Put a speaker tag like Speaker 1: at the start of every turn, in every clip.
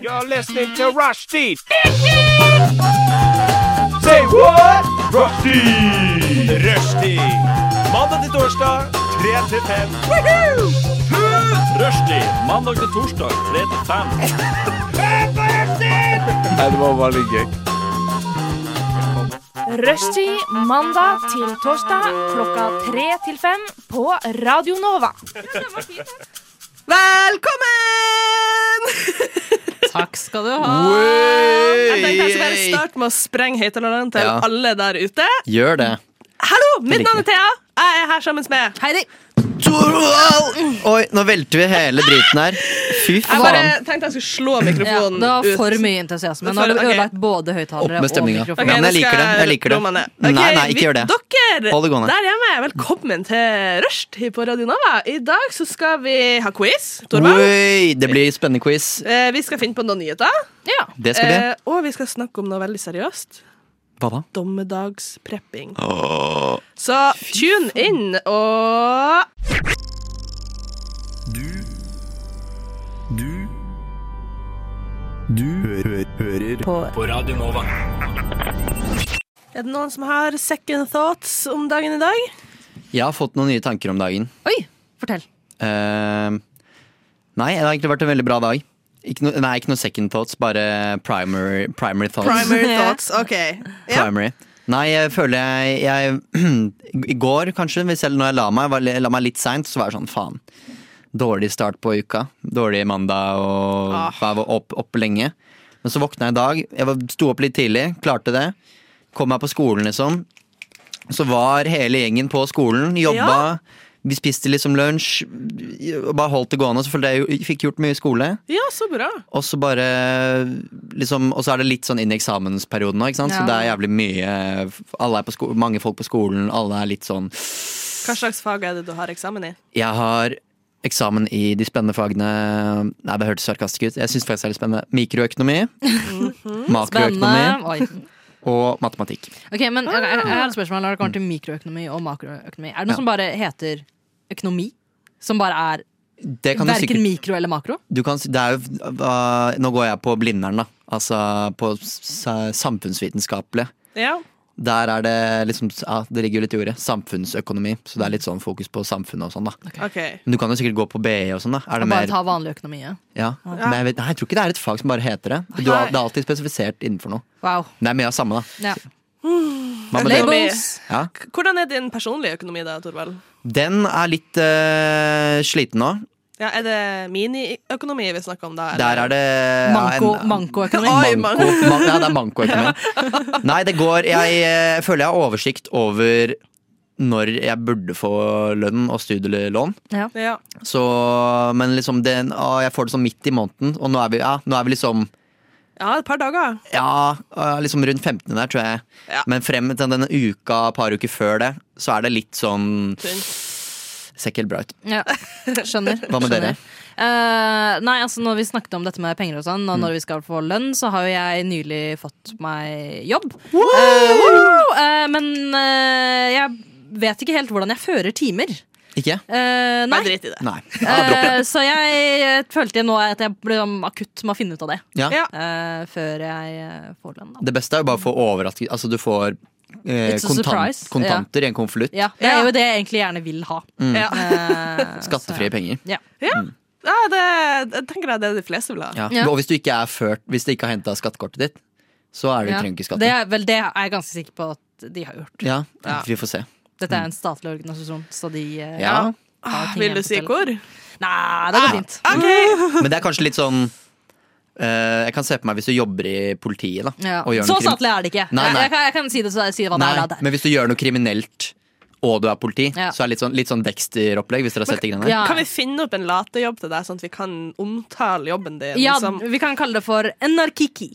Speaker 1: You're listening to Rushdie. Say what? Rushdie. Rushdie. Mandag til torsdag, 3 til 5. Rushdie. Mandag til torsdag, 3 til 5.
Speaker 2: Rushtid mandag til torsdag klokka tre til fem på Radio Nova.
Speaker 3: Velkommen!
Speaker 4: Takk skal du ha.
Speaker 3: Jeg tenkte jeg skulle bare starte med å sprenge høyttaleren til
Speaker 5: Ja.
Speaker 3: alle der ute.
Speaker 5: Gjør det.
Speaker 3: Hallo, mitt navn er Thea. Jeg er her sammen med
Speaker 4: Heidi.
Speaker 5: Oi, nå velter vi hele driten her. Fy
Speaker 3: Jeg bare
Speaker 5: faen.
Speaker 3: tenkte jeg skulle slå
Speaker 4: Ja,
Speaker 3: mikrofonen
Speaker 4: det var
Speaker 3: ut.
Speaker 4: for mye entusiasme. Nå har du
Speaker 3: For- ok.
Speaker 4: ødelagt både
Speaker 5: Opp
Speaker 4: høyttalere
Speaker 5: med
Speaker 4: og
Speaker 5: stemninga.
Speaker 3: Ok,
Speaker 4: mikrofon.
Speaker 5: Ja, men jeg
Speaker 3: nå skal
Speaker 5: liker det. Jeg liker det.
Speaker 3: roe meg ned.
Speaker 5: Nei,
Speaker 3: Ok,
Speaker 5: nei, ikke
Speaker 3: vi-
Speaker 5: gjør det.
Speaker 3: Dere
Speaker 5: Hold det gående.
Speaker 3: der hjemme, velkommen til Rushtid på Radio Nova. I dag så skal vi ha quiz. Torvald.
Speaker 5: Oi, det blir spennende quiz.
Speaker 3: Eh, Vi skal finne på noen nyheter.
Speaker 4: Ja.
Speaker 5: Det skal bli.
Speaker 3: Eh, Og vi skal snakke om noe veldig seriøst.
Speaker 5: Hva da?
Speaker 3: Dommedagsprepping. Så tune inn og Er det noen som har second thoughts om dagen i dag?
Speaker 5: Jeg har fått noen nye tanker om dagen.
Speaker 4: Oi, fortell.
Speaker 5: Eh, nei, det har egentlig vært en veldig bra dag. Ikke noe- nei, ikke noe second thoughts, bare primary, primary thoughts.
Speaker 3: Primary thoughts, OK. Ja.
Speaker 5: Primary. Nei, jeg føler jeg, jeg I går, kanskje, hvis jeg, når jeg la meg, var, jeg la meg litt seint, så var jeg sånn faen. Dårlig start på uka. Dårlig mandag og
Speaker 3: Ah.
Speaker 5: var opp, opp lenge. Men så våkna jeg i dag. Jeg var- sto opp litt tidlig, klarte det. Kom meg på skolen, liksom. Så var hele gjengen på skolen, jobba. Vi spiste liksom lunsj. og Bare holdt det gående. Så følte jeg jeg fikk gjort mye skole.
Speaker 3: ja, så bra.
Speaker 5: Og så bare liksom, Og så er det litt sånn inn i eksamensperioden nå, ikke sant?
Speaker 4: Ja.
Speaker 5: Så det er jævlig mye alle er på sko Mange folk på skolen, alle er litt sånn
Speaker 3: Hva slags fag er det du har eksamen i?
Speaker 5: Jeg har eksamen i de spennende fagene Nei, det hørtes sarkastisk ut. Jeg syns faktisk det er litt spennende. Mikroøkonomi, makroøkonomi
Speaker 4: Mhm. Spennende. Oi.
Speaker 5: og matematikk.
Speaker 4: Ok, men jeg, jeg, jeg har et spørsmål når det kommer til mikroøkonomi og makroøkonomi. Er det noe
Speaker 5: Ja.
Speaker 4: som bare heter økonomi? Som bare er
Speaker 5: Det kan du
Speaker 4: verken
Speaker 5: sikkert
Speaker 4: mikro eller makro?
Speaker 5: du kan, si- det er jo, uh, Nå går jeg på Blindern, da. Altså på s- samfunnsvitenskapelig.
Speaker 3: Ja.
Speaker 5: Der er det liksom ja, Det ligger jo litt i ordet. Samfunnsøkonomi. Så det er litt sånn fokus på samfunnet og sånn, da.
Speaker 3: OK.
Speaker 5: Men du kan jo sikkert gå på BI og sånn, da. Er det
Speaker 4: Og bare
Speaker 5: mer?
Speaker 4: ta vanlig økonomi? ja.
Speaker 5: Ja. Men jeg, vet, nei, jeg tror ikke det er et fag som bare heter det. Du
Speaker 3: Nei.
Speaker 5: har, det er alltid spesifisert innenfor noe.
Speaker 4: Wow.
Speaker 5: Men det er mye av samme, da.
Speaker 4: Ja.
Speaker 5: Hva med den?
Speaker 3: Label.
Speaker 4: Labels.
Speaker 5: Ja.
Speaker 3: Hvordan er din personlige økonomi da, Torvald?
Speaker 5: Den er litt eh, sliten nå.
Speaker 3: Ja, er det miniøkonomi vi snakker om da? eller?
Speaker 5: Der er det
Speaker 4: Manko,
Speaker 5: ja, en-
Speaker 4: mankoøkonomi.
Speaker 3: Oi, man-
Speaker 5: Manko, man, ja, det er mankoøkonomi. Nei, det går Jeg eh, føler jeg har oversikt over når jeg burde få lønn og studielån.
Speaker 4: Ja.
Speaker 3: Ja.
Speaker 5: Så, men liksom den, å, jeg får det sånn midt i måneden, og nå er vi, ja, nå er vi liksom
Speaker 3: ja, et par dager.
Speaker 5: Ja, øh, liksom rundt 15. der, tror jeg.
Speaker 3: Ja.
Speaker 5: Men frem til denne uka, et par uker før det, så er det litt sånn
Speaker 3: Tynt.
Speaker 5: Ser ikke helt bra ut.
Speaker 4: Ja, skjønner.
Speaker 5: Hva med dere?
Speaker 4: skjønner. Eh, nei, altså Når vi snakket om dette med penger og sånn, og
Speaker 5: Mm.
Speaker 4: når vi skal få lønn, så har jo jeg nylig fått meg jobb. Eh, woo! Eh, men eh, jeg vet ikke helt hvordan jeg fører timer.
Speaker 5: Ikke?
Speaker 4: Eh, nei.
Speaker 3: Bare drit i det.
Speaker 5: Nei. Ah,
Speaker 4: Eh, så jeg eh, følte nå at jeg ble sånn akutt med å finne ut av det.
Speaker 5: Ja.
Speaker 3: Ja.
Speaker 4: eh, før jeg eh, får lønn, da.
Speaker 5: Det beste er jo bare å få overrasket Altså, du får eh,
Speaker 4: It's a
Speaker 5: kontant,
Speaker 4: surprise.
Speaker 5: kontanter i en konvolutt.
Speaker 4: Ja, det
Speaker 3: Ja.
Speaker 4: er jo det jeg egentlig gjerne vil ha.
Speaker 5: Mm.
Speaker 3: Ja.
Speaker 4: Eh,
Speaker 5: Skattefrie penger.
Speaker 4: så, ja.
Speaker 3: Ja. ja, det jeg tenker jeg det er de fleste vil ha.
Speaker 5: Ja.
Speaker 4: Ja.
Speaker 5: Og hvis du ikke er ført Hvis du ikke har henta skattekortet ditt, så er du,
Speaker 4: Ja.
Speaker 5: trenger du ikke
Speaker 4: Det
Speaker 5: skatte.
Speaker 4: er, vel, det er jeg ganske sikker på at de har gjort.
Speaker 5: Ja,
Speaker 3: Ja.
Speaker 5: vi får se.
Speaker 4: Dette er en statlig organisasjon, så de eh,
Speaker 5: Mm. Ja.
Speaker 4: har ting
Speaker 3: Ah,
Speaker 4: Mm.
Speaker 3: Vil du
Speaker 4: igjen på Ah.
Speaker 3: si
Speaker 4: tell-
Speaker 3: hvor?
Speaker 4: Nei, det går fint.
Speaker 5: Men det er kanskje litt sånn eh, Jeg kan se på meg hvis du jobber i politiet, da.
Speaker 4: Ja.
Speaker 5: og gjør
Speaker 4: Så
Speaker 5: noe krim-
Speaker 4: statlig er det ikke.
Speaker 5: Nei, nei.
Speaker 4: Jeg, kan, jeg kan si det, så, si hva det
Speaker 5: Nei,
Speaker 4: er. da.
Speaker 5: men hvis du gjør noe kriminelt og du er politi,
Speaker 4: Ja.
Speaker 5: så er det litt sånn, litt sånn Dexter-opplegg. Hvis dere har sett de greiene der.
Speaker 4: Ja.
Speaker 3: Kan vi finne opp en latejobb til deg, sånn at vi kan omtale jobben din? liksom?
Speaker 4: Ja,
Speaker 5: liksom-
Speaker 3: som-
Speaker 4: vi kan kalle det for anarkiki.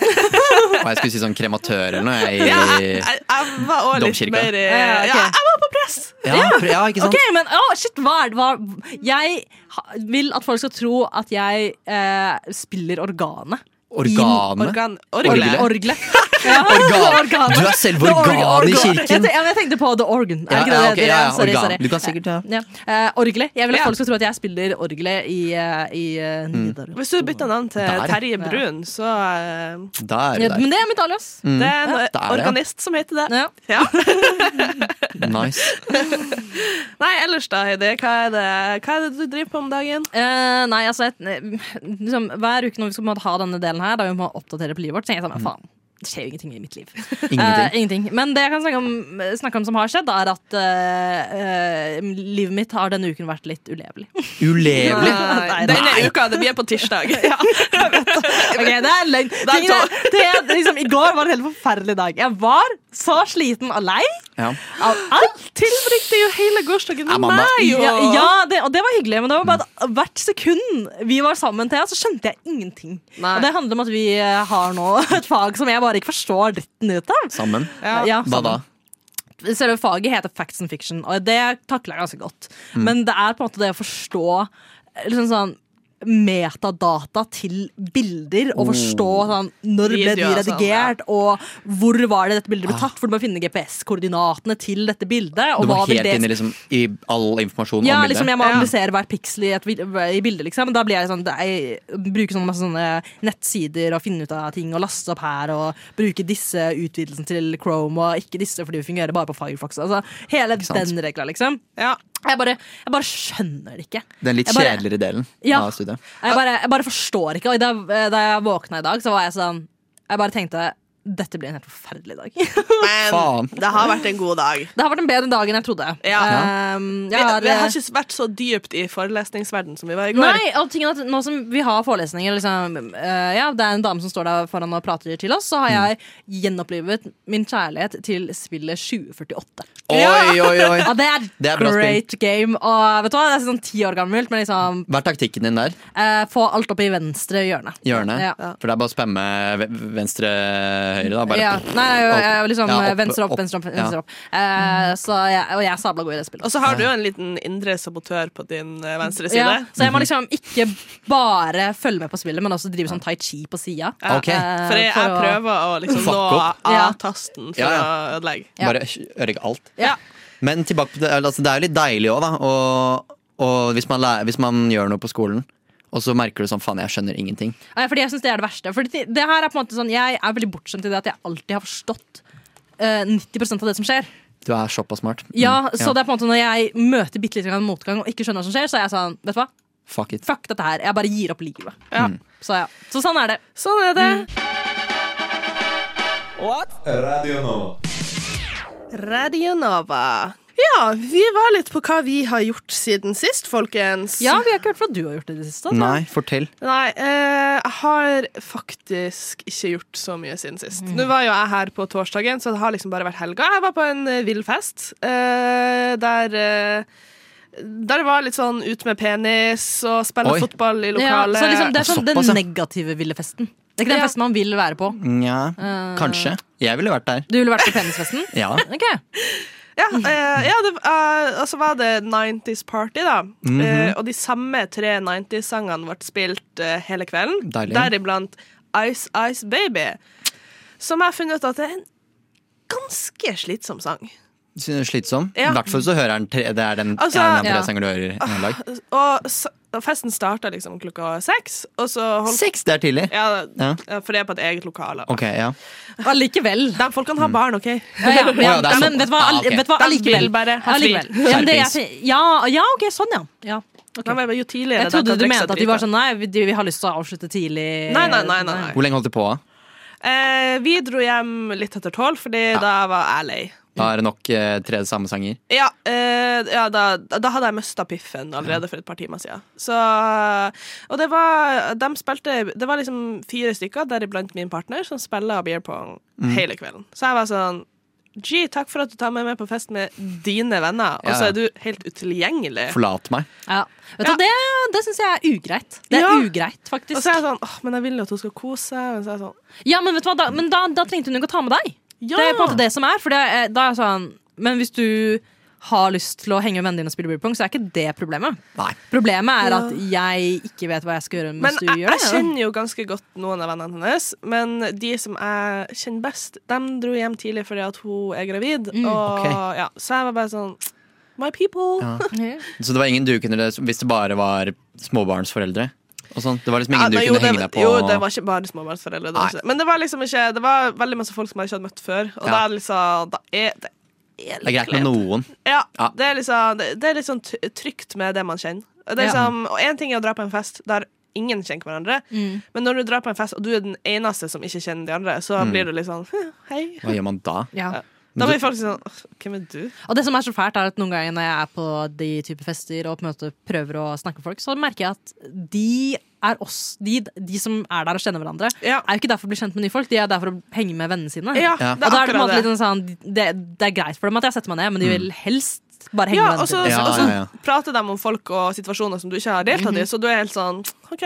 Speaker 5: Og jeg skulle si sånn krematør eller noe.
Speaker 3: ja, jeg,
Speaker 5: Jeg,
Speaker 3: jeg, jeg var òg litt
Speaker 5: Domkirka.
Speaker 3: mer i-
Speaker 4: Ja, ok.
Speaker 3: ja, Jeg var på press!
Speaker 5: ja, pr- ja, ikke sant?
Speaker 4: Ok, men å, shit, hva er det? Hva, jeg ha- vil at folk skal tro at jeg eh, spiller organet. Eh,
Speaker 5: Organet.
Speaker 3: Organ,
Speaker 5: Orgelet.
Speaker 3: orgelet.
Speaker 4: Orgelet.
Speaker 5: Organ. Du er selve organet i
Speaker 4: Jeg,
Speaker 5: kirken.
Speaker 4: te- ja, men jeg tenkte på The Organ. Er
Speaker 5: Ja,
Speaker 4: ikke det
Speaker 5: ja,
Speaker 4: det
Speaker 5: ok,
Speaker 4: heter?
Speaker 5: ja, ja,
Speaker 4: sorry,
Speaker 5: organ.
Speaker 4: sorry.
Speaker 5: Du kan sikkert, ja.
Speaker 4: Eh, orgelet. Jeg vil at
Speaker 3: Ja.
Speaker 4: folk skal tro at jeg spiller orgelet i, eh, i eh,
Speaker 5: Mm.
Speaker 4: Nidaros.
Speaker 3: Hvis du bytter navn til
Speaker 5: Der.
Speaker 3: Terje Brun, så eh,
Speaker 5: Da er Mm.
Speaker 4: Ja,
Speaker 5: du der.
Speaker 4: men det er mitt alias.
Speaker 3: Det er en
Speaker 5: Der, ja.
Speaker 3: organist som heter det.
Speaker 4: Ja.
Speaker 3: Ja.
Speaker 5: Nice.
Speaker 3: Nei, ellers da, Heidi. Hva er, det, hva er det du driver på om dagen?
Speaker 4: Eh, nei, altså jeg, liksom, Hver uke når vi skal på en måte ha denne delen her, da vi må oppdatere på livet vårt, så tenker jeg sånn Faen, det skjer jo ingenting i mitt liv.
Speaker 5: Ingenting.
Speaker 4: Eh, ingenting. Men det jeg kan snakke om, snakke om som har skjedd, da, er at eh, eh, livet mitt har denne uken vært litt ulevelig.
Speaker 5: Ulevelig.
Speaker 3: Nei, Denne uka. Det blir på tirsdag. Ja.
Speaker 4: Ok, det er løgn.
Speaker 3: er
Speaker 4: Tingene- det er liksom, I går var en helt forferdelig dag. Jeg var så sliten og lei
Speaker 5: Ja.
Speaker 4: av alt.
Speaker 3: Tilbringte jo hele gårsdagen
Speaker 5: Ja,
Speaker 3: med
Speaker 5: mamma.
Speaker 3: meg!
Speaker 4: Ja,
Speaker 3: og-
Speaker 4: ja det, og det var hyggelig, men det var bare at hvert sekund vi var sammen, Thea, så skjønte jeg ingenting.
Speaker 3: Nei.
Speaker 4: Og det handler om at vi eh, har nå et fag som jeg bare ikke forstår dritten ut av.
Speaker 5: Sammen.
Speaker 3: Ja.
Speaker 4: Ja, sånn.
Speaker 5: Sånn. Hva da?
Speaker 4: sammen. Selve faget heter facts and fiction, og det takler jeg ganske godt.
Speaker 5: Mm.
Speaker 4: Men det er på en måte det å forstå eh, liksom sånn metadata til bilder, og forstå
Speaker 5: Oh.
Speaker 4: sånn, når ble de
Speaker 3: Videoer og sånn, ja.
Speaker 4: redigert, og hvor var det dette bildet ble tatt, for du må finne GPS-koordinatene til dette bildet. Og
Speaker 5: Du
Speaker 4: hva
Speaker 5: Ah. var
Speaker 4: vil
Speaker 5: helt
Speaker 4: det
Speaker 5: inne liksom, i all informasjon
Speaker 4: ja,
Speaker 5: om
Speaker 4: liksom,
Speaker 5: bildet?
Speaker 4: jeg må
Speaker 3: Ja.
Speaker 4: analysere hvert piksel i, et, vid- i bildet. Liksom. Da blir jeg sånn, jeg bruker sånne, masse sånne nettsider og finne ut av ting og laste opp her. Og bruke disse utvidelsen til Chrome og ikke disse fordi vi fungerer bare på Firefox. Altså, hele
Speaker 5: sant?
Speaker 4: den regla, liksom.
Speaker 3: Ja.
Speaker 4: Jeg bare, jeg bare skjønner det ikke.
Speaker 5: Den litt
Speaker 4: Jeg bare-
Speaker 5: kjedeligere delen
Speaker 4: Ja.
Speaker 5: av studiet.
Speaker 4: Jeg bare, jeg bare forstår ikke. Og da, da jeg våkna i dag, så var jeg sånn Jeg bare tenkte dette blir en helt forferdelig dag. det
Speaker 5: Faen.
Speaker 3: Men det har vært en god dag.
Speaker 4: har vært en bedre dag enn jeg trodde.
Speaker 3: Ja.
Speaker 4: Ehm,
Speaker 3: Vi,
Speaker 4: jeg har,
Speaker 3: vi har ikke vært så dypt i forelesningsverden som vi var i går.
Speaker 4: Nei, og tingen er at nå som vi har forelesninger liksom, eh, Ja, det er en dame som står der foran og prater til oss Så har
Speaker 5: Mm.
Speaker 4: jeg gjenopplivet min kjærlighet til spillet 2048
Speaker 5: Oi, oi, oi.
Speaker 4: Ja, det er,
Speaker 5: Ah, Det er bra spill.
Speaker 4: great game Og vet du hva, det er sånn 10 år gammelt Men liksom,
Speaker 5: Hva er taktikken din der?
Speaker 4: eh, få alt opp i venstre hjørne
Speaker 5: Hjørnet?
Speaker 4: Ja.
Speaker 5: For det er bare å spamme ve- venstre-høyre, da. Bare.
Speaker 4: ja, nei, jeg- jeg- liksom
Speaker 5: Ja, opp,
Speaker 4: venstre opp,
Speaker 5: opp.
Speaker 4: venstre opp,
Speaker 5: Ja. Mm.
Speaker 4: venstre opp. Eh, så jeg, Og jeg er sabla god i det spillet
Speaker 3: Og så har du jo en liten indre sabotør på din eh, venstre side.
Speaker 4: ja, Så jeg
Speaker 5: Mm.
Speaker 4: må liksom ikke bare følge med på spillet Men også drive sånn tai chi på siden
Speaker 3: Ja.
Speaker 5: Ok.
Speaker 4: Eh,
Speaker 3: For jeg,
Speaker 4: for
Speaker 3: jeg
Speaker 4: å-
Speaker 3: prøver å liksom
Speaker 5: Fuck
Speaker 3: nå
Speaker 5: opp.
Speaker 4: Ja.
Speaker 3: A-tasten for
Speaker 5: Ja, ja.
Speaker 3: å ødelegge.
Speaker 4: Ja.
Speaker 5: Bare ødelegge alt.
Speaker 4: Ja.
Speaker 5: Men tilbake på det, altså, det er jo litt deilig òg, da. Og, og hvis, man lærer, hvis man gjør noe på skolen, og så merker du sånn faen, jeg skjønner ingenting.
Speaker 4: Nei, fordi jeg synes det er det verste. Fordi det- det her er på en måte sånn, Jeg er veldig bortskjemt i det at jeg alltid har forstått eh, 90 av det som skjer.
Speaker 5: Du er såpass smart. Mm.
Speaker 4: Ja, Så det er på en måte når jeg møter bitte litt motgang og ikke skjønner hva som skjer, så er jeg sånn Vet du hva?
Speaker 5: Fuck it.
Speaker 4: Fuck dette her. Jeg bare gir opp livet.
Speaker 3: Ja.
Speaker 4: Så ja, så sånn er det.
Speaker 3: Sånn er det.
Speaker 4: Mm.
Speaker 1: Radio Nova.
Speaker 3: Radio Nova. Ja, vi var litt på hva vi har gjort siden sist, folkens.
Speaker 4: Ja, Vi har ikke hørt hva du har gjort i det siste. altså.
Speaker 5: Nei, fortell.
Speaker 3: Nei, eh, jeg har faktisk ikke gjort så mye siden sist.
Speaker 4: Mm.
Speaker 3: Nå var jo jeg her på torsdagen, så det har liksom bare vært helga. Jeg var på en eh, vill fest eh, der eh, der det var litt sånn ut med penis og spille
Speaker 5: Oi.
Speaker 3: fotball i
Speaker 4: Ja,
Speaker 3: lokalet.
Speaker 4: så liksom Det er sånn den
Speaker 5: Såpass, ja. Mm.
Speaker 4: negative ville festen. Det er ikke den
Speaker 3: Ja.
Speaker 4: festen man vil være på.
Speaker 5: Nja,
Speaker 4: Eh.
Speaker 5: kanskje. Jeg ville vært der.
Speaker 4: Du ville vært på penisfesten?
Speaker 5: Ja.
Speaker 4: Ok.
Speaker 3: Ja, eh, ja det, eh, og så var det 90's Party, da.
Speaker 5: Mhm.
Speaker 3: eh, og de samme tre 90's-sangene ble spilt eh, hele kvelden.
Speaker 5: Deilig.
Speaker 3: Deriblant Ice Ice Baby, som jeg har funnet ut at det er en ganske slitsom sang.
Speaker 5: Synes det er Slitsom. I
Speaker 3: Ja.
Speaker 5: hvert fall så hører den tre, det er den
Speaker 3: Altså,
Speaker 5: en av tre
Speaker 4: ja. Ah.
Speaker 5: sanger du hører en dag.
Speaker 3: Og, s- og festen starta liksom klokka seks, og så holdt
Speaker 5: Seks, det er tidlig.
Speaker 3: ja,
Speaker 5: Ja.
Speaker 3: ja, for det er på et eget lokale.
Speaker 5: Ok, ja.
Speaker 4: Allikevel.
Speaker 3: De folkene
Speaker 4: Mm.
Speaker 3: har barn, OK?
Speaker 4: Ja, ja,
Speaker 5: Å, ja,
Speaker 4: ja,
Speaker 5: det er
Speaker 4: men
Speaker 5: sånn.
Speaker 4: vet du hva,
Speaker 5: Ah,
Speaker 4: all,
Speaker 5: ok.
Speaker 4: vet du hva
Speaker 3: Da
Speaker 4: allikevel.
Speaker 3: vil bare ha fri.
Speaker 4: allikevel. Ja, men det, jeg, ja, ja, ok, sånn ja. ja. ok.
Speaker 3: De er jo tidligere
Speaker 4: Jeg
Speaker 3: de kan
Speaker 4: trodde du
Speaker 3: drikke seg
Speaker 4: mente at de var
Speaker 3: drita.
Speaker 4: sånn Nei, vi, de, vi har lyst til å avslutte tidlig.
Speaker 3: Nei, nei, nei, nei, nei.
Speaker 5: Hvor lenge holdt du på? da?
Speaker 3: Eh, vi dro hjem litt etter tolv, fordi da var jeg lei.
Speaker 5: Da er det nok eh, tre samme sanger.
Speaker 3: Ja, eh, ja da, da hadde jeg mista piffen allerede for et par timer siden. Så, og det var De spilte Det var liksom fire stykker, deriblant min partner, som spiller beer pong
Speaker 5: Mm.
Speaker 3: hele kvelden. Så jeg var sånn Gee, takk for at du tar meg med på fest med dine venner, og
Speaker 5: Ja,
Speaker 3: så
Speaker 5: ja.
Speaker 3: er du helt utilgjengelig.
Speaker 5: Forlat meg.
Speaker 4: Ja. Vet du,
Speaker 3: Ja.
Speaker 4: Det, det syns jeg er ugreit. Det er
Speaker 3: Ja.
Speaker 4: ugreit,
Speaker 3: Og
Speaker 4: faktisk.
Speaker 3: så er jeg sånn Åh, men jeg vil jo at hun skal kose seg. Men så er jeg sånn
Speaker 4: Ja, Men vet du hva, da, men da, da trengte hun ikke å ta med deg.
Speaker 3: Ja!
Speaker 4: eh, Det er på en måte det som er. For det, er- da er jeg sånn Men hvis du har lyst til å henge med vennene dine og spille beer pong, så er ikke det problemet.
Speaker 5: Nei.
Speaker 4: Problemet er at jeg ikke vet hva jeg skal gjøre
Speaker 3: Men
Speaker 4: mens du
Speaker 3: jeg,
Speaker 4: gjør
Speaker 3: jeg
Speaker 4: det.
Speaker 3: kjenner jo ganske godt noen av vennene hennes, men de som jeg kjenner best, de dro hjem tidlig fordi at hun er gravid.
Speaker 4: Mm,
Speaker 3: og,
Speaker 5: ok.
Speaker 3: ja, så jeg var bare sånn My people!
Speaker 5: Ja.
Speaker 4: Ja.
Speaker 5: Så det var ingen du kunne Hvis det bare var småbarnsforeldre? Og sånn. Det var liksom
Speaker 3: Ja,
Speaker 5: ingen
Speaker 3: nei,
Speaker 5: du
Speaker 3: jo,
Speaker 5: kunne
Speaker 3: det,
Speaker 5: henge deg på?
Speaker 3: Jo, det var ikke bare småbarnsforeldre. Det var
Speaker 5: Nei.
Speaker 3: ikke, det. men det var liksom ikke Det var veldig masse folk som jeg ikke hadde møtt før. Og
Speaker 5: Ja.
Speaker 3: da er det liksom da er, det, er
Speaker 5: det er greit med
Speaker 3: kleint.
Speaker 5: noen.
Speaker 3: Ja,
Speaker 5: Ja.
Speaker 3: Det er liksom det, det er litt sånn t- trygt med det man kjenner. Det er
Speaker 4: Ja.
Speaker 3: liksom, og én ting er å dra på en fest der ingen kjenner hverandre,
Speaker 4: Mm.
Speaker 3: men når du drar på en fest og du er den eneste som ikke kjenner de andre, så
Speaker 5: Mm.
Speaker 3: blir du litt sånn «Hm, Hei.
Speaker 5: Hva gjør man da?
Speaker 4: Ja.
Speaker 3: Da blir folk sånn «Åh, Hvem er du?
Speaker 4: Og det som er så fælt, er at noen ganger når jeg er på de type fester og på en måte prøver å snakke med folk, så merker jeg at de er oss, de, de som er der og kjenner hverandre,
Speaker 3: Ja.
Speaker 4: er jo ikke der for å bli kjent med nye folk, de er der for å henge med vennene sine.
Speaker 3: Ja,
Speaker 5: Ja.
Speaker 3: det er
Speaker 4: og da er det, på en
Speaker 3: akkurat
Speaker 4: måte litt
Speaker 3: det.
Speaker 4: en sånn, det, det er greit for dem at jeg setter meg ned, men de vil helst bare henge
Speaker 3: Ja,
Speaker 4: med
Speaker 3: og
Speaker 4: vennene
Speaker 3: så,
Speaker 4: sine.
Speaker 5: Ja,
Speaker 3: og så sånn
Speaker 5: ja, ja.
Speaker 3: prater de om folk og situasjoner som du ikke har
Speaker 4: Mm.
Speaker 3: deltatt i, så du er helt sånn OK,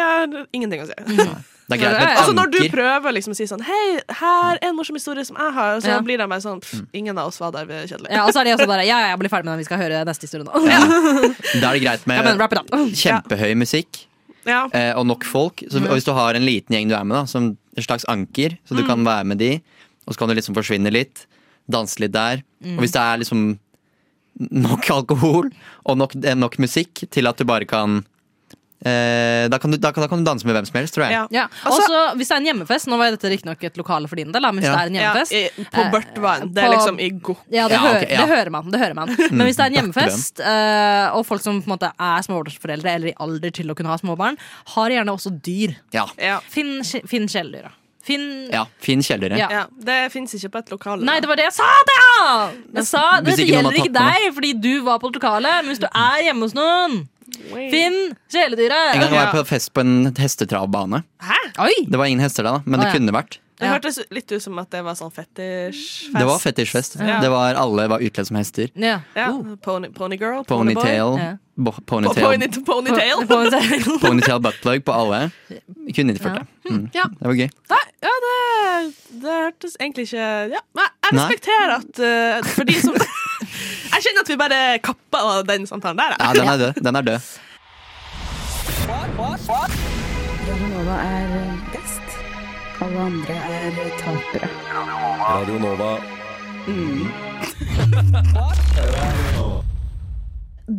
Speaker 3: ingenting å si.
Speaker 5: Det er greit med
Speaker 3: Altså Når du
Speaker 5: tanker.
Speaker 3: prøver liksom å si sånn Hei, her er en morsom historie som jeg har, så
Speaker 4: Ja.
Speaker 3: blir de bare sånn
Speaker 5: Mm.
Speaker 3: pff, Ingen av oss var der, vi er kjedelige.
Speaker 4: Ja, og så er de også bare Ja, ja, jeg blir ferdig med den, vi skal høre neste historie nå.
Speaker 5: Da er det greit
Speaker 4: Ja, men
Speaker 5: med
Speaker 4: wrap it up.
Speaker 5: kjempehøy musikk
Speaker 3: Ja.
Speaker 5: eh, og nok folk.
Speaker 3: Mm.
Speaker 5: Så, og hvis du har en liten gjeng du er med, da, som en slags anker, så du kan være med de, og så kan du liksom forsvinne litt, danse litt der.
Speaker 3: Mm.
Speaker 5: Og hvis det er liksom nok alkohol og nok, eh, nok musikk til at du bare kan eh, da, kan du, da, kan, da kan du danse med hvem som helst, tror jeg.
Speaker 3: Ja.
Speaker 4: Ja. Og
Speaker 3: Altså-
Speaker 4: så hvis det er en hjemmefest Nå var dette riktignok et lokale for din del, da, men hvis
Speaker 5: Ja.
Speaker 4: det er en
Speaker 3: Ja,
Speaker 4: hjemmefest
Speaker 3: i, på Børtvann. Det er
Speaker 4: Eh, på-
Speaker 3: liksom i go.
Speaker 4: Ja, det,
Speaker 5: Ja,
Speaker 4: hø-
Speaker 5: ok, ja.
Speaker 4: det hører man. det hører man Men hvis det er en hjemmefest, eh, og folk som på en måte er småbarnsforeldre eller i alder til å kunne ha småbarn, har gjerne også dyr.
Speaker 5: Ja.
Speaker 3: Ja.
Speaker 4: Finn, kje- finn kjæledyra. Finn
Speaker 5: ja. Fin kjeldere.
Speaker 4: Ja.
Speaker 3: ja. Det fins ikke på et lokale.
Speaker 4: Nei, det var det jeg sa! Det, ja! jeg sa, det,
Speaker 5: Hvis ikke noen
Speaker 4: gjelder
Speaker 5: har
Speaker 4: ikke
Speaker 5: tatt
Speaker 4: deg, fordi du var på lokalet. Men hvis du er hjemme hos noen, finn kjæledyret!
Speaker 5: En gang var jeg
Speaker 3: Ja.
Speaker 5: på fest på en hestetravbane.
Speaker 4: Oi!
Speaker 5: Det var ingen hester da, da, men
Speaker 4: Å,
Speaker 5: det
Speaker 4: ja.
Speaker 5: kunne vært.
Speaker 3: Det
Speaker 4: Ja.
Speaker 3: hørtes litt ut som at det var sånn fetisjfest.
Speaker 5: Det var fetisjfest.
Speaker 3: Ja.
Speaker 5: Det var, alle var utkledd som hester.
Speaker 4: Ja.
Speaker 3: Ja. Pony, ponygirl.
Speaker 5: Oh. Ponytail,
Speaker 4: Ja.
Speaker 5: bo-
Speaker 3: Ponyboy.
Speaker 5: ponytail,
Speaker 3: Pony, ponytail.
Speaker 4: På en serie.
Speaker 5: ponytail buttplug på alle. Kunne ikke ført det. Mm.
Speaker 4: Ja.
Speaker 5: Det var gøy.
Speaker 3: Nei, ja, det, det hørtes egentlig ikke ja. Men jeg
Speaker 5: Nei.
Speaker 3: respekterer at eh, for de som Jeg kjenner at vi bare kapper av den samtalen der.
Speaker 5: Ja,
Speaker 3: jeg.
Speaker 5: den er død. Den er død.
Speaker 6: Nova er best. Alle andre er tapere.
Speaker 1: Radio Nova.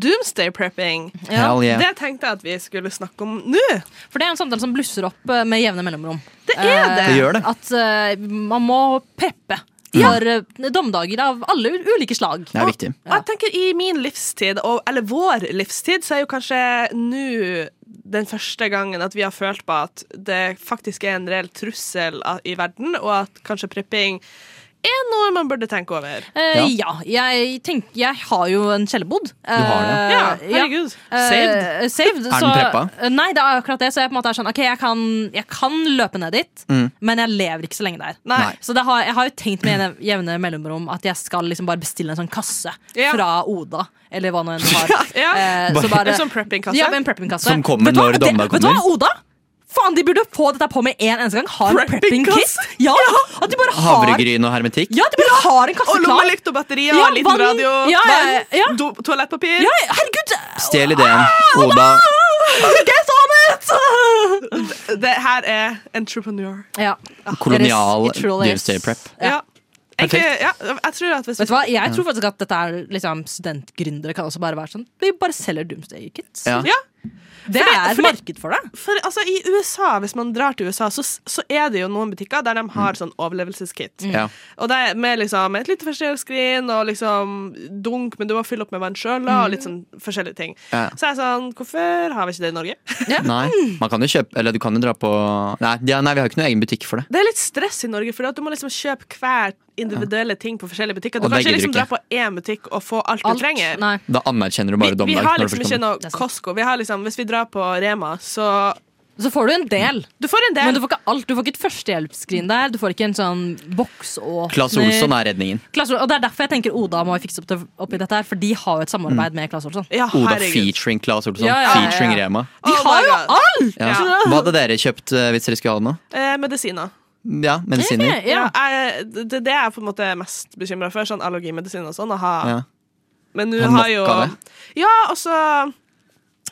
Speaker 3: Doomsday prepping.
Speaker 5: Hell yeah.
Speaker 3: Det tenkte jeg at vi skulle snakke om nå.
Speaker 4: For det er en samtale som blusser opp eh, med jevne mellomrom.
Speaker 3: Det er det.
Speaker 5: Det gjør det.
Speaker 4: At eh, man må preppe for eh, domdager av alle u- ulike slag.
Speaker 5: Det er viktig.
Speaker 3: Og jeg tenker I min livstid, og, eller vår livstid, så er jo kanskje nå den første gangen at vi har følt på at det faktisk er en reell trussel a- i verden, og at kanskje prepping er noe man burde tenke over.
Speaker 4: Eh, ja. jeg tenker Jeg har jo en kjellerbod.
Speaker 5: har det?
Speaker 4: Eh,
Speaker 3: Ja, herregud. Saved.
Speaker 4: Eh, saved,
Speaker 5: den
Speaker 4: så-
Speaker 5: preppa?
Speaker 4: Eh, Nei, det er akkurat det. Så jeg på en måte er sånn, ok, jeg kan, jeg kan løpe ned dit, men jeg lever ikke så lenge der.
Speaker 3: Nei.
Speaker 4: Så det har, jeg har jo tenkt med jevne- jevne mellomrom at jeg skal liksom bare bestille en sånn kasse
Speaker 3: Ja.
Speaker 4: fra Oda, eller hva nå enn du har.
Speaker 3: Ja.
Speaker 4: Eh, så
Speaker 3: En sånn prepping-kasse?
Speaker 4: Ja, en prepping-kasse.
Speaker 5: Som kommer
Speaker 4: Vet du hva?
Speaker 5: når dommen
Speaker 4: Det- Vet du
Speaker 5: kommer.
Speaker 4: hva, Oda? Faen, de burde få dette på med en eneste gang. Ha en prepping-kit.
Speaker 3: Prepping-kasse?
Speaker 4: Ja, at de bare har,
Speaker 5: Havregryn og hermetikk.
Speaker 4: ja, de bare har en kasse
Speaker 3: Og
Speaker 4: klar.
Speaker 3: lommelykt og batterier,
Speaker 4: Ja,
Speaker 3: liten
Speaker 4: vann.
Speaker 3: radio,
Speaker 4: Ja, ja,
Speaker 3: vann,
Speaker 4: ja.
Speaker 3: do, toalettpapir.
Speaker 4: Ja, herregud.
Speaker 5: Stjel ideen. Oda.
Speaker 4: Get on it!
Speaker 3: Det her er entrepreneur.
Speaker 4: Ja.
Speaker 5: Kolonial
Speaker 4: It is- it truly is.
Speaker 5: doomsday prep.
Speaker 4: Ja.
Speaker 3: Ja. Egentlig, ja, jeg tror at hvis
Speaker 4: Vet du hva? Jeg tror faktisk at dette er liksom, studentgründere kan også bare være sånn. Vi bare selger Doomsday Kits.
Speaker 5: Ja.
Speaker 3: Ja,
Speaker 4: Det
Speaker 3: Fordi-
Speaker 4: er et
Speaker 3: fordi-
Speaker 4: marked for det.
Speaker 3: for altså, I USA, hvis man drar til USA, så, så er det jo noen butikker der de har sånn overlevelseskit.
Speaker 4: Mm.
Speaker 5: Ja.
Speaker 3: Og det er med liksom et lite førstehjelpsskrin og liksom dunk, men du må fylle opp med vann sjøl og
Speaker 4: Mm.
Speaker 3: litt sånn forskjellige ting.
Speaker 5: Ja.
Speaker 3: Så jeg er sånn, hvorfor har vi ikke det i Norge?
Speaker 5: Nei, man kan jo kjøpe Eller du kan jo dra på Nei, ja, nei vi har jo ikke noen egen butikk for det.
Speaker 3: Det er litt stress i Norge, for du må liksom kjøpe hver individuelle ting på forskjellige butikker. Du kan
Speaker 5: Og det
Speaker 3: ikke
Speaker 5: gidder
Speaker 3: liksom
Speaker 5: du
Speaker 3: dra på
Speaker 5: ikke.
Speaker 3: én butikk og få alt,
Speaker 4: Alt.
Speaker 3: du trenger.
Speaker 4: Nei.
Speaker 5: Da anerkjenner du
Speaker 3: Vi,
Speaker 5: bare
Speaker 3: vi
Speaker 5: dommedag.
Speaker 3: har
Speaker 5: når du
Speaker 3: liksom
Speaker 5: først
Speaker 3: ikke
Speaker 5: kommer.
Speaker 4: Det er
Speaker 3: noe
Speaker 4: sant.
Speaker 3: Costco. Vi har liksom, hvis vi drar på Rema, så
Speaker 4: Så får du en del.
Speaker 3: Du får en
Speaker 4: Men du
Speaker 3: del.
Speaker 4: får ikke alt. Du får ikke et førstehjelpsskrin der. Du får ikke en sånn boksåpner.
Speaker 5: Claes Olsson er redningen.
Speaker 4: Klaas Olsson- Og det er derfor jeg tenker Oda må fikse opp, det, opp i dette her, for de har jo et
Speaker 5: Mm.
Speaker 4: samarbeid med Claes Olsson.
Speaker 3: Ja,
Speaker 5: Oda
Speaker 3: herregud. Oh
Speaker 5: featuring Claes Olsson.
Speaker 4: Ja, ja, ja, ja.
Speaker 5: Featuring Rema.
Speaker 3: De
Speaker 4: har jo
Speaker 3: alt!
Speaker 5: Ja.
Speaker 3: Ja.
Speaker 5: Hva hadde dere kjøpt eh, hvis dere skulle ha det nå?
Speaker 3: Eh, medisiner.
Speaker 5: Ja, medisiner.
Speaker 4: Ja.
Speaker 3: Ja, jeg, det, det er jeg på en måte mest bekymra for. Sånn allergimedisin og sånn. Å ha
Speaker 5: Ja.
Speaker 3: Men nå
Speaker 5: Har
Speaker 3: har
Speaker 5: nok
Speaker 3: jo
Speaker 5: av det?
Speaker 3: Ja, altså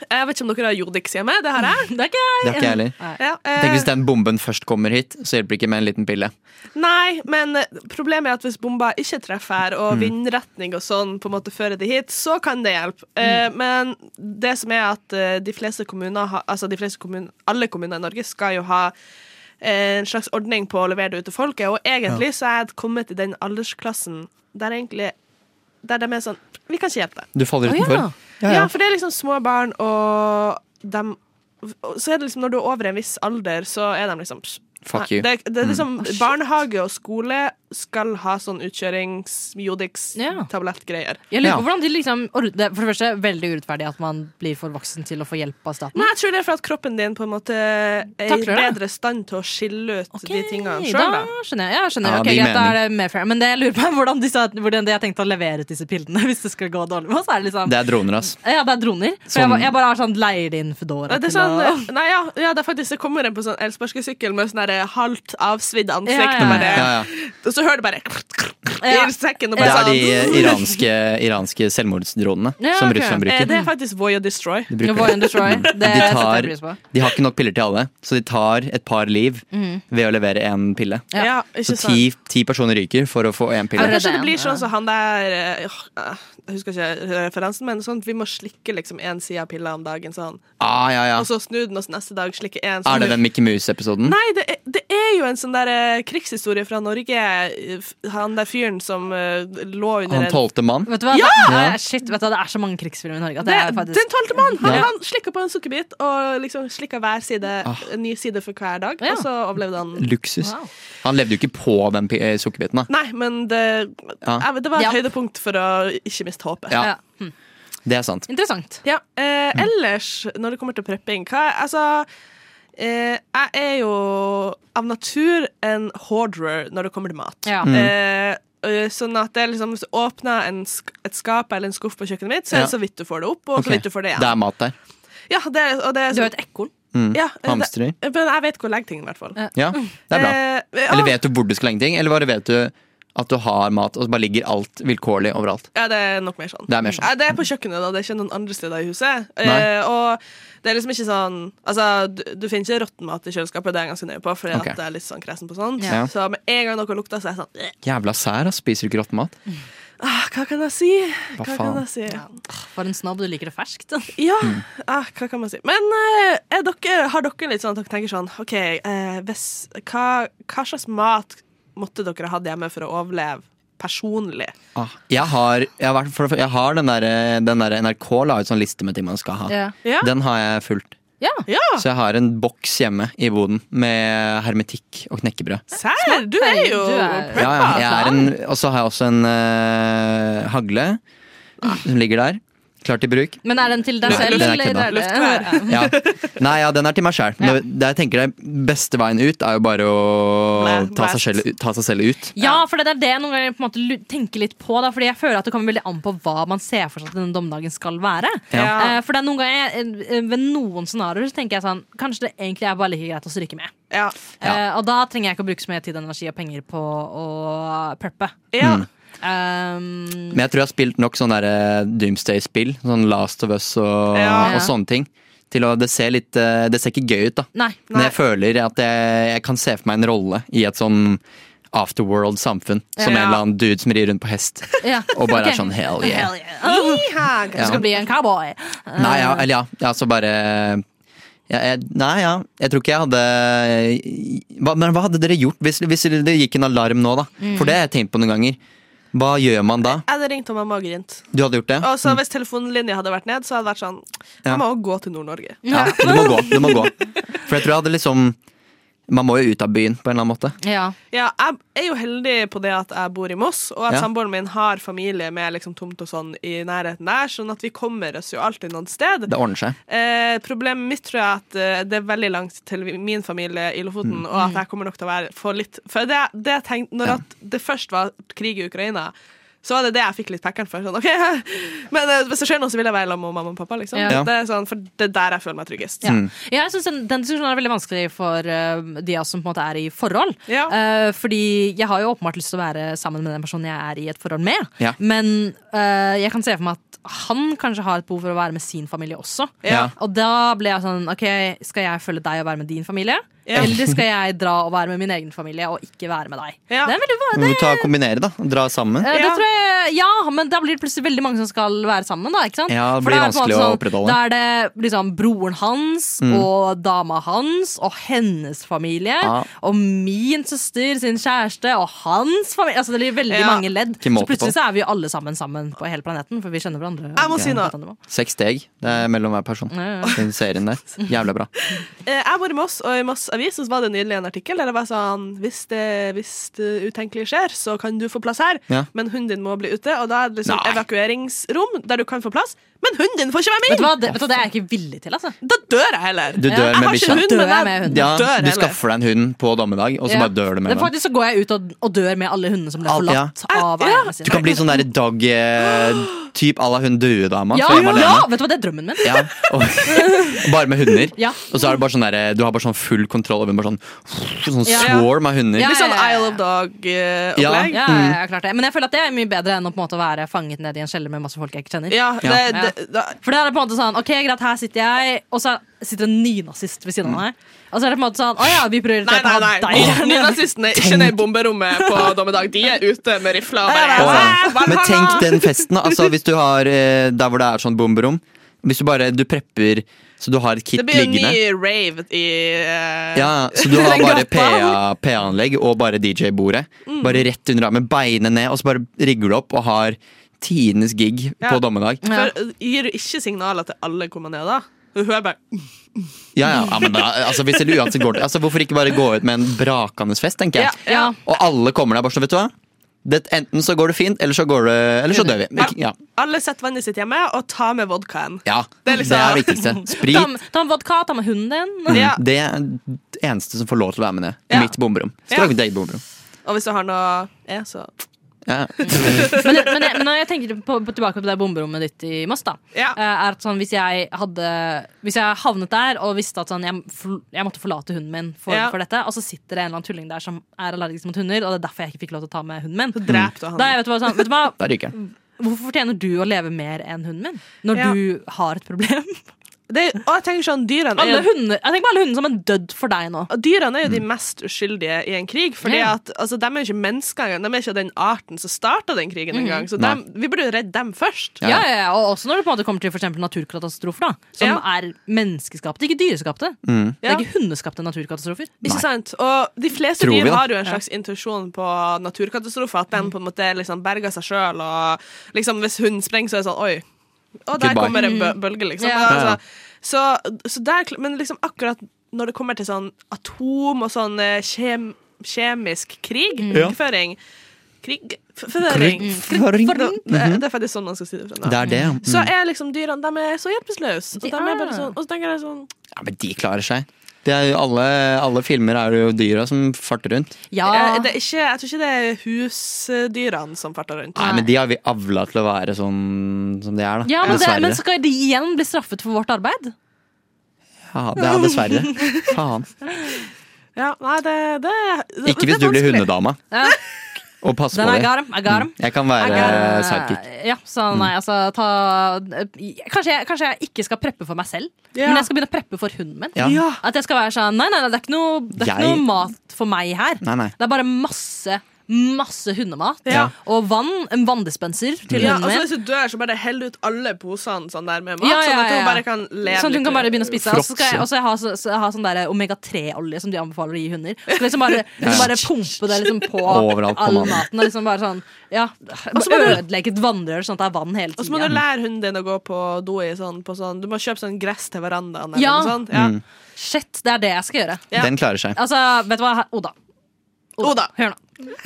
Speaker 3: Jeg vet ikke om dere har Jodix hjemme. Det har jeg.
Speaker 4: Det er ikke jeg.
Speaker 5: Det har ikke jeg heller.
Speaker 4: Nei.
Speaker 3: Ja, eh,
Speaker 5: Tenk hvis den bomben først kommer hit, så hjelper det ikke med en liten pille.
Speaker 3: Nei, men eh, problemet er at hvis bomba ikke treffer, og vindretning og sånn på en måte fører det hit, så kan det hjelpe. Eh, men det som er at eh, de fleste kommuner, har- altså de fleste kommuner, alle kommuner i Norge skal jo ha eh, en slags ordning på å levere det ut til folket, og egentlig så er jeg kommet i den aldersklassen der egentlig der de er sånn Vi kan ikke hjelpe deg.
Speaker 5: Du faller
Speaker 4: Å,
Speaker 5: utenfor.
Speaker 4: ja.
Speaker 3: Ja, for det er liksom små barn, og dem og Så er det liksom når du er over en viss alder, så er de liksom pss,
Speaker 5: Fuck
Speaker 3: nei,
Speaker 5: you. Mm.
Speaker 3: Det, er- det er liksom
Speaker 4: Ah,
Speaker 3: Barnehage og skole skal ha sånn
Speaker 4: Ja.
Speaker 3: utkjørings-Jodix-tablettgreier.
Speaker 4: Jeg lurer
Speaker 5: Ja.
Speaker 4: på hvordan de liksom or- det, er For det første, veldig urettferdig at man blir for voksen til å få hjelp av staten.
Speaker 3: Nei, jeg tror det er for at kroppen din på en måte er i
Speaker 4: Takler det?
Speaker 3: bedre stand til å skille ut de tingene sjøl,
Speaker 4: Ok,
Speaker 3: da.
Speaker 4: Da skjønner jeg. Ja, jeg skjønner.
Speaker 5: Ja,
Speaker 4: Ok,
Speaker 5: det gir
Speaker 4: greit, da er det mer fair. Men det jeg lurer på er hvordan, disse, hvordan de har tenkt å levere ut disse pillene hvis det skal gå dårlig med oss. Er det liksom,
Speaker 5: Det er droner, ass.
Speaker 4: ja, det er droner. For
Speaker 5: Sånn-
Speaker 4: jeg, ba- jeg bare har sånn leier det inn Foodora.
Speaker 3: Nei, Det er
Speaker 4: til å-
Speaker 3: sånn, nei, ja, ja, det er faktisk Det kommer en på sånn elsparkesykkel med sånn der halvt avsvidd ansikt,
Speaker 4: Ja, ja,
Speaker 3: og,
Speaker 5: Ja,
Speaker 3: bare,
Speaker 5: ja.
Speaker 3: og så hører du bare
Speaker 4: Ja.
Speaker 3: i sekken, og
Speaker 5: Det
Speaker 3: bare
Speaker 5: er
Speaker 3: sånn
Speaker 5: de eh, iranske, iranske selvmordsdronene
Speaker 4: Ja,
Speaker 5: som
Speaker 4: ok.
Speaker 5: Russland
Speaker 3: Eh,
Speaker 5: bruker.
Speaker 3: Det er faktisk Voy og Destroy.
Speaker 5: De,
Speaker 4: Ja,
Speaker 5: bruker
Speaker 4: Voy
Speaker 5: det.
Speaker 4: and Destroy. Det
Speaker 5: de,
Speaker 4: setter jeg
Speaker 5: tar,
Speaker 4: pris på.
Speaker 5: de har ikke nok piller til alle, så de tar et par liv ved å levere én pille.
Speaker 4: Mm. Ja.
Speaker 3: Ja, ikke
Speaker 5: Så
Speaker 3: sant?
Speaker 5: ti, ti personer ryker for å få én
Speaker 3: Ja, men
Speaker 5: pille.
Speaker 4: Er
Speaker 3: kanskje
Speaker 4: det
Speaker 3: det blir
Speaker 4: en,
Speaker 3: sånn som han der eh, åh, Jeg husker ikke referansen, men sånn at vi må slikke liksom én side av pilla om dagen, sånn.
Speaker 5: Ah, ja, ja.
Speaker 3: Og så snu den, og så neste dag slikke én. Sånn
Speaker 5: Er det den Mickey Mouse-episoden?
Speaker 3: Nei, det er, det er jo en sånn der eh, krigshistorie fra Norge. eh, f- Han der fyren som eh, lå under
Speaker 5: Han
Speaker 3: en-
Speaker 5: tolvte mann?
Speaker 4: Vet du hva?
Speaker 3: Ja!
Speaker 4: Det, nei, shit, vet du, hva? det er så mange krigsfilmer i Norge at
Speaker 3: det,
Speaker 4: jeg faktisk
Speaker 3: Den tolvte mann! Han,
Speaker 5: Ja. Ah.
Speaker 3: han slikka på en sukkerbit og liksom slikka hver side, en ny side for hver dag,
Speaker 4: Ja.
Speaker 3: og så overlevde han.
Speaker 5: Luksus.
Speaker 4: Wow.
Speaker 5: Han levde jo ikke på den pi- eh, sukkerbiten. da.
Speaker 3: Nei, men det,
Speaker 5: Ja.
Speaker 3: jeg vet, det var et
Speaker 4: Ja.
Speaker 3: høydepunkt for å ikke miste håpet.
Speaker 5: Ja,
Speaker 4: ja. Hm.
Speaker 5: det er sant.
Speaker 4: Interessant.
Speaker 3: Ja, eh,
Speaker 5: Mm.
Speaker 3: ellers, når det kommer til prepping hva, Altså, eh, jeg er jo av natur en hoarder når det kommer til mat.
Speaker 5: Mm.
Speaker 4: Ja.
Speaker 3: Eh, eh, Sånn at det er liksom, Hvis du åpner en, sk- et skap eller en skuff på kjøkkenet mitt, så er det
Speaker 5: Ja.
Speaker 3: så vidt du får det opp, og
Speaker 5: Ok,
Speaker 3: så vidt du får det igjen.
Speaker 5: Det er mat der.
Speaker 3: Ja, det er, og det er,
Speaker 4: Du er et ekorn.
Speaker 5: Mm.
Speaker 3: ja, eh, det,
Speaker 5: Hamstrer.
Speaker 3: men jeg vet hvor å legge ting, i hvert fall.
Speaker 5: Ja, det er bra.
Speaker 3: Eh, ja,
Speaker 5: Eller vet du hvor du skal legge ting, eller bare vet du at du har mat, og så bare ligger alt vilkårlig overalt?
Speaker 3: Ja, det er nok mer sånn.
Speaker 5: Det er mer sånn.
Speaker 3: Ja, det er på kjøkkenet, da. Det er ikke noen andre steder i huset.
Speaker 5: Nei.
Speaker 3: Eh, og det er liksom ikke sånn Altså, du, du finner ikke råtten mat i kjøleskapet, det er jeg ganske nøye på, fordi
Speaker 5: Ok.
Speaker 3: at jeg er litt sånn kresen på sånt.
Speaker 4: Ja.
Speaker 3: Så med en gang noe lukter, så er jeg sånn «Eh,
Speaker 5: Jævla sær, ass. Spiser du ikke råttemat?
Speaker 3: ah, Hva kan jeg si?
Speaker 5: Hva
Speaker 3: Hva
Speaker 5: faen?
Speaker 3: kan jeg si? Ja,
Speaker 4: For en snobb. Du liker det ferskt.
Speaker 5: Mm.
Speaker 3: ah, hva kan man si? Men eh, er dere, har dere litt sånn at dere tenker sånn OK, eh, hvis, hva, hva slags mat måtte dere hatt hjemme for å overleve personlig?
Speaker 5: Ah, jeg, har, jeg, har vært, for, for- jeg har den der, eh, den der NRK la ut sånn liste med ting man skal ha.
Speaker 4: Ja.
Speaker 3: Ja.
Speaker 5: Den har jeg fulgt.
Speaker 4: ja.
Speaker 3: Ja!
Speaker 5: Så jeg har en boks hjemme i boden med hermetikk og knekkebrød.
Speaker 3: Serr, du er jo
Speaker 4: Du er-
Speaker 5: Ja, ja, jeg er
Speaker 4: klar.
Speaker 5: en, og så har jeg også en eh, hagle
Speaker 3: Ah.
Speaker 5: som ligger der. Klar til bruk.
Speaker 4: Men er den til deg
Speaker 5: Nei,
Speaker 4: selv?
Speaker 5: den er
Speaker 4: eller
Speaker 5: kødda.
Speaker 4: er det-
Speaker 3: Luftvær.
Speaker 5: Ja. Nei, ja, den er til meg sjæl. Jeg tenker det beste veien ut er jo bare å
Speaker 3: Blæ,
Speaker 5: ta seg,
Speaker 3: blæst.
Speaker 5: selv, ta seg selv ut.
Speaker 4: Ja, for det er det jeg noen ganger på en måte lu- tenker litt på. Da, fordi jeg føler at det kommer veldig an på hva man ser for seg at denne dommedagen skal være.
Speaker 3: Ja.
Speaker 4: Eh, for det er noen ganger eh, Ved noen scenarioer så tenker jeg sånn Kanskje det egentlig er bare like greit å stryke med.
Speaker 3: Ja.
Speaker 5: Ja.
Speaker 4: Eh, og da trenger jeg ikke å bruke så mye tid, energi og penger på å preppe.
Speaker 3: ja.
Speaker 5: Mm.
Speaker 4: Um,
Speaker 5: Men jeg tror jeg har spilt nok sånne der, eh, Doomsday-spill, sånn Last of Us og,
Speaker 3: Ja.
Speaker 5: og sånne ting, til å det ser, litt, eh, det ser ikke gøy ut, da.
Speaker 4: nei.
Speaker 5: Men jeg føler at jeg, jeg kan se for meg en rolle i et sånn afterworld-samfunn. Som en
Speaker 3: Ja.
Speaker 5: eller annen dude som rir rundt på hest
Speaker 4: Ja.
Speaker 5: og bare
Speaker 4: Ok.
Speaker 5: er sånn hell yeah.
Speaker 4: Hell yeah. Du skal bli en cowboy.
Speaker 5: Nei, ja, eller ja, ja, så bare ja, jeg, Nei, ja. Jeg tror ikke jeg hadde hva, Men hva hadde dere gjort hvis, hvis det gikk en alarm nå, da? For det har jeg tenkt på noen ganger. Hva gjør man da?
Speaker 3: Jeg hadde ringt om mamma og grint.
Speaker 5: Du hadde gjort det?
Speaker 3: Og så hvis telefonlinja hadde vært ned, så hadde det vært sånn
Speaker 5: Mm. Ja.
Speaker 3: Jeg må også gå til Nord-Norge.
Speaker 5: Ja, du må gå. Du må gå. For jeg tror jeg hadde liksom Man må jo ut av byen på en eller annen måte.
Speaker 4: Ja.
Speaker 3: Ja, jeg er jo heldig på det at jeg bor i Moss, og at
Speaker 5: Ja.
Speaker 3: samboeren min har familie med liksom tomt og sånn i nærheten der, sånn at vi kommer oss jo alltid noen sted.
Speaker 5: Det ordner seg.
Speaker 3: Eh, problemet mitt tror jeg er at eh, det er veldig langt til vi- min familie i Lofoten,
Speaker 4: Mm.
Speaker 3: og at jeg kommer nok til å være for litt For det, det jeg tenkte, når
Speaker 5: Ja.
Speaker 3: at det først var krig i Ukraina, Så var det det jeg fikk litt pekkeren for. Sånn, ok, Men eh, hvis det skjer noe, så vil jeg være sammen med mamma og pappa. Liksom.
Speaker 4: Ja.
Speaker 3: Det er sånn, for det er der jeg føler meg tryggest. Mm.
Speaker 4: Ja. Jeg synes den, den diskusjonen er veldig vanskelig for eh, de av oss som på en måte er i forhold.
Speaker 3: Ja.
Speaker 4: Eh, fordi jeg har jo åpenbart lyst til å være sammen med den personen jeg er i et forhold med.
Speaker 5: Ja.
Speaker 4: Men eh, jeg kan se for meg at han kanskje har et behov for å være med sin familie også.
Speaker 5: Ja.
Speaker 4: Og da ble jeg sånn OK, skal jeg følge deg og være med din familie?
Speaker 3: Ja.
Speaker 4: Eller skal jeg dra og være med min egen familie og ikke være med deg?
Speaker 3: Ja.
Speaker 4: Det er veldig,
Speaker 5: Må du ta og kombinere, da? Dra sammen?
Speaker 4: Eh, Det
Speaker 3: Ja.
Speaker 4: tror jeg, ja, men da blir det plutselig veldig mange som skal være sammen. Da, ikke sant?
Speaker 5: Ja, det
Speaker 4: For
Speaker 5: blir
Speaker 4: da er på en
Speaker 5: vanskelig
Speaker 4: måte sånn,
Speaker 5: å opprettholde. Mm.
Speaker 4: Da er det liksom broren hans og dama hans og hennes familie
Speaker 5: Ja.
Speaker 4: og min søster sin kjæreste og hans familie. Altså Det blir veldig
Speaker 3: Ja.
Speaker 4: mange ledd.
Speaker 5: Ikke
Speaker 4: Så
Speaker 5: måte på.
Speaker 4: plutselig så er vi jo alle sammen sammen på hele planeten, for vi kjenner hverandre.
Speaker 3: Jeg må si noe.
Speaker 5: Seks steg det er mellom hver person.
Speaker 4: Ja,
Speaker 5: Den serien der. Jævla bra.
Speaker 3: Eh, Jeg bor i Moss, og i Moss Avis så var det nylig en artikkel der det var sånn Hvis det, hvis det utenkelige skjer, så kan du få plass her,
Speaker 5: Ja.
Speaker 3: men hunden din må bli ute. Og da er det liksom
Speaker 5: Nei.
Speaker 3: evakueringsrom der du kan få plass, men hunden din får ikke være
Speaker 4: Vet du
Speaker 3: med inn!
Speaker 4: hva, det, vet du, hva, det er jeg ikke villig til, altså.
Speaker 3: Da dør jeg heller.
Speaker 5: Du dør
Speaker 3: jeg
Speaker 5: med
Speaker 3: har
Speaker 5: bikkja.
Speaker 3: ikke hund,
Speaker 4: Dør
Speaker 3: men
Speaker 4: jeg
Speaker 3: jeg,
Speaker 4: med hunden?
Speaker 5: Ja,
Speaker 3: dør
Speaker 5: du
Speaker 3: heller.
Speaker 5: skaffer deg en hund på dommedag, og så
Speaker 4: Ja.
Speaker 5: bare dør du med
Speaker 4: Det er
Speaker 5: den.
Speaker 4: Faktisk så går jeg ut og, og dør med alle hundene som ble
Speaker 5: Alt, ja.
Speaker 4: forlatt av
Speaker 3: Ja.
Speaker 4: eierne
Speaker 5: Du
Speaker 4: sine.
Speaker 5: kan bli sånn derre dog-type à la hun duedama.
Speaker 4: Ja,
Speaker 5: fra Hjemme
Speaker 4: ja,
Speaker 5: alene.
Speaker 4: vet du hva, det er drømmen min.
Speaker 5: Ja, og, bare med hunder.
Speaker 4: Ja.
Speaker 5: Og så er det bare sånn der, du har bare sånn full kontroll over bare sånn, sånn
Speaker 4: Ja.
Speaker 5: swarm av hunder.
Speaker 4: Ja,
Speaker 3: Litt sånn
Speaker 4: ja, ja, ja.
Speaker 3: Isle of eh,
Speaker 5: Ja.
Speaker 3: Dog-opplegg.
Speaker 4: Ja, ja, ja, klart det. Men jeg føler at det er mye bedre enn å på en måte være fanget ned i en kjeller med masse folk jeg ikke kjenner.
Speaker 3: Ja, det,
Speaker 5: Ja.
Speaker 3: det, da,
Speaker 4: For det er det på en måte sånn, ok, greit, her sitter jeg, og så sitter en nynazist ved siden av meg. Og så er det på en måte sånn, å ja, vi
Speaker 3: Mm. Nei,
Speaker 4: prioriterte
Speaker 3: nei,
Speaker 4: å ha
Speaker 3: nei.
Speaker 4: deg.
Speaker 3: Nynazistene er ikke nede i bomberommet på dommedag. De er ute med rifla. og bare-
Speaker 5: Åh,
Speaker 3: Hva- hva-
Speaker 5: ja. Men tenk den festen, da. altså hvis du har eh, der hvor det er sånn bomberom. Hvis du bare du prepper så du har et kit
Speaker 3: Det blir jo
Speaker 5: liggende.
Speaker 3: ny rave i eh,
Speaker 5: Ja, så du har
Speaker 3: Den gata.
Speaker 5: bare PA PA-anlegg og bare DJ-bordet.
Speaker 4: Mm.
Speaker 5: Bare rett under armen, beinet ned, og så bare rigger du opp og har tidenes gig
Speaker 3: Ja.
Speaker 5: på dommedag.
Speaker 3: For,
Speaker 4: Ja.
Speaker 3: eh, Gir du ikke signaler til alle hvor man er da? Hun hører bare
Speaker 5: Ja, ja, ja men da, altså, hvis det uansett går til altså, Hvorfor ikke bare gå ut med en brakende fest, tenker jeg.
Speaker 4: Ja.
Speaker 5: Og alle kommer der bare sånn, vet du hva. Det, enten så går det fint, eller så, går det, eller så dør vi. Ja.
Speaker 3: Alle setter vannet sitt hjemme og tar med vodkaen.
Speaker 5: ja.
Speaker 3: Det er liksom-
Speaker 5: det viktigste.
Speaker 4: Ta,
Speaker 5: Sprit.
Speaker 4: med- ta med vodka, ta med hunden din.
Speaker 3: Ja.
Speaker 5: Det er det eneste som får lov til å være med det.
Speaker 3: Ja.
Speaker 5: Mitt bomberom. Skal
Speaker 3: Ja.
Speaker 5: lage mitt eget bomberom.
Speaker 3: Og hvis du har noe E, så
Speaker 5: Ja.
Speaker 4: Men, men, jeg, men når jeg tenker på, på tilbake på det bomberommet ditt i Moss, da,
Speaker 3: Ja.
Speaker 4: eh, er at sånn, hvis jeg hadde Hvis jeg havnet der og visste at sånn, jeg, fl- jeg måtte forlate hunden min for,
Speaker 3: Ja.
Speaker 4: for dette, og så sitter det en eller annen tulling der som er allergisk mot hunder, og det er derfor jeg ikke fikk lov til å ta med hunden min.
Speaker 3: dreper du han.
Speaker 4: Da er jeg, vet du hva, sånn, vet du hva,
Speaker 5: Da ryker jeg.
Speaker 4: Hvorfor fortjener du å leve mer enn hunden min? Når
Speaker 3: Ja.
Speaker 4: du har et problem.
Speaker 3: Det, og jeg tenker sånn, dyrene er
Speaker 4: Alle
Speaker 3: jo
Speaker 4: hunder, jeg tenker på alle hundene som en dødd for deg nå.
Speaker 3: Og Dyrene er
Speaker 5: Mm.
Speaker 3: jo de mest uskyldige i en krig. Fordi
Speaker 4: Ja.
Speaker 3: at, altså, De er jo ikke mennesker engang. De er ikke av den arten som starta den krigen engang. Så
Speaker 5: Mm-hmm. Nei.
Speaker 3: dem- vi burde jo redde dem først.
Speaker 5: Ja.
Speaker 4: Ja, ja, ja. Og også når det på en måte kommer til for eksempel naturkatastrofer, da, som
Speaker 3: Ja.
Speaker 4: er menneskeskapte, ikke dyreskapte. Det
Speaker 5: Mm.
Speaker 3: Ja.
Speaker 4: er ikke hundeskapte naturkatastrofer.
Speaker 3: Ikke sant? Og de fleste
Speaker 5: Tror vi,
Speaker 3: dyr
Speaker 5: da. Mm.
Speaker 3: har jo en slags intuisjon på naturkatastrofer. At den på en måte liksom berger seg sjøl. Og liksom, hvis hunden sprenger, så er det sånn Oi. Og der
Speaker 5: Goodbye. Mm.
Speaker 3: kommer en bø- bølge, liksom.
Speaker 4: Ja.
Speaker 5: Ja, ja.
Speaker 3: Altså, så, så der, kl- men liksom akkurat når det kommer til sånn atom og sånn eh, kjem, kjemisk krig,
Speaker 5: Mm.
Speaker 3: krigføring Krig... f- Forføring.
Speaker 5: Krigføring.
Speaker 3: Det, det er faktisk sånn man skal si det. Fra nå.
Speaker 5: Det er det. ja.
Speaker 3: Så er liksom dyrene de er så hjelpeløse. Og,
Speaker 4: De
Speaker 3: de er
Speaker 4: er.
Speaker 3: bare sånn, og så tenker jeg sånn
Speaker 5: Ja, men de klarer seg. Det er jo alle, alle filmer er det jo dyra som farter rundt.
Speaker 4: Ja,
Speaker 3: eh, det er ikke, Jeg tror ikke det er husdyrene som farter rundt.
Speaker 5: Nei, men de har vi avla til å være sånn som de er, da.
Speaker 4: ja men, det,
Speaker 5: dessverre.
Speaker 4: men skal de igjen bli straffet for vårt arbeid?
Speaker 5: Ja, det er dessverre. Faen.
Speaker 3: Ja, nei, det, det, det
Speaker 5: Ikke
Speaker 3: det
Speaker 5: hvis
Speaker 3: er
Speaker 5: du blir
Speaker 3: vanskelig.
Speaker 5: hundedama
Speaker 4: Ja,
Speaker 5: og passer
Speaker 4: den
Speaker 5: på
Speaker 4: er
Speaker 5: det.
Speaker 4: garm. Er garm.
Speaker 5: Jeg kan være
Speaker 4: Er garm.
Speaker 5: Mm. sidekick.
Speaker 4: Eh,
Speaker 5: Mm.
Speaker 4: Ja, så nei, altså ta kanskje jeg, kanskje jeg ikke skal preppe for meg selv,
Speaker 3: Ja.
Speaker 4: men jeg skal begynne å preppe for hunden min.
Speaker 5: Ja.
Speaker 3: Ja.
Speaker 4: At jeg skal være sånn Nei, nei, nei det er ikke noe, det er ikke
Speaker 5: Jeg-
Speaker 4: noe mat for meg her.
Speaker 5: Nei, nei.
Speaker 4: Det er bare masse, masse hundemat.
Speaker 5: Ja.
Speaker 4: Og vann. En vanndispenser til
Speaker 3: Ja,
Speaker 4: hunden
Speaker 3: altså
Speaker 4: min.
Speaker 3: Hvis du dør, så bare hell ut alle posene sånn der med mat,
Speaker 4: Ja, ja,
Speaker 3: sånn at
Speaker 4: ja, ja.
Speaker 3: hun bare kan leve
Speaker 4: Sånn at hun
Speaker 3: litt.
Speaker 4: kan bare begynne å spise. Og så skal jeg,
Speaker 5: Fråtse.
Speaker 4: og så jeg ha, så, så jeg har sånn der omega-3-olje som de anbefaler å gi hunder. Så skal liksom bare,
Speaker 5: Ja.
Speaker 4: liksom bare pumpe det liksom på
Speaker 5: Overalt på
Speaker 4: all
Speaker 5: maten.
Speaker 4: maten. Og liksom bare sånn Ja,
Speaker 3: så må du-
Speaker 4: ødelegge et vannrør sånn at det er vann hele
Speaker 3: Og så må du
Speaker 4: tiden.
Speaker 3: lære hunden din å gå på do i sånn, på sånn Du må kjøpe sånn gress til verandaen eller
Speaker 4: Ja.
Speaker 3: noe sånt. Ja.
Speaker 5: Mm.
Speaker 4: Shit, det er det jeg skal gjøre.
Speaker 3: Ja.
Speaker 5: Den klarer seg.
Speaker 4: Altså, vet du hva, Oda.
Speaker 3: Oda.
Speaker 4: Hør nå.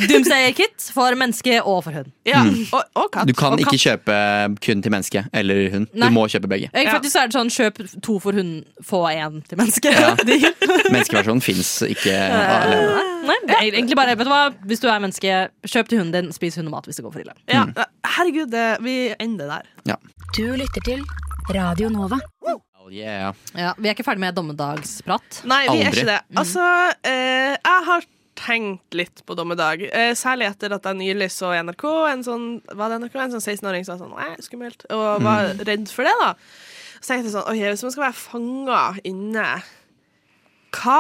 Speaker 4: Doomsday Kit for menneske og for hund.
Speaker 3: Ja, og, og katt.
Speaker 5: Mm. Du kan
Speaker 3: og
Speaker 5: ikke kjøpe kun til menneske eller hund.
Speaker 4: Nei.
Speaker 5: Du må kjøpe begge.
Speaker 4: Eh,
Speaker 3: Ja.
Speaker 4: Faktisk er det sånn kjøp to for hund, få én til menneske.
Speaker 5: Ja.
Speaker 4: Deal.
Speaker 5: Menneskeversjonen fins ikke alene.
Speaker 4: Nei, det er egentlig bare, vet du hva? Hvis du er menneske, kjøp til hunden din, spis hundemat hvis det går for ille.
Speaker 3: Ja, herregud, det, vi ender der.
Speaker 7: Du lytter til Radio Nova.
Speaker 5: Oh, yeah.
Speaker 4: Ja, vi er ikke ferdig med dommedagsprat.
Speaker 3: Nei, vi er
Speaker 5: Aldri.
Speaker 3: ikke det. Altså, eh, jeg har tenkt litt på dommedag. Eh, særlig etter at jeg nylig så i NRK en sånn, var det NRK? En sånn 16-åring som var sånn Nei, skummelt. Og var redd for det, da. Så tenkte jeg sånn OK, hvis man skal være fanga inne, hva,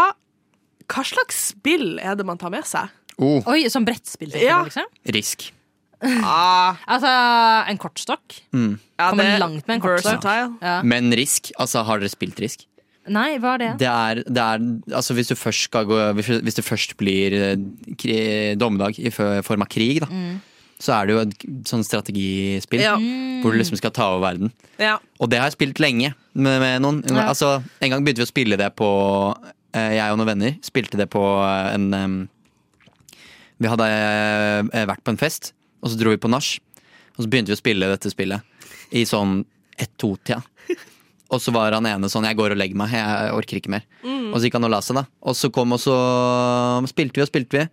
Speaker 3: hva slags spill er det man tar med seg?
Speaker 5: Oh,
Speaker 4: Oi, som brettspill. tenker
Speaker 3: Ja.
Speaker 4: du, Liksom.
Speaker 5: risk.
Speaker 3: Ah,
Speaker 4: Altså, en kortstokk.
Speaker 3: ja,
Speaker 4: Kommer
Speaker 3: det er
Speaker 4: langt med en kort sak.
Speaker 3: versatile.
Speaker 4: Ja.
Speaker 5: Men risk, altså har dere spilt risk?
Speaker 4: Nei, hva er det?
Speaker 5: Det er, det er altså hvis du først skal gå Hvis hvis det først blir eh, kri- dommedag i fø- form av krig, da, så er det jo et sånn strategispill
Speaker 3: Ja.
Speaker 5: hvor du liksom skal ta over verden.
Speaker 3: Ja.
Speaker 5: Og det har jeg spilt lenge med, med noen. Altså, en gang begynte vi å spille det på eh, Jeg og noen venner spilte det på eh, en em, Vi hadde eh, vært på en fest, og så dro vi på nach. Og så begynte vi å spille dette spillet i sånn ett-to-tida. Og så var han ene sånn 'jeg går og legger meg, jeg orker ikke mer'. Og så gikk han og la seg, da. Og så kom og så spilte vi og spilte vi.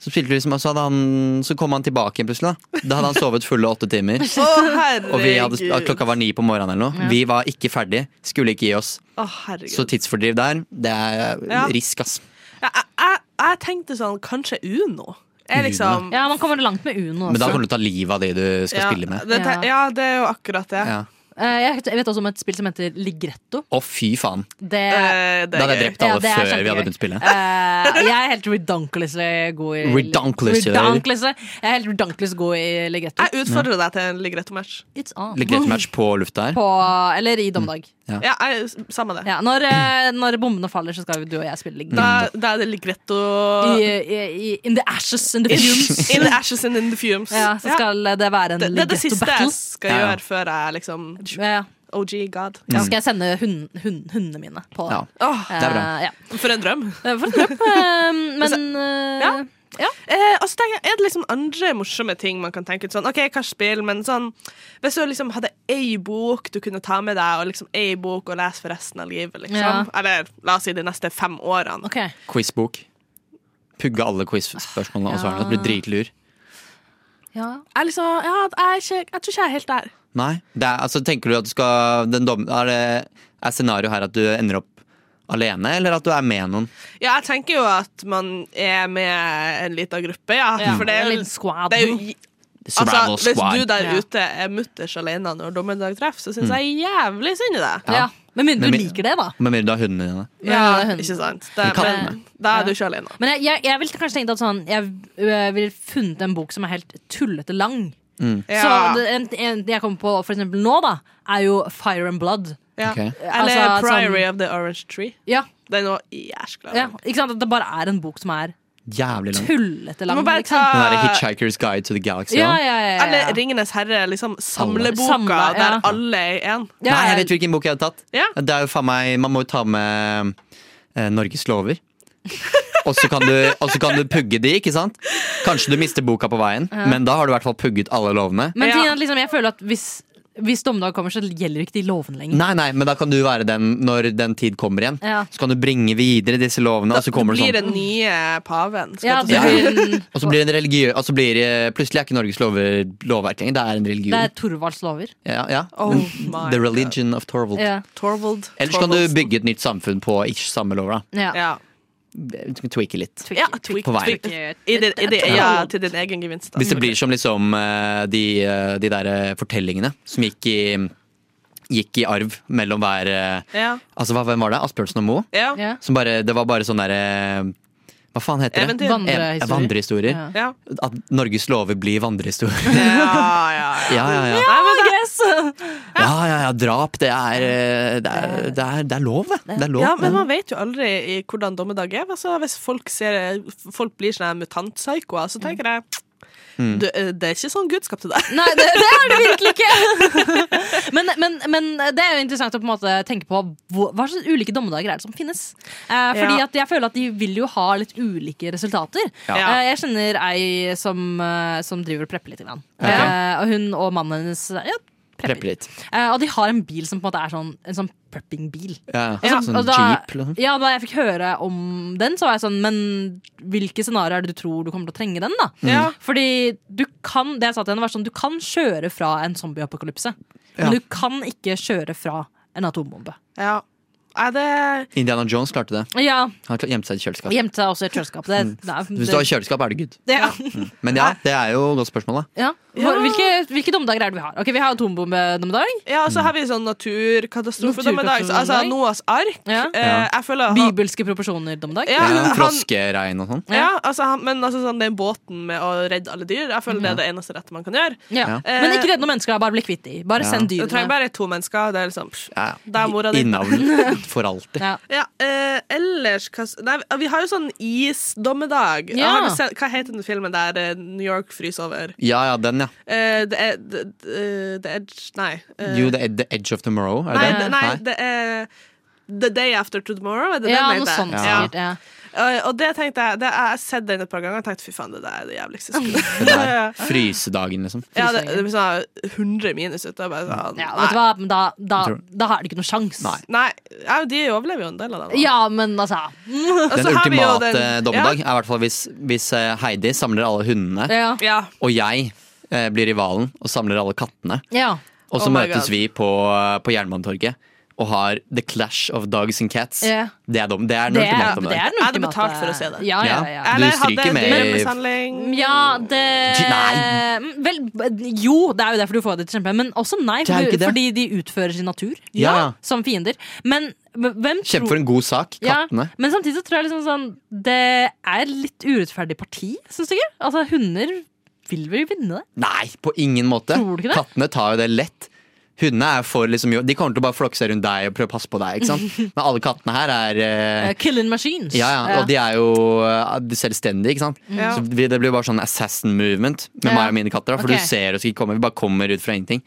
Speaker 5: Så spilte vi liksom, og så, hadde han, så kom han tilbake igjen plutselig. Da Da hadde han sovet fulle åtte
Speaker 3: Å,
Speaker 5: timer. Og vi hadde,
Speaker 3: herregud.
Speaker 5: klokka var ni på morgenen eller noe. Vi var ikke ferdig, skulle ikke gi oss.
Speaker 3: Å, herregud.
Speaker 5: Så tidsfordriv der, det er
Speaker 3: Ja.
Speaker 5: risk, ass.
Speaker 3: Ja, jeg, jeg, jeg tenkte sånn Kanskje Uno. Jeg liksom
Speaker 4: Ja, man kommer langt med Uno
Speaker 5: Men da
Speaker 4: også.
Speaker 5: kommer du til å ta livet av de du skal
Speaker 3: Altså. ja,
Speaker 5: spille med.
Speaker 3: Det, te-
Speaker 4: Ja.
Speaker 3: ja, det er jo akkurat det.
Speaker 5: Ja.
Speaker 4: Eh, Jeg jeg vet også om et spill som heter Ligretto.
Speaker 5: Å, fy faen.
Speaker 4: Det,
Speaker 3: Eh, det
Speaker 5: Da
Speaker 3: er
Speaker 5: hadde
Speaker 3: gøy.
Speaker 5: jeg drept alle
Speaker 4: Ja, det er
Speaker 5: før vi
Speaker 4: kjempegøy.
Speaker 5: hadde begynt spillet.
Speaker 4: Eh, jeg er helt redonkulously god i
Speaker 5: Redonkulously.
Speaker 4: Redonkulously. Jeg er helt redonkulous god i Ligretto.
Speaker 3: Jeg
Speaker 5: Mm.
Speaker 3: utfordrer deg til en Ligretto-match.
Speaker 4: It's on.
Speaker 5: Ligger et match på lufta her.
Speaker 4: På, eller i dommedag.
Speaker 3: Ja, jeg, samme det.
Speaker 4: Ja, når, eh, når bommene faller, så skal du og jeg spille Ligretto.
Speaker 3: Da, da er det Ligretto
Speaker 4: I, i, i, in the ashes, in the fumes.
Speaker 3: In the ashes and in the fumes.
Speaker 4: Ja, så
Speaker 3: Ja.
Speaker 4: skal eh, det være en
Speaker 3: det, det er det
Speaker 4: Ligretto
Speaker 3: siste jeg
Speaker 4: battle.
Speaker 3: skal
Speaker 5: Ja, ja.
Speaker 3: gjøre før jeg liksom
Speaker 4: Ja,
Speaker 3: OG god.
Speaker 4: da skal jeg sende hun, hun, hundene mine på
Speaker 5: Ja.
Speaker 3: Åh,
Speaker 5: det er bra.
Speaker 4: Eh, ja.
Speaker 3: for en drøm.
Speaker 4: Eh, For en drøm. eh, Men eh,
Speaker 3: Ja. Eh, og så tenker jeg, Er det liksom andre morsomme ting man kan tenke ut? sånn, ok, hva spill, men sånn, Hvis du liksom hadde ei bok du kunne ta med deg, og liksom ei bok å lese for resten av livet liksom.
Speaker 4: Ja.
Speaker 3: Eller la oss si de neste fem årene.
Speaker 4: OK.
Speaker 5: Quizbok. Pugge alle quiz-spørsmålene og svarene. Bli dritlur.
Speaker 4: Ja.
Speaker 3: Jeg, liksom, ja, jeg, er ikke, jeg tror ikke jeg er helt der.
Speaker 5: Nei. Det er, altså, tenker du at du skal den dom, Er det er scenario her at du ender opp alene, eller at du er med noen?
Speaker 3: Ja, jeg tenker jo at man er med en liten gruppe, ja. For det er
Speaker 4: en
Speaker 3: jo,
Speaker 4: liten squad.
Speaker 3: det er jo altså,
Speaker 5: Survival
Speaker 3: Hvis
Speaker 5: squad. Mm.
Speaker 3: du der
Speaker 4: Ja.
Speaker 3: ute er mutters alene når dommedag treffer, så syns jeg jævlig synd i deg.
Speaker 4: Ja. Med mindre
Speaker 5: Men
Speaker 4: du
Speaker 5: min-
Speaker 4: liker det, da.
Speaker 5: Med mindre du har hundene dine.
Speaker 4: Ja, det er hun.
Speaker 3: ikke sant? Det,
Speaker 5: Men kattene.
Speaker 3: men da er du
Speaker 4: Ja.
Speaker 3: ikke alene.
Speaker 4: Men jeg, jeg, jeg ville kanskje tenkt at sånn Jeg øh, ville funnet en bok som er helt tullete lang. Så
Speaker 3: Ja.
Speaker 4: det, en, en det jeg kommer på for eksempel nå, da, er jo Fire and Blood.
Speaker 3: Ja.
Speaker 5: Ok.
Speaker 3: Eller
Speaker 4: Altså,
Speaker 3: Priory
Speaker 4: sånn-
Speaker 3: of the Orange Tree.
Speaker 4: Ja,
Speaker 3: Den var jæskla
Speaker 4: ja,
Speaker 3: lang.
Speaker 4: ikke sant? At det bare er en bok som er
Speaker 5: Jævlig langt.
Speaker 4: tullete lang.
Speaker 3: Du må bare
Speaker 4: liksom.
Speaker 5: Den derre
Speaker 3: ta
Speaker 5: Hitchhiker's Guide to the Galaxy.
Speaker 4: ja,
Speaker 5: også.
Speaker 4: ja, ja, ja,
Speaker 3: Eller
Speaker 4: ja.
Speaker 3: Ringenes herre, liksom samleboka
Speaker 4: Samle, ja.
Speaker 3: der alle er én.
Speaker 4: Ja,
Speaker 5: Nei,
Speaker 4: ja.
Speaker 5: jeg vet hvilken bok jeg hadde tatt.
Speaker 3: Ja.
Speaker 5: Det er jo faen meg, Man må jo ta med eh, Norges lover. Og så kan, du- og så kan du pugge de, ikke sant? Kanskje du mister boka på veien, men da har du i hvert fall pugget alle lovene.
Speaker 4: Men tingen
Speaker 3: Ja.
Speaker 4: er at liksom, jeg føler at hvis, hvis dommedag kommer, så gjelder ikke de lovene lenger.
Speaker 5: Nei, nei, men da kan du være den når den tid kommer igjen.
Speaker 4: Ja.
Speaker 5: Så kan du bringe videre disse lovene, og så kommer det
Speaker 3: blir den
Speaker 5: sånn.
Speaker 3: nye paven. skal
Speaker 4: Ja,
Speaker 3: jeg
Speaker 4: det
Speaker 3: til å si.
Speaker 4: blir en,
Speaker 5: Og så blir det en religiø... Og så blir eh, plutselig er ikke Norges lover lovverk lenger, det er en religion.
Speaker 4: det er Thorvalds lover.
Speaker 5: Ja, ja.
Speaker 3: Oh
Speaker 5: Den-
Speaker 3: my
Speaker 5: The
Speaker 3: God.
Speaker 5: religion of Torvald.
Speaker 4: Ja.
Speaker 3: Torvald.
Speaker 5: Ellers kan du
Speaker 3: Torvaldsen.
Speaker 5: bygge et nytt samfunn på ikke samme lover, da.
Speaker 4: Ja.
Speaker 3: Ja.
Speaker 5: Tweake litt.
Speaker 3: Ja, tweak,
Speaker 5: På veien.
Speaker 3: tweak. I din, i din, ja, til din egen gevinst. da.
Speaker 5: Hvis det blir som liksom eh, de, eh, de der eh, fortellingene som gikk i, gikk i arv mellom hver eh,
Speaker 3: Ja.
Speaker 5: Altså, hva, hvem var det? Asbjørnsen og Moe?
Speaker 3: Ja.
Speaker 4: Ja.
Speaker 5: Som bare, det var bare sånn derre Hva faen heter det?
Speaker 3: Eventyr.
Speaker 5: Eh,
Speaker 4: Vandrehistorier.
Speaker 5: Vandrehistorier.
Speaker 4: Ja.
Speaker 3: Ja.
Speaker 5: At Norges lover blir vandrehistorier.
Speaker 3: Ja, ja, ja.
Speaker 5: ja, ja, ja.
Speaker 3: Nei, men det-
Speaker 5: ja, ja, ja. Drap, det er, eh, det er, det er, det er lov, det. Det er lov.
Speaker 3: ja, men man vet jo aldri i hvordan dommedag er. Altså, hvis folk, ser, folk blir sånne sånn mutant-psykoer, så tenker jeg Du, eh, det er ikke sånn Gud skapte deg.
Speaker 4: Nei, det, det er det virkelig ikke! men, men, men det er jo interessant å på en måte tenke på hvor- hva slags ulike dommedager er det som finnes. Eh, fordi
Speaker 3: Ja.
Speaker 4: at jeg føler at de vil jo ha litt ulike resultater.
Speaker 3: Ja.
Speaker 4: Eh, jeg kjenner ei som, eh, som driver og prepper litt. Grann.
Speaker 5: Ok.
Speaker 4: Eh, og hun og mannen hennes ja, prepper.
Speaker 5: Preppe litt.
Speaker 4: Eh, og de har en bil som på en måte er sånn, en sånn prepping-bil.
Speaker 5: Ja,
Speaker 4: Ja,
Speaker 5: sånn
Speaker 4: og da-
Speaker 5: jeep eller noe.
Speaker 4: Ja, da jeg fikk høre om den, så var jeg sånn Men hvilke scenarioer er det du tror du kommer til å trenge den, da?
Speaker 5: Mm.
Speaker 3: Ja.
Speaker 4: Fordi du kan Det jeg sa til henne, var sånn Du kan kjøre fra en zombieapokalypse,
Speaker 5: Ja.
Speaker 4: men du kan ikke kjøre fra en atombombe.
Speaker 3: Ja. Nei, det
Speaker 5: Indiana Jones klarte det.
Speaker 4: Ja,
Speaker 5: Han kla- gjemte seg i et kjøleskap.
Speaker 4: gjemte seg også i et kjøleskap. Det, det, er-
Speaker 5: Mm. Hvis du har kjøleskap, er det good.
Speaker 4: det, ja.
Speaker 5: Men ja, det er jo et godt spørsmål, da.
Speaker 4: Ja. Hva- Hvilke, hvilke dommedager er det vi har? Ok, Vi har atombombedommedag.
Speaker 3: Ja, så har vi sånn naturkatastrofedommedag. Så, Altså
Speaker 4: Naturkatastrofedommedag.
Speaker 3: Noas
Speaker 4: Noahs
Speaker 3: ark.
Speaker 4: Ja.
Speaker 3: Eh, jeg føler han-
Speaker 4: Bibelske proporsjoner-dommedag.
Speaker 3: Ja,
Speaker 5: Ja,
Speaker 3: men han,
Speaker 5: Froskeregn og sånn.
Speaker 3: ja, altså, han, men altså, sånn, den båten med å redde alle dyr, jeg føler det er det eneste rette man kan gjøre.
Speaker 5: Ja.
Speaker 4: Men ikke redd noen mennesker, da. Bare bli kvitt de. Bare
Speaker 5: Ja.
Speaker 4: send
Speaker 3: Du trenger
Speaker 4: dyrene.
Speaker 3: bare to mennesker. Det er liksom pff,
Speaker 5: Ja,
Speaker 3: Det er mora di.
Speaker 5: Innavlen for alltid.
Speaker 4: Ja.
Speaker 3: Ja, eh, ellers hva, s- Nei, vi har jo sånn isdommedag.
Speaker 4: Ja.
Speaker 3: Har du sett, hva heter den filmen der eh, New York fryser over?
Speaker 5: Ja, ja, den, ja.
Speaker 3: Eh, det er The, the, the Edge Nei. eh,
Speaker 5: Jo, det er The Edge of Tomorrow. Er det
Speaker 3: nei,
Speaker 5: den?
Speaker 3: det, nei, det er The Day After Tomorrow. Er det
Speaker 4: Ja,
Speaker 3: den
Speaker 4: noe
Speaker 3: heter?
Speaker 4: sånt
Speaker 5: Ja.
Speaker 4: sikkert. Ja.
Speaker 3: Eh, og det tenkte jeg det, Jeg har sett den et par ganger og tenkt fy faen, det der er det jævligste jeg skulle
Speaker 5: Det der. Frysedagen, liksom.
Speaker 3: Ja, det, det blir sånn 100 minus ute. og Bare sånn,
Speaker 4: Ja, vet du hva? Men Da, da,
Speaker 5: Jeg tror-
Speaker 4: da har de ikke noe sjans.
Speaker 3: Nei, ja, de overlever jo en del av det.
Speaker 4: Ja, men altså
Speaker 5: Den ultimate dommedag er i hvert fall hvis, hvis eh, Heidi samler alle hundene,
Speaker 4: Ja.
Speaker 3: Ja.
Speaker 5: og jeg eh, blir rivalen og samler alle kattene.
Speaker 4: ja.
Speaker 5: Og så
Speaker 3: Oh my God.
Speaker 5: møtes vi på, på Jernbanetorget og har The Clash of Dogs and Cats.
Speaker 4: Ja.
Speaker 5: Det er dum. Det er den
Speaker 4: Det er,
Speaker 5: ultimate
Speaker 4: det
Speaker 5: dommedag.
Speaker 4: er den
Speaker 3: Jeg hadde
Speaker 4: ultimate-
Speaker 3: betalt for å se det. Um,
Speaker 4: Ja, ja,
Speaker 5: Ja.
Speaker 4: ja.
Speaker 5: Du
Speaker 3: Eller
Speaker 5: stryker
Speaker 3: hadde
Speaker 5: med-
Speaker 3: drømmesamling.
Speaker 4: Ja, det
Speaker 5: Nei.
Speaker 4: Mm, Vel, b- jo, det er jo derfor du får det til kjempe, men også nei,
Speaker 5: er jo
Speaker 4: for
Speaker 5: ikke
Speaker 4: du,
Speaker 5: det.
Speaker 4: fordi de utfører sin natur
Speaker 5: Ja.
Speaker 4: som fiender. Men h- hvem
Speaker 5: Kjempe for en god sak.
Speaker 4: Ja,
Speaker 5: Kattene.
Speaker 4: men samtidig så tror jeg liksom sånn det er litt urettferdig parti, syns du ikke? Altså, hunder vil vel vinne det?
Speaker 5: Nei, på ingen måte.
Speaker 4: Tror du ikke det?
Speaker 5: Kattene tar jo det lett. Hundene er for liksom jo- De kommer til å bare flokke seg rundt deg og prøve å passe på deg. ikke sant? Men alle kattene her er eh,
Speaker 4: Eh, Killing machines.
Speaker 5: ja, ja, og de er jo eh, selvstendige, ikke sant?
Speaker 3: Ja.
Speaker 5: Så vi- det blir bare sånn assassin movement med
Speaker 4: Ja.
Speaker 5: meg og mine katter. da, For
Speaker 4: Ok.
Speaker 5: du ser oss ikke komme, vi bare kommer ut fra ingenting.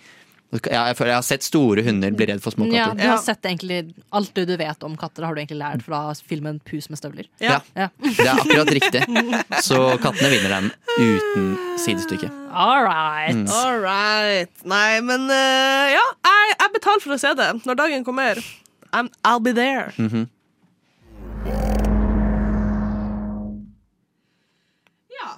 Speaker 5: Og så- Jeg, jeg, føler jeg har sett store hunder bli redd for små
Speaker 4: Ja,
Speaker 5: katter.
Speaker 4: du har
Speaker 3: Ja.
Speaker 4: sett egentlig Alt det du vet om katter, har du egentlig lært fra filmen Pus med støvler.
Speaker 5: Ja.
Speaker 4: Ja.
Speaker 5: Det er akkurat riktig. Så kattene vinner den uten sidestykke.
Speaker 4: All right.
Speaker 5: Mm,
Speaker 3: All right. Nei, men eh, ja, jeg, jeg betaler for å se det. Når dagen kommer, I'm, I'll be there. Ja.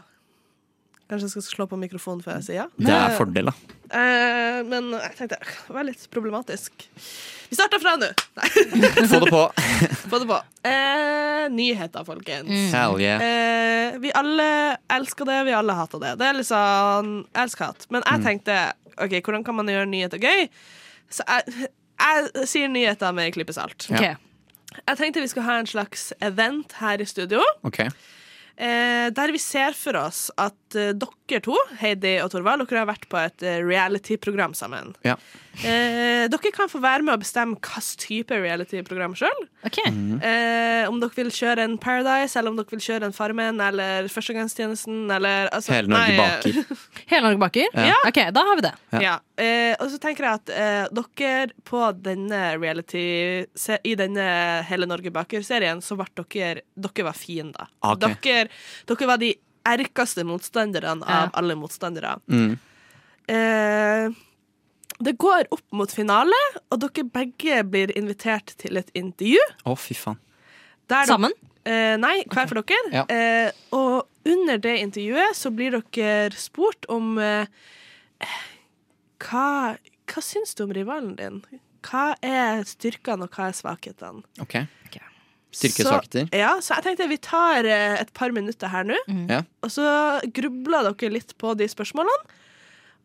Speaker 3: Kanskje jeg skal slå på mikrofonen før jeg sier ja?
Speaker 5: Det er fordel, da.
Speaker 3: Eh, men jeg tenkte det var litt problematisk. Vi starter fra nå. Nei,
Speaker 5: Få det på!
Speaker 3: få det på. Eh, nyheter, folkens.
Speaker 4: Mm.
Speaker 5: Hell yeah.
Speaker 3: Eh, vi alle elsker det, vi alle hater det. Det er litt sånn elsk-hat. Men jeg tenkte OK, hvordan kan man gjøre nyheter gøy? Så jeg, jeg sier nyheter med klippesalt.
Speaker 5: Ja.
Speaker 4: Ok.
Speaker 3: Jeg tenkte vi skulle ha en slags event her i studio.
Speaker 5: Ok.
Speaker 3: Eh, der vi ser for oss at eh, dere to, Heidi og Torvald, dere har vært på et eh, reality-program sammen.
Speaker 5: Ja.
Speaker 3: Eh, dere kan få være med å bestemme hvilken type reality-program sjøl.
Speaker 4: Ok.
Speaker 5: Mm.
Speaker 3: Eh, om dere vil kjøre en Paradise, eller om dere vil kjøre en Farmen, eller Førstegangstjenesten, eller altså,
Speaker 5: Hele
Speaker 3: nei,
Speaker 5: Norge baker.
Speaker 4: Hele Norge baker?
Speaker 5: Ja.
Speaker 4: Ok, da har vi det.
Speaker 5: Ja.
Speaker 3: Ja. Eh, og så tenker jeg at eh, dere på denne reality se, I denne Hele Norge baker-serien så ble dere Dere var fiender.
Speaker 5: Ah, Ok.
Speaker 3: Dere, dere var de erkeste motstanderne
Speaker 4: Ja.
Speaker 3: av alle motstandere.
Speaker 5: Mm.
Speaker 3: Eh, det går opp mot finale, og dere begge blir invitert til et intervju.
Speaker 5: Å, fy faen.
Speaker 3: Der dere-
Speaker 4: Sammen?
Speaker 3: Eh, nei, hver for dere.
Speaker 5: Ja.
Speaker 3: Eh, og under det intervjuet så blir dere spurt om eh, hva, hva syns du om rivalen din? Hva er styrkene, og hva er svakhetene?
Speaker 5: Ok.
Speaker 4: Ok.
Speaker 5: Styrke
Speaker 3: Så-
Speaker 5: svakheter.
Speaker 3: Ja, så jeg tenkte vi tar eh, et par minutter her nå,
Speaker 5: Ja.
Speaker 3: og så grubler dere litt på de spørsmålene.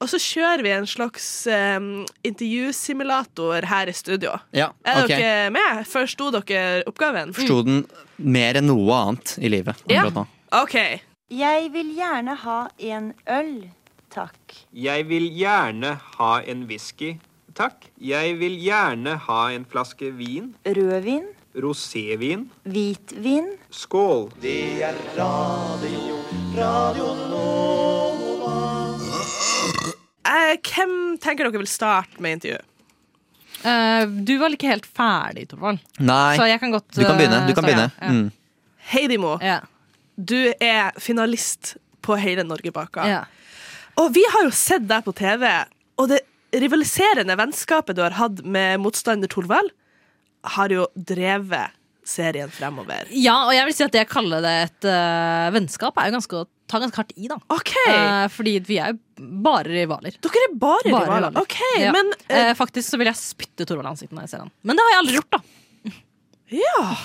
Speaker 3: Og så kjører vi en slags eh, intervjusimulator her i studio.
Speaker 5: Ja,
Speaker 3: Er
Speaker 4: Mm.
Speaker 5: ok.
Speaker 3: dere med? Forsto dere oppgaven?
Speaker 5: Forsto den mer enn noe annet i livet
Speaker 3: Ja.
Speaker 5: akkurat nå.
Speaker 3: OK.
Speaker 8: Jeg vil gjerne ha en øl, takk.
Speaker 9: Jeg vil gjerne ha en whisky, takk. Jeg vil gjerne ha en flaske vin,
Speaker 8: Rødvin,
Speaker 9: rosévin.
Speaker 8: hvitvin,
Speaker 9: Skål!
Speaker 10: Det er radio, radio nå.
Speaker 3: Eh, Hvem tenker dere vil starte med intervjuet?
Speaker 4: Eh, du var vel ikke helt ferdig, Torvald.
Speaker 5: Nei,
Speaker 4: Så jeg kan godt
Speaker 5: du kan begynne.
Speaker 4: eh,
Speaker 5: Du kan
Speaker 4: så ja,
Speaker 5: begynne. Mm.
Speaker 3: Heidi Mo,
Speaker 4: Ja,
Speaker 3: du er finalist på hele Norgebaka.
Speaker 4: ja, ja.
Speaker 3: Og vi har jo sett deg på TV, og det rivaliserende vennskapet du har hatt med motstander Torvald, har jo drevet serien fremover.
Speaker 4: ja, og jeg vil si at det å kalle det et eh, vennskap er jo ganske å ta ganske hardt i, da.
Speaker 3: OK!
Speaker 4: Eh, fordi vi er jo bare rivaler.
Speaker 3: dere er bare,
Speaker 4: Bare
Speaker 3: rivaler.
Speaker 4: rivaler.
Speaker 3: OK,
Speaker 4: Ja.
Speaker 3: men eh,
Speaker 4: Eh, faktisk så vil jeg spytte Torvald i ansiktet når jeg ser han. Men det har jeg aldri gjort, da.
Speaker 3: Ja.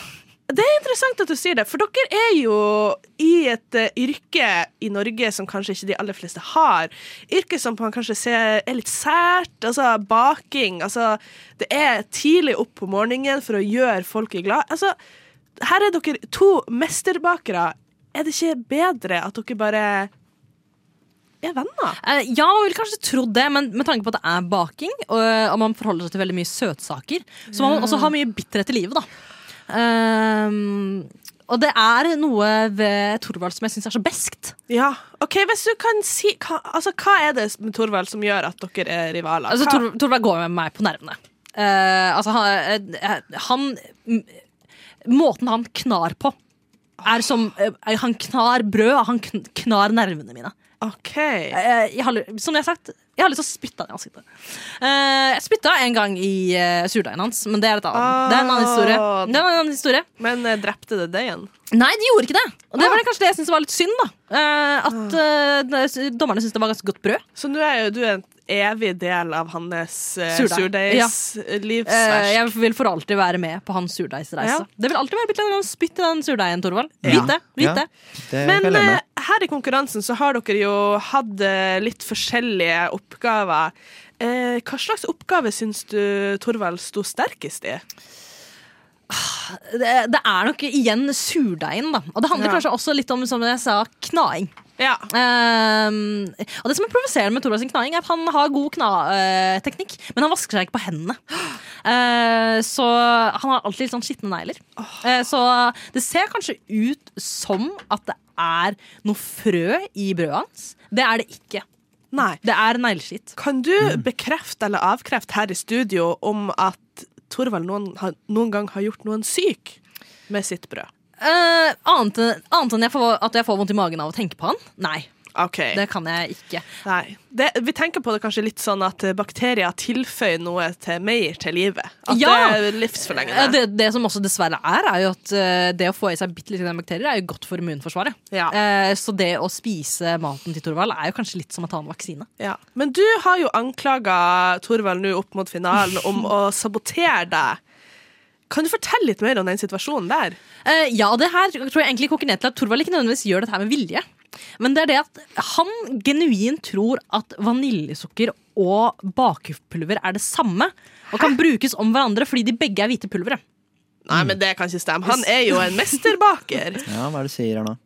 Speaker 3: Det er interessant at du sier det, for dere er jo i et eh, yrke i Norge som kanskje ikke de aller fleste har. Yrke som man kanskje ser er litt sært. Altså baking. Altså, det er tidlig opp på morgenen for å gjøre folket glad. Altså, her er dere to mesterbakere. Er det ikke bedre at dere bare er venner?
Speaker 4: Eh, ja, man ville kanskje trodd det, men med tanke på at det er baking, og, og man forholder seg til veldig mye søtsaker, så man også har mye bitterhet i livet, da. Ehm, og det er noe ved Thorvald som jeg syns er så beskt.
Speaker 3: Ja. OK, hvis du kan si hva, altså, hva er det med Torvald som gjør at dere er rivaler?
Speaker 4: Altså,
Speaker 3: Hva-
Speaker 4: Thor- Thorvald går med meg på nervene. Eh, altså, han, eh, han m- Måten han knar på, er som eh, Han knar brød, han kn- knar nervene mine.
Speaker 3: OK.
Speaker 4: Eh, jeg har, ly- som jeg har sagt, jeg har lyst til å spytte han i ansiktet. Eh, jeg spytta en gang i uh, surdeigen hans, men det er, et annet. Det er en annen historie.
Speaker 3: Ah.
Speaker 4: Det er en annen historie.
Speaker 3: Men eh, drepte det deg igjen?
Speaker 4: Nei, de gjorde ikke det! Og det
Speaker 3: Ah.
Speaker 4: var det kanskje det jeg syntes var litt synd. da Eh, At eh, ne- s- dommerne syntes det var ganske godt brød.
Speaker 3: Så nå er jo du en evig del av hans uh,
Speaker 4: Surdeig. Eh,
Speaker 3: surdeigsliv.
Speaker 4: jeg vil for alltid være med på hans
Speaker 3: Ja.
Speaker 4: surdeigsreise. Det vil alltid være bitte litt spytt i den surdeigen, Torvald.
Speaker 5: Ja.
Speaker 4: Vit det. Vit
Speaker 5: Ja.
Speaker 4: det.
Speaker 5: Det
Speaker 3: Men
Speaker 5: kan jeg leve
Speaker 3: eh,
Speaker 5: med.
Speaker 3: her i konkurransen så har dere jo hatt eh, litt forskjellige oppgaver. Eh, hva slags oppgave syns du Torvald sto sterkest i?
Speaker 4: det. Det er nok igjen surdeigen, da. Og det handler
Speaker 3: Ja.
Speaker 4: kanskje også litt om, som jeg sa, knaing.
Speaker 3: Ja.
Speaker 4: Ehm, og det som er provoserende med Thorvald sin knaing, er at han har god knateknikk, men han vasker seg ikke på hendene. Eh, så han har alltid litt sånn skitne negler. Eh, så det ser kanskje ut som at det er noe frø i brødet hans. Det er det ikke.
Speaker 3: Nei.
Speaker 4: Det er negleskitt.
Speaker 3: Kan du
Speaker 5: Mm.
Speaker 3: bekrefte eller avkrefte her i studio om at Torvald noen, har- noen gang har gjort noen syk med sitt brød?
Speaker 4: Eh, annet, enn- annet enn jeg får, at jeg får vondt i magen av å tenke på han? Nei,
Speaker 3: OK.
Speaker 4: det kan jeg ikke.
Speaker 3: Nei. Det, vi tenker på det kanskje litt sånn at eh, bakterier tilføyer noe til mer til livet. At
Speaker 4: Ja!
Speaker 3: det er
Speaker 4: Eh,
Speaker 3: livsforlengende.
Speaker 4: Det, det som også dessverre er, er jo at eh, det å få i seg bitte litt bakterier er jo godt for immunforsvaret.
Speaker 3: Ja.
Speaker 4: Eh, Så det å spise maten til Thorvald er jo kanskje litt som å ta en vaksine.
Speaker 3: Ja. Men du har jo anklaga Torvald nå opp mot finalen om å sabotere deg. Kan du fortelle litt mer om den situasjonen der?
Speaker 4: Eh, Ja, det her tror jeg egentlig koker ned til at Thorvald ikke nødvendigvis gjør dette her med vilje. Men det er det at han genuint tror at vaniljesukker og bakepulver er det samme. Og kan brukes om hverandre fordi de begge er hvite pulvere.
Speaker 3: Nei, men det kan ikke stemme. Han er jo en mesterbaker.
Speaker 5: Ja, hva er det du sier her nå?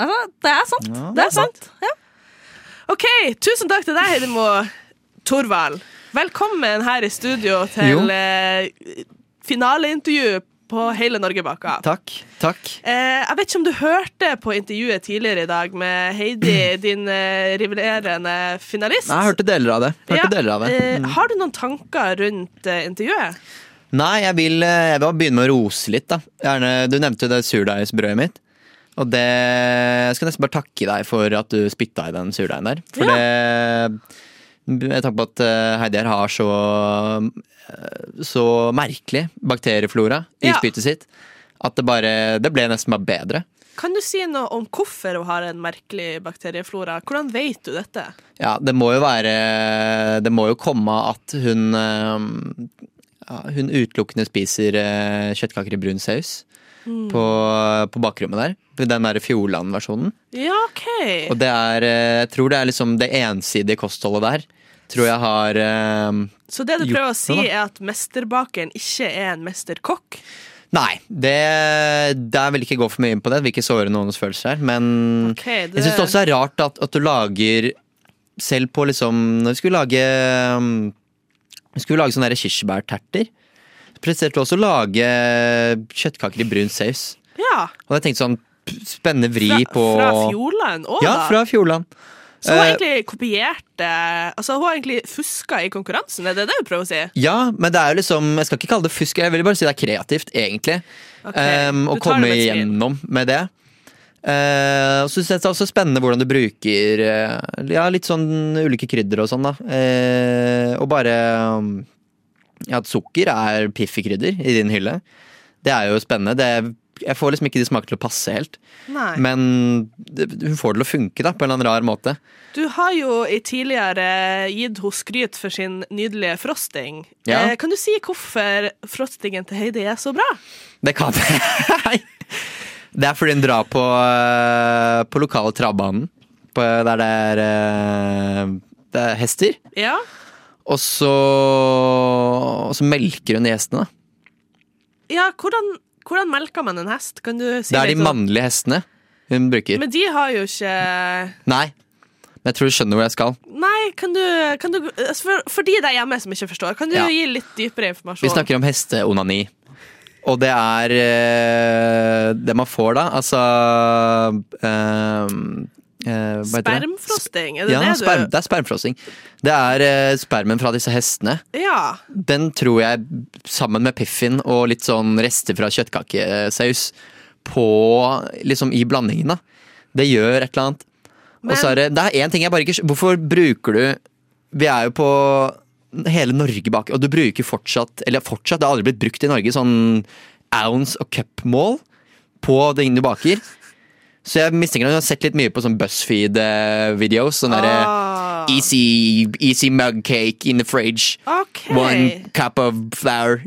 Speaker 4: Altså, det er sant.
Speaker 5: Ja,
Speaker 4: det er sant. Ja.
Speaker 3: OK, tusen takk til deg, Heidemo Torvald. Velkommen her i studio
Speaker 5: Jo.
Speaker 3: til eh, finaleintervju på Hele Norge baka.
Speaker 5: Takk. Takk.
Speaker 3: Eh, jeg vet ikke om du hørte på intervjuet tidligere i dag med Heidi, din eh, rivalerende finalist.
Speaker 5: Nei, jeg hørte deler av det. Hørte
Speaker 3: Ja,
Speaker 5: deler av det.
Speaker 3: eh,
Speaker 5: Mm.
Speaker 3: Har du noen tanker rundt eh, intervjuet?
Speaker 5: Nei, jeg vil, eh, jeg vil begynne med å rose litt. da Gjerne, Du nevnte jo det surdeigsbrødet mitt. Og det, jeg skal nesten bare takke deg for at du spytta i den surdeigen der. For det Med tanke på at eh, Heidi her har så eh, Så merkelig bakterieflora i
Speaker 3: Ja.
Speaker 5: spyttet sitt at det bare Det ble nesten bare bedre.
Speaker 3: Kan du si noe om hvorfor hun har en merkelig bakterieflora? Hvordan vet du dette?
Speaker 5: Ja, det må jo være Det må jo komme av at hun eh, ja, Hun utelukkende spiser eh, kjøttkaker i brun saus på, på bakrommet der. Den derre Fjordland-versjonen.
Speaker 3: Ja, OK.
Speaker 5: Og det er eh, Jeg tror det er liksom det ensidige kostholdet der. Tror jeg har eh,
Speaker 3: Så det du prøver å si,
Speaker 5: Jo,
Speaker 3: er at mesterbakeren ikke er en mesterkokk?
Speaker 5: Nei, det der vil jeg ikke gå for mye inn på det. Jeg vil ikke såre noens følelser her. Men
Speaker 3: Ok, det-
Speaker 5: jeg syns det også er rart at, at du lager Selv på liksom Når vi skulle lage um, Vi skulle lage sånne der kirsebærterter, så presterte du også å lage kjøttkaker i brun saus.
Speaker 3: Ja.
Speaker 5: Og jeg tenkte sånn p- Spennende vri
Speaker 3: Fra,
Speaker 5: på
Speaker 3: fra Fjordland òg,
Speaker 5: Ja,
Speaker 3: da?
Speaker 5: fra Fjordland.
Speaker 3: Så hun har
Speaker 5: Eh,
Speaker 3: egentlig kopiert eh, Altså hun har egentlig fuska i konkurransen, er det det du prøver å si?
Speaker 5: Ja, men det er jo liksom Jeg skal ikke kalle det fusk, jeg vil bare si det er kreativt, egentlig.
Speaker 3: Ok,
Speaker 5: Um, å
Speaker 3: du tar det
Speaker 5: komme
Speaker 3: med et smil.
Speaker 5: igjennom med det. Eh, og så synes jeg det er også spennende hvordan du bruker eh, ja, litt sånn ulike krydder og sånn, da. Eh, og bare um, ja, at sukker er piffikrydder i din hylle. Det er jo spennende. Det, jeg får liksom ikke de smaker til å passe helt.
Speaker 3: Nei.
Speaker 5: Men det, hun får det til å funke, da, på en eller annen rar måte.
Speaker 3: Du har jo i tidligere gitt henne skryt for sin nydelige frosting.
Speaker 5: Ja.
Speaker 3: Eh, kan du si hvorfor frostingen til Heidi er så bra?
Speaker 5: Det kan jeg. det er fordi hun drar på, eh, på lokale travbanen, på- der det er, eh, det er hester.
Speaker 3: Ja.
Speaker 5: Og så, og så melker hun de hestene. da.
Speaker 3: ja hvordan, hvordan melker man en hest? Kan du si
Speaker 5: Det er de
Speaker 3: litt om-
Speaker 5: mannlige hestene hun bruker.
Speaker 3: Men de har jo ikke
Speaker 5: Nei, men jeg tror du skjønner hvor jeg skal.
Speaker 3: Nei, kan du, kan du altså for, for de der hjemme som ikke forstår, kan du
Speaker 5: Ja.
Speaker 3: gi litt dypere informasjon?
Speaker 5: Vi snakker om hesteonani. Og det er eh, det man får da. Altså eh, eh, hva heter det?
Speaker 3: Spermfrosting, er det
Speaker 5: Ja,
Speaker 3: det du
Speaker 5: sperm, det er spermfrossing. Det er eh, spermen fra disse hestene.
Speaker 3: Ja.
Speaker 5: Den tror jeg, sammen med piffin og litt sånn rester fra kjøttkakesaus, på liksom i blandingen, da. Det gjør et eller annet. Og
Speaker 3: Men-
Speaker 5: så er det Det er én ting jeg bare ikke skj- Hvorfor bruker du Vi er jo på hele Norge bak, og du bruker fortsatt Eller fortsatt, det har aldri blitt brukt i Norge, sånn ounce og cupmål på den du baker. Så jeg mistenker at hun har sett litt mye på sånn BuzzFeed-videos. Sånn derre
Speaker 3: Ah,
Speaker 5: easy, easy mug cake in the fridge.
Speaker 3: OK.
Speaker 5: One cup of flour,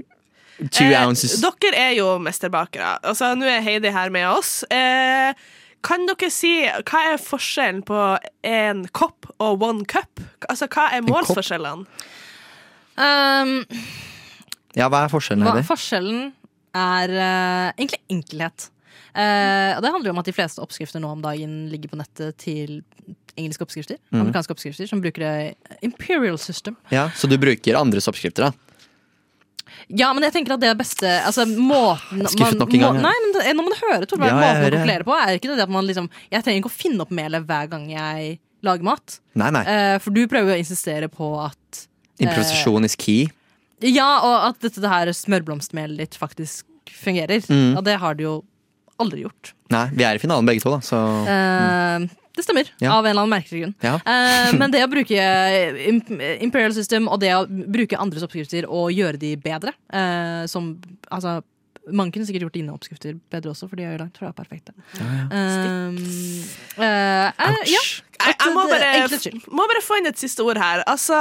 Speaker 5: two
Speaker 3: Eh,
Speaker 5: ounces.
Speaker 3: Dere er jo mesterbakere. Altså, nå er Heidi her med oss. Eh, kan dere si hva er forskjellen på en kopp og one cup? Altså, hva er
Speaker 5: kopp?
Speaker 3: målsforskjellene?
Speaker 4: Um,
Speaker 5: Ja, hva er forskjellen
Speaker 4: hva,
Speaker 5: her?
Speaker 4: forskjellen er eh, egentlig enkelhet. Eh, og det handler jo om at de fleste oppskrifter nå om dagen ligger på nettet til engelske oppskrifter.
Speaker 5: Mhm.
Speaker 4: Amerikanske oppskrifter som bruker det imperial system.
Speaker 5: Ja, så du bruker andres oppskrifter, da?
Speaker 4: Ja, men jeg tenker at det er beste altså, måten,
Speaker 5: Skuffet nok en gang,
Speaker 4: må-
Speaker 5: jeg.
Speaker 4: Nei, men det, eh, Nå må du høre, Torberg.
Speaker 5: Ja, jeg
Speaker 4: måten å
Speaker 5: hører.
Speaker 4: konkludere på er ikke det at man liksom Jeg trenger ikke å finne opp melet hver gang jeg lager mat.
Speaker 5: Nei, nei.
Speaker 4: Eh, for du prøver jo å insistere på at
Speaker 5: Improvisasjon is key.
Speaker 4: Ja, og at dette det her smørblomstmelet ditt faktisk fungerer.
Speaker 5: Mm.
Speaker 4: Og det har det jo aldri gjort.
Speaker 5: Nei, vi er i finalen begge to, da, så
Speaker 4: Eh, det stemmer,
Speaker 5: Ja.
Speaker 4: av en eller annen merkelig grunn.
Speaker 5: Ja.
Speaker 4: Eh, men det å bruke im- Imperial System og det å bruke andres oppskrifter og gjøre de bedre eh, som, altså, Man kunne sikkert gjort dine oppskrifter bedre også, for de er jo langt fra perfekte. Eh, eh, ja.
Speaker 3: Jeg, jeg må,
Speaker 4: At det- enklest
Speaker 3: bare,
Speaker 4: skyld.
Speaker 3: må bare få inn et siste ord her. Altså,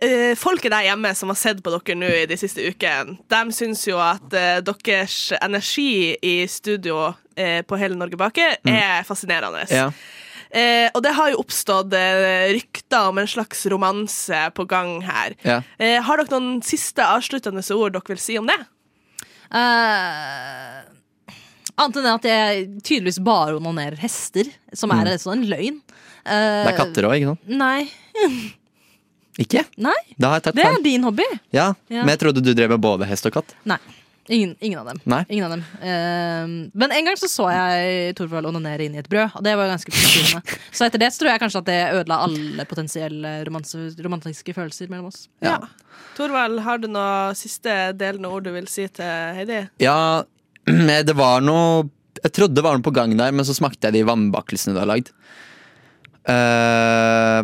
Speaker 3: eh, Folket der hjemme som har sett på dere nå i de siste ukene, de syns jo at eh, deres energi i studio eh, på Hele Norge baker er fascinerende.
Speaker 5: Mm. Ja.
Speaker 3: Eh, og det har jo oppstått eh, rykter om en slags romanse på gang her.
Speaker 5: Ja.
Speaker 3: Eh, har dere noen siste avsluttende ord dere vil si om det?
Speaker 4: Eh, Annet enn det at jeg tydeligvis bare onanerer hester, som er en sånn løgn. Eh,
Speaker 5: Mm. Det er katter òg, ikke sant?
Speaker 4: Nei.
Speaker 5: Ikke?
Speaker 4: nei,
Speaker 5: Da har jeg tatt
Speaker 4: det er
Speaker 5: feil.
Speaker 4: din hobby.
Speaker 5: Ja.
Speaker 4: Ja.
Speaker 5: Men jeg trodde du drev med både hest og katt.
Speaker 4: Nei. Ingen, ingen av dem.
Speaker 5: Nei.
Speaker 4: Ingen av dem. Eh, men en gang så så jeg Torvald onanere inn i et brød, og det var jo ganske frustrerende. Så etter det så tror jeg kanskje at det ødela alle potensielle romanse, romantiske følelser mellom oss.
Speaker 5: Ja.
Speaker 3: Torvald, har du noe siste delende ord du vil si til Heidi?
Speaker 5: Ja, det var noe Jeg trodde det var noe på gang der, men så smakte jeg de vannbakelsene du har lagd. Eh,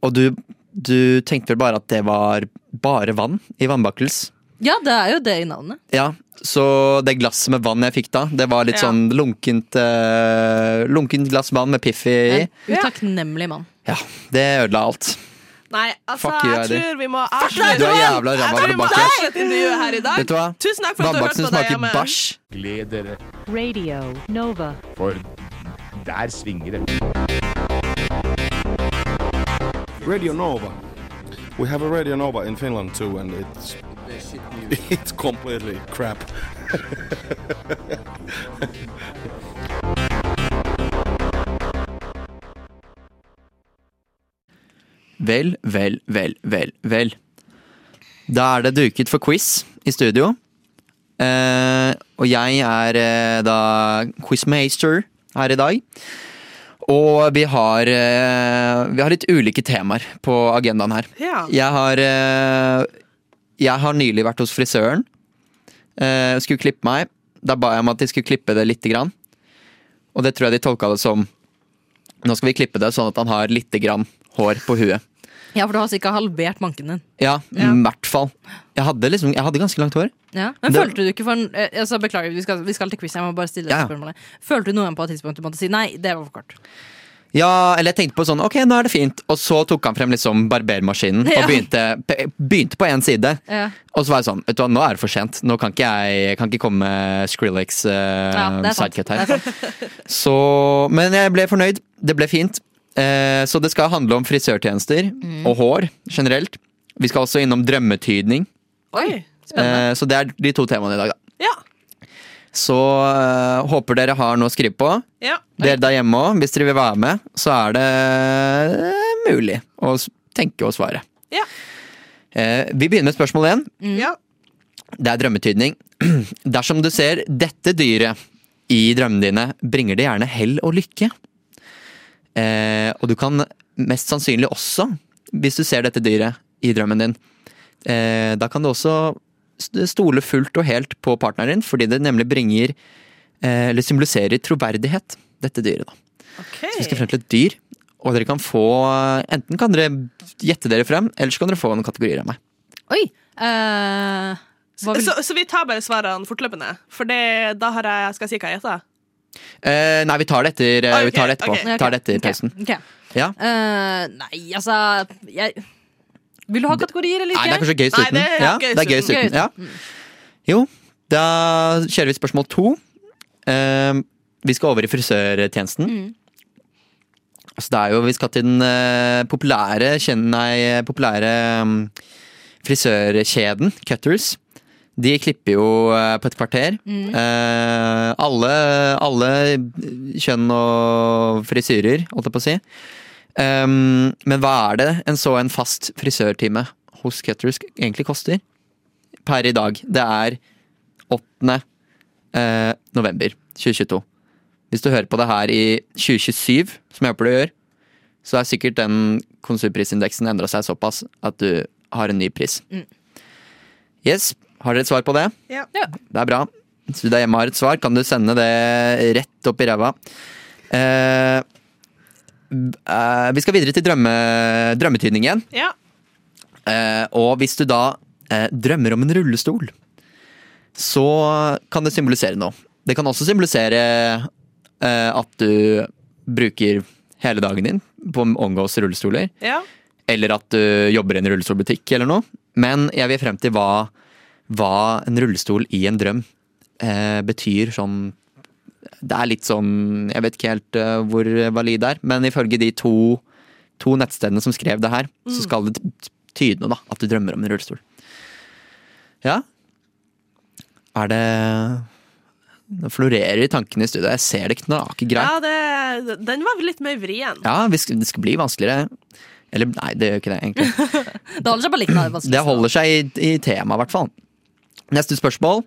Speaker 5: og du, du tenkte vel bare at det var bare vann i vannbakels?
Speaker 4: Ja, det er jo det i navnet.
Speaker 5: Ja, så det glasset med vann jeg fikk da, det var litt
Speaker 3: Ja.
Speaker 5: sånn lunkent, eh, lunkent glass vann med Piffi i.
Speaker 4: En utakknemlig mann.
Speaker 5: Ja, det ødela alt.
Speaker 3: Nei, altså,
Speaker 5: Fuck you,
Speaker 3: jeg
Speaker 5: Heidi.
Speaker 3: tror vi må
Speaker 5: Du
Speaker 3: avslutte
Speaker 5: er jævla
Speaker 3: Jeg
Speaker 5: ræva
Speaker 3: tror vi må
Speaker 5: tilbake.
Speaker 3: avslutte intervjuet her i dag.
Speaker 5: Vet du hva?
Speaker 3: Tusen takk for at du hørte
Speaker 5: Vannbaksen
Speaker 3: på deg
Speaker 5: smaker
Speaker 3: hjemme.
Speaker 5: bæsj.
Speaker 1: Gled dere,
Speaker 7: Radio Nova.
Speaker 1: for der svinger det.
Speaker 10: Radio Nova. We have a Radio Nova in Finland too, and it's it's completely crap.
Speaker 5: Vel, vel, vel, vel, vel. Da er det duket for quiz i studio. Eh, og jeg er eh, da quizmaster her i dag. Og vi har, eh, vi har litt ulike temaer på agendaen her.
Speaker 3: Ja.
Speaker 5: Jeg har, eh, jeg har nylig vært hos frisøren. Eh, skulle klippe meg. Da ba jeg om at de skulle klippe det lite grann. Og det tror jeg de tolka det som Nå skal vi klippe det sånn at han har lite grann hår på huet.
Speaker 4: Ja, for du har sikkert halvert manken din.
Speaker 5: Ja, i hvert fall. Jeg hadde, liksom, jeg hadde ganske langt hår.
Speaker 4: Ja. Men
Speaker 5: Det-
Speaker 4: følte du ikke for en, eh, altså, Beklager, vi skal, vi skal til quiz. Jeg må bare stille
Speaker 5: Ja, ja.
Speaker 4: deg spørsmålet. Følte du noen gang på et tidspunkt du måtte si nei, det var for kort?
Speaker 5: Ja, eller jeg tenkte på sånn, ok, nå er det fint Og så tok han frem liksom barbermaskinen
Speaker 4: Ja.
Speaker 5: Og begynte, pe- begynte på en side
Speaker 4: Ja.
Speaker 5: Og så var jeg sånn, vet du hva, nå er det for sent Nå kan ikke jeg kan ikke komme med Skrillex uh,
Speaker 4: Ja, det er sant.
Speaker 5: sidecut her så, Men jeg ble fornøyd, det ble fint Eh, Så det skal handle om frisørtjenester
Speaker 4: Mm.
Speaker 5: Og hår, generelt Vi skal også innom drømmetydning
Speaker 3: Oi.
Speaker 5: Eh, Så det er de to temaene i dag da
Speaker 3: Ja.
Speaker 5: Så eh, håper dere har noe å skrive på
Speaker 3: ja.
Speaker 5: dere der hjemme òg, hvis dere vil være med, så er det eh, mulig å s- tenke og svare.
Speaker 3: Ja.
Speaker 5: Eh, vi begynner med spørsmål én.
Speaker 3: ja.
Speaker 5: Det er drømmetydning. Dersom du ser dette dyret i drømmene dine, bringer det gjerne hell og lykke. Eh, og du kan mest sannsynlig også, hvis du ser dette dyret i drømmen din, eh, da kan du også st- stole fullt og helt på partneren din, fordi det nemlig bringer eh, eller symboliserer troverdighet, dette dyret. da. Vi skal
Speaker 3: OK.
Speaker 5: frem til et dyr, og dere kan få Enten kan dere gjette dere frem, eller så kan dere få noen kategorier av meg.
Speaker 4: Oi! eh, hva vil...
Speaker 3: Så, så vi tar bare svarene fortløpende, for det, da har jeg Skal jeg si hva jeg heter?
Speaker 5: Eh, nei, vi tar det etter eh, Vi
Speaker 3: Ok,
Speaker 5: tar det etterpå.
Speaker 3: ok.
Speaker 5: Vi tar det etter
Speaker 4: Ok,
Speaker 5: pausen.
Speaker 4: ok.
Speaker 5: Ja.
Speaker 4: Eh, nei, altså jeg... Vil du ha kategorier eller
Speaker 5: Nei, det er
Speaker 4: ikke?
Speaker 5: kanskje gøyest
Speaker 3: Nei,
Speaker 5: uten.
Speaker 3: det er
Speaker 5: Ja,
Speaker 3: gøyest
Speaker 5: det er gøyest
Speaker 3: uten.
Speaker 5: uten. Ja. Jo, da kjører vi spørsmål to. Eh, vi skal over i frisørtjenesten.
Speaker 3: Mm.
Speaker 5: Så det er jo, Vi skal til den eh, populære, kjen- nei, populære mm, frisørkjeden, Cutters. De klipper jo eh, på et kvarter.
Speaker 3: Mm.
Speaker 5: Eh, alle, alle kjønn og frisyrer, holdt jeg på å si. Um, men hva er det en så en fast frisørtime hos Cutters egentlig koster? Per i dag. Det er 8. eh, november 2022. Hvis du hører på det her i 2027, som jeg håper du gjør, så er sikkert den konsumprisindeksen endra seg såpass at du har en ny pris. Yes, har dere et svar på det?
Speaker 3: Ja.
Speaker 5: Det er bra. Hvis du der hjemme har et svar, kan du sende det rett opp i ræva. Eh, Eh, vi skal videre til drømme, drømmetydning igjen.
Speaker 3: Ja.
Speaker 5: Eh, og hvis du da eh, drømmer om en rullestol, så kan det symbolisere noe. Det kan også symbolisere eh, at du bruker hele dagen din på å omgås rullestoler
Speaker 3: ja.
Speaker 5: eller at du jobber i en rullestolbutikk eller noe. Men jeg vil frem til hva, hva en rullestol i en drøm eh, betyr sånn Det er litt sånn Jeg vet ikke helt eh, hvor valid det er, men ifølge de to, to nettstedene som skrev det her, så skal det tyde noe, da. At du drømmer om en rullestol. Ja. Er det Nå florerer tankene i studio. Jeg ser det knake greit.
Speaker 3: ja det, den var litt mer vrien.
Speaker 5: Ja, vi sk- det skal bli vanskeligere. Eller nei, det gjør ikke det, egentlig.
Speaker 4: Det holder seg bare litt nervøs.
Speaker 5: Det holder seg i, i temaet, i hvert fall. Neste spørsmål.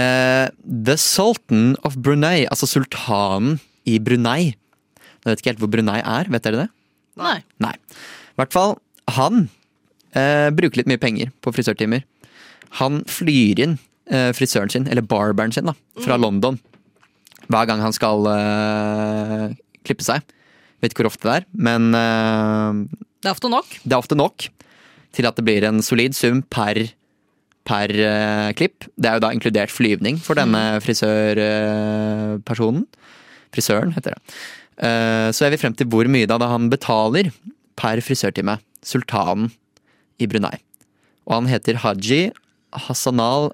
Speaker 5: Eh, the Sultan of Brunei, altså sultanen i Brunei. Jeg vet ikke helt hvor Brunei er, vet dere det?
Speaker 4: Nei.
Speaker 5: Nei. I hvert fall, han eh, bruker litt mye penger på frisørtimer. Han flyr inn eh, frisøren sin, eller barberen sin, da, fra London. Hver gang han skal eh, klippe seg. Vet ikke hvor ofte det er, men eh,
Speaker 4: Det er ofte nok.
Speaker 5: det er ofte nok til at det blir en solid sum per, per eh, klipp. Det er jo da inkludert flyvning for denne frisørpersonen. Frisøren, heter det. Eh, så jeg vil frem til hvor mye da, da han betaler per frisørtime. Sultanen i Brunei. Og han heter Haji Hassanal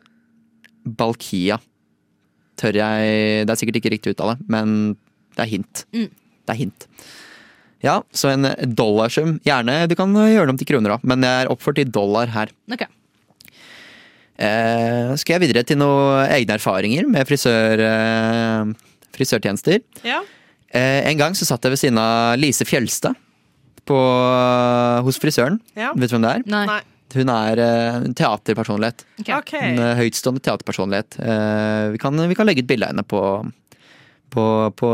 Speaker 5: Balkia. Tør jeg Det er sikkert ikke riktig uttale, men det er hint.
Speaker 4: Mm.
Speaker 5: Det er hint. Ja, så en eh, dollarsum. Gjerne, du kan eh, gjøre det om til kroner òg, men jeg er oppført i dollar her.
Speaker 4: Ok.
Speaker 5: Eh, skal jeg videre til noen egne erfaringer med frisør, eh, frisørtjenester?
Speaker 3: Ja.
Speaker 5: Eh, en gang så satt jeg ved siden av Lise Fjelstad på, eh, hos frisøren.
Speaker 3: Ja.
Speaker 5: Vet du hvem det er?
Speaker 4: Nei.
Speaker 3: Nei.
Speaker 5: Hun er eh, en teaterpersonlighet.
Speaker 3: OK.
Speaker 5: En eh, høytstående teaterpersonlighet. Eh, vi, kan, vi kan legge ut bilde av henne på, på, på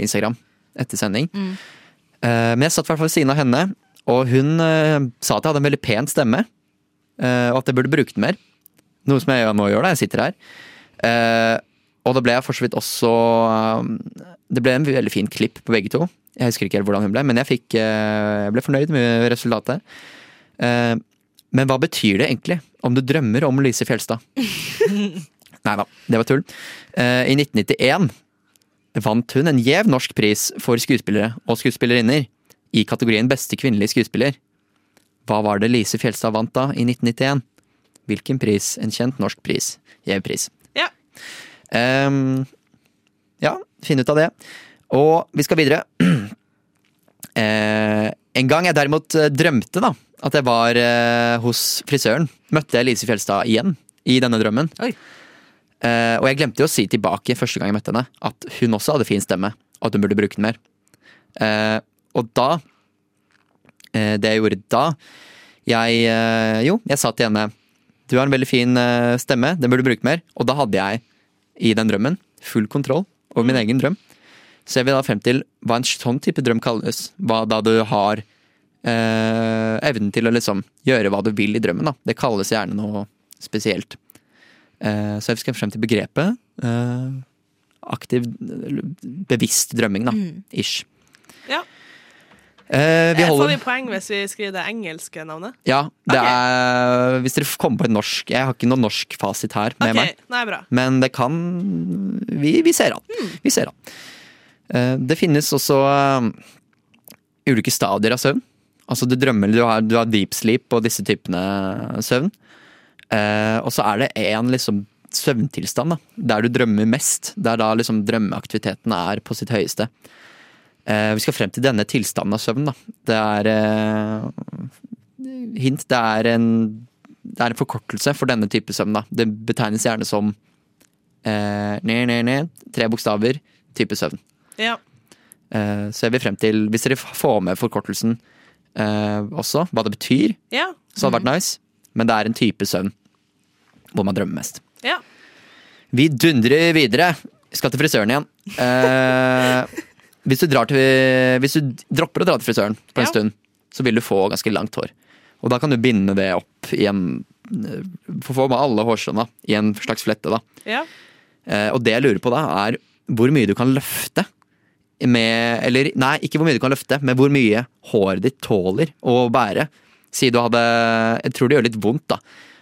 Speaker 5: Instagram. etter sending. Eh, men jeg satt i hvert fall ved siden av henne, og hun eh, sa at jeg hadde en veldig pen stemme. eh, og at jeg burde bruke den mer. Noe som jeg jo nå gjør, da. Jeg sitter her. Eh, og da ble jeg for så vidt også eh, Det ble en veldig fin klipp på begge to. Jeg husker ikke helt hvordan hun ble, men jeg, fikk, eh, jeg ble fornøyd med resultatet. Eh, men hva betyr det egentlig om du drømmer om Lise Fjelstad? Nei da, det var tull. Eh, I 1991 vant hun en gjev norsk pris for skuespillere og skuespillerinner i kategorien beste kvinnelige skuespiller. Hva var det Lise Fjelstad vant da i 1991? Hvilken pris? En kjent norsk pris. Gjev pris.
Speaker 3: Ja.
Speaker 5: Ehm, ja, finn ut av det. Og vi skal videre. Eh, en gang jeg derimot eh, drømte da, at jeg var eh, hos frisøren, møtte jeg Lise Fjelstad igjen i denne drømmen.
Speaker 4: Oi.
Speaker 5: Eh, og jeg glemte jo å si tilbake første gang jeg møtte henne, at hun også hadde fin stemme, og at hun burde bruke den mer. Eh, og da eh, Det jeg gjorde da Jeg eh, Jo, jeg sa til henne Du har en veldig fin eh, stemme, den burde du bruke mer. Og da hadde jeg i den drømmen full kontroll over
Speaker 3: Mm.
Speaker 5: min egen drøm. Så jeg vil da frem til hva en sånn type drøm kalles. Hva da du har eh, evnen til å liksom gjøre hva du vil i drømmen. Da. Det kalles gjerne noe spesielt. Eh, så jeg skal frem til begrepet eh, aktiv, eller bevisst drømming, da. Ish.
Speaker 3: Ja.
Speaker 5: Eh, vi
Speaker 3: Mm. Får
Speaker 5: holder
Speaker 3: vi poeng hvis vi skriver det engelske navnet?
Speaker 5: Ja, det
Speaker 3: Ok.
Speaker 5: er Hvis dere kommer på et norsk Jeg har ikke noe norsk fasit her med
Speaker 3: OK,
Speaker 5: meg.
Speaker 3: nei, bra.
Speaker 5: Men det kan Vi, vi ser an. Vi ser an. Eh, Det finnes også eh, ulike stadier av søvn. Altså du drømmer, du har, du har deep sleep og disse typene søvn. Eh, og så er det én liksom søvntilstand, da, der du drømmer mest. Der da liksom drømmeaktiviteten er på sitt høyeste. Eh, vi skal frem til denne tilstanden av søvn, da. Det er eh, Hint. Det er en det er en forkortelse for denne type søvn. Da. Det betegnes gjerne som eh, ned, ned, ned, tre bokstaver, type søvn.
Speaker 3: Ja.
Speaker 5: Eh, så jeg vil frem til, hvis dere f- får med forkortelsen eh, også, hva det betyr,
Speaker 3: Ja.
Speaker 5: så hadde det vært nice. Men det er en type søvn hvor man drømmer mest.
Speaker 3: Ja.
Speaker 5: Vi dundrer videre. Vi skal til frisøren igjen. Eh, hvis, du drar til, hvis du dropper å dra til frisøren på en
Speaker 3: Ja.
Speaker 5: stund, så vil du få ganske langt hår. Og da kan du binde det opp i en Få få med alle hårstråene i en slags flette. da.
Speaker 3: ja.
Speaker 5: Eh, og det jeg lurer på da, er hvor mye du kan løfte med Eller nei, ikke hvor mye du kan løfte, men hvor mye håret ditt tåler å bære. Si du hadde Jeg tror det gjør litt vondt, da.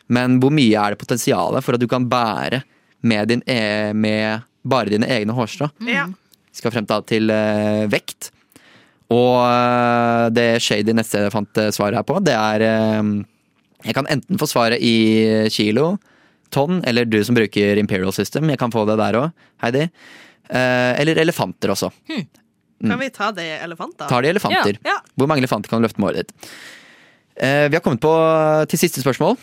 Speaker 5: Men hvor mye er det potensialet for at du kan bære med, din, e- med bare dine egne hårstrå?
Speaker 4: Mm.
Speaker 3: ja.
Speaker 5: Vi skal frem da til eh, vekt. Og eh, det shady neste jeg fant eh, svaret her på, det er eh, Jeg kan enten få svaret i kilo, tonn, eller du som bruker Imperial System. Jeg kan få det der òg, Heidi. Eh, eller elefanter også. Mm.
Speaker 3: Kan vi ta det i elefant, da?
Speaker 5: Tar de elefanter?
Speaker 3: Ja.
Speaker 5: Hvor mange elefanter kan du løfte med håret ditt? Eh, vi har kommet på til siste spørsmål.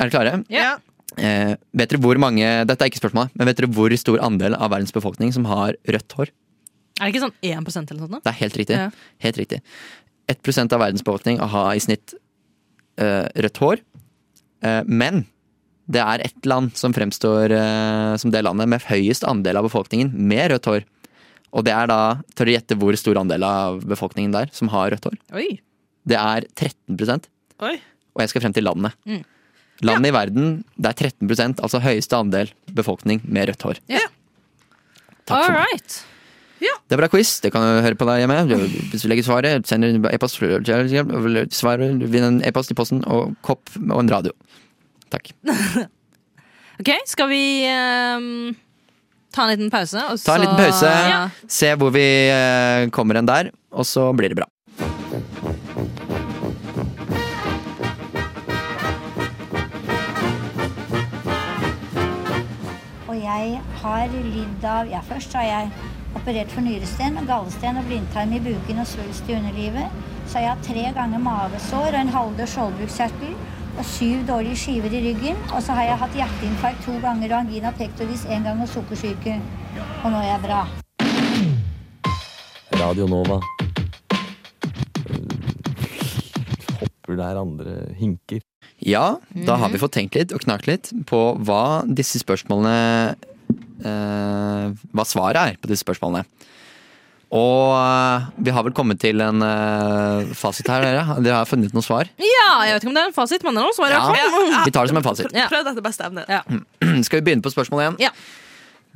Speaker 5: Er dere klare?
Speaker 3: Ja.
Speaker 5: Eh, vet dere hvor mange Dette er ikke spørsmålet, men vet dere hvor stor andel av verdens befolkning som har rødt hår?
Speaker 4: Er det ikke sånn 1 eller noe sånt? da?
Speaker 5: Det er helt riktig.
Speaker 4: Ja.
Speaker 5: Helt riktig. 1 av verdens befolkning har i snitt eh, rødt hår. Eh, men det er ett land som fremstår eh, som det landet med høyest andel av befolkningen med rødt hår. Og det er da, tør dere gjette hvor stor andel av befolkningen der som har rødt hår?
Speaker 4: Oi.
Speaker 5: Det er 13
Speaker 3: Oi.
Speaker 5: Og jeg skal frem til landet.
Speaker 4: Mm.
Speaker 5: Landet i verden, det er 13 altså høyeste andel befolkning med rødt hår.
Speaker 4: Ja.
Speaker 5: Takk for meg.
Speaker 4: right.
Speaker 5: Det ble quiz, det kan du høre på der hjemme. Hvis du legger svaret, sender du e-post svaret, vinn en e-post i posten og kopp og en radio. Takk.
Speaker 4: Ok, skal vi ehm, ta en liten pause? Og
Speaker 5: Ta
Speaker 4: så-
Speaker 5: en liten pause,
Speaker 4: Ja.
Speaker 5: se hvor vi eh, kommer en der, og så blir det bra.
Speaker 11: Og jeg har lidd av Ja, først har jeg operert for nyresten, gallesten og blindtarm i buken og svulst i underlivet. Så har jeg hatt tre ganger mavesår og en halvdød skjoldbruskkjertel og syv dårlige skiver i ryggen. Og så har jeg hatt hjerteinfarkt to ganger og angina pectoris én gang og sukkersyke. Og nå er jeg bra.
Speaker 1: Radio Nova. Hopper der andre hinker.
Speaker 5: Ja, da
Speaker 4: Mhm.
Speaker 5: har vi fått tenkt litt og knakt litt på hva disse spørsmålene eh, Hva svaret er på disse spørsmålene. Og eh, vi har vel kommet til en eh, fasit her, dere. Dere har funnet noen svar.
Speaker 4: Ja, jeg vet ikke om det er en fasit, men det er noe svar. i
Speaker 5: Ja,
Speaker 4: hvert fall.
Speaker 5: Vi tar Mm. det som en fasit.
Speaker 4: Ja.
Speaker 3: Prøv etter beste evne.
Speaker 4: Ja.
Speaker 5: Skal vi begynne på spørsmål én?
Speaker 4: Ja.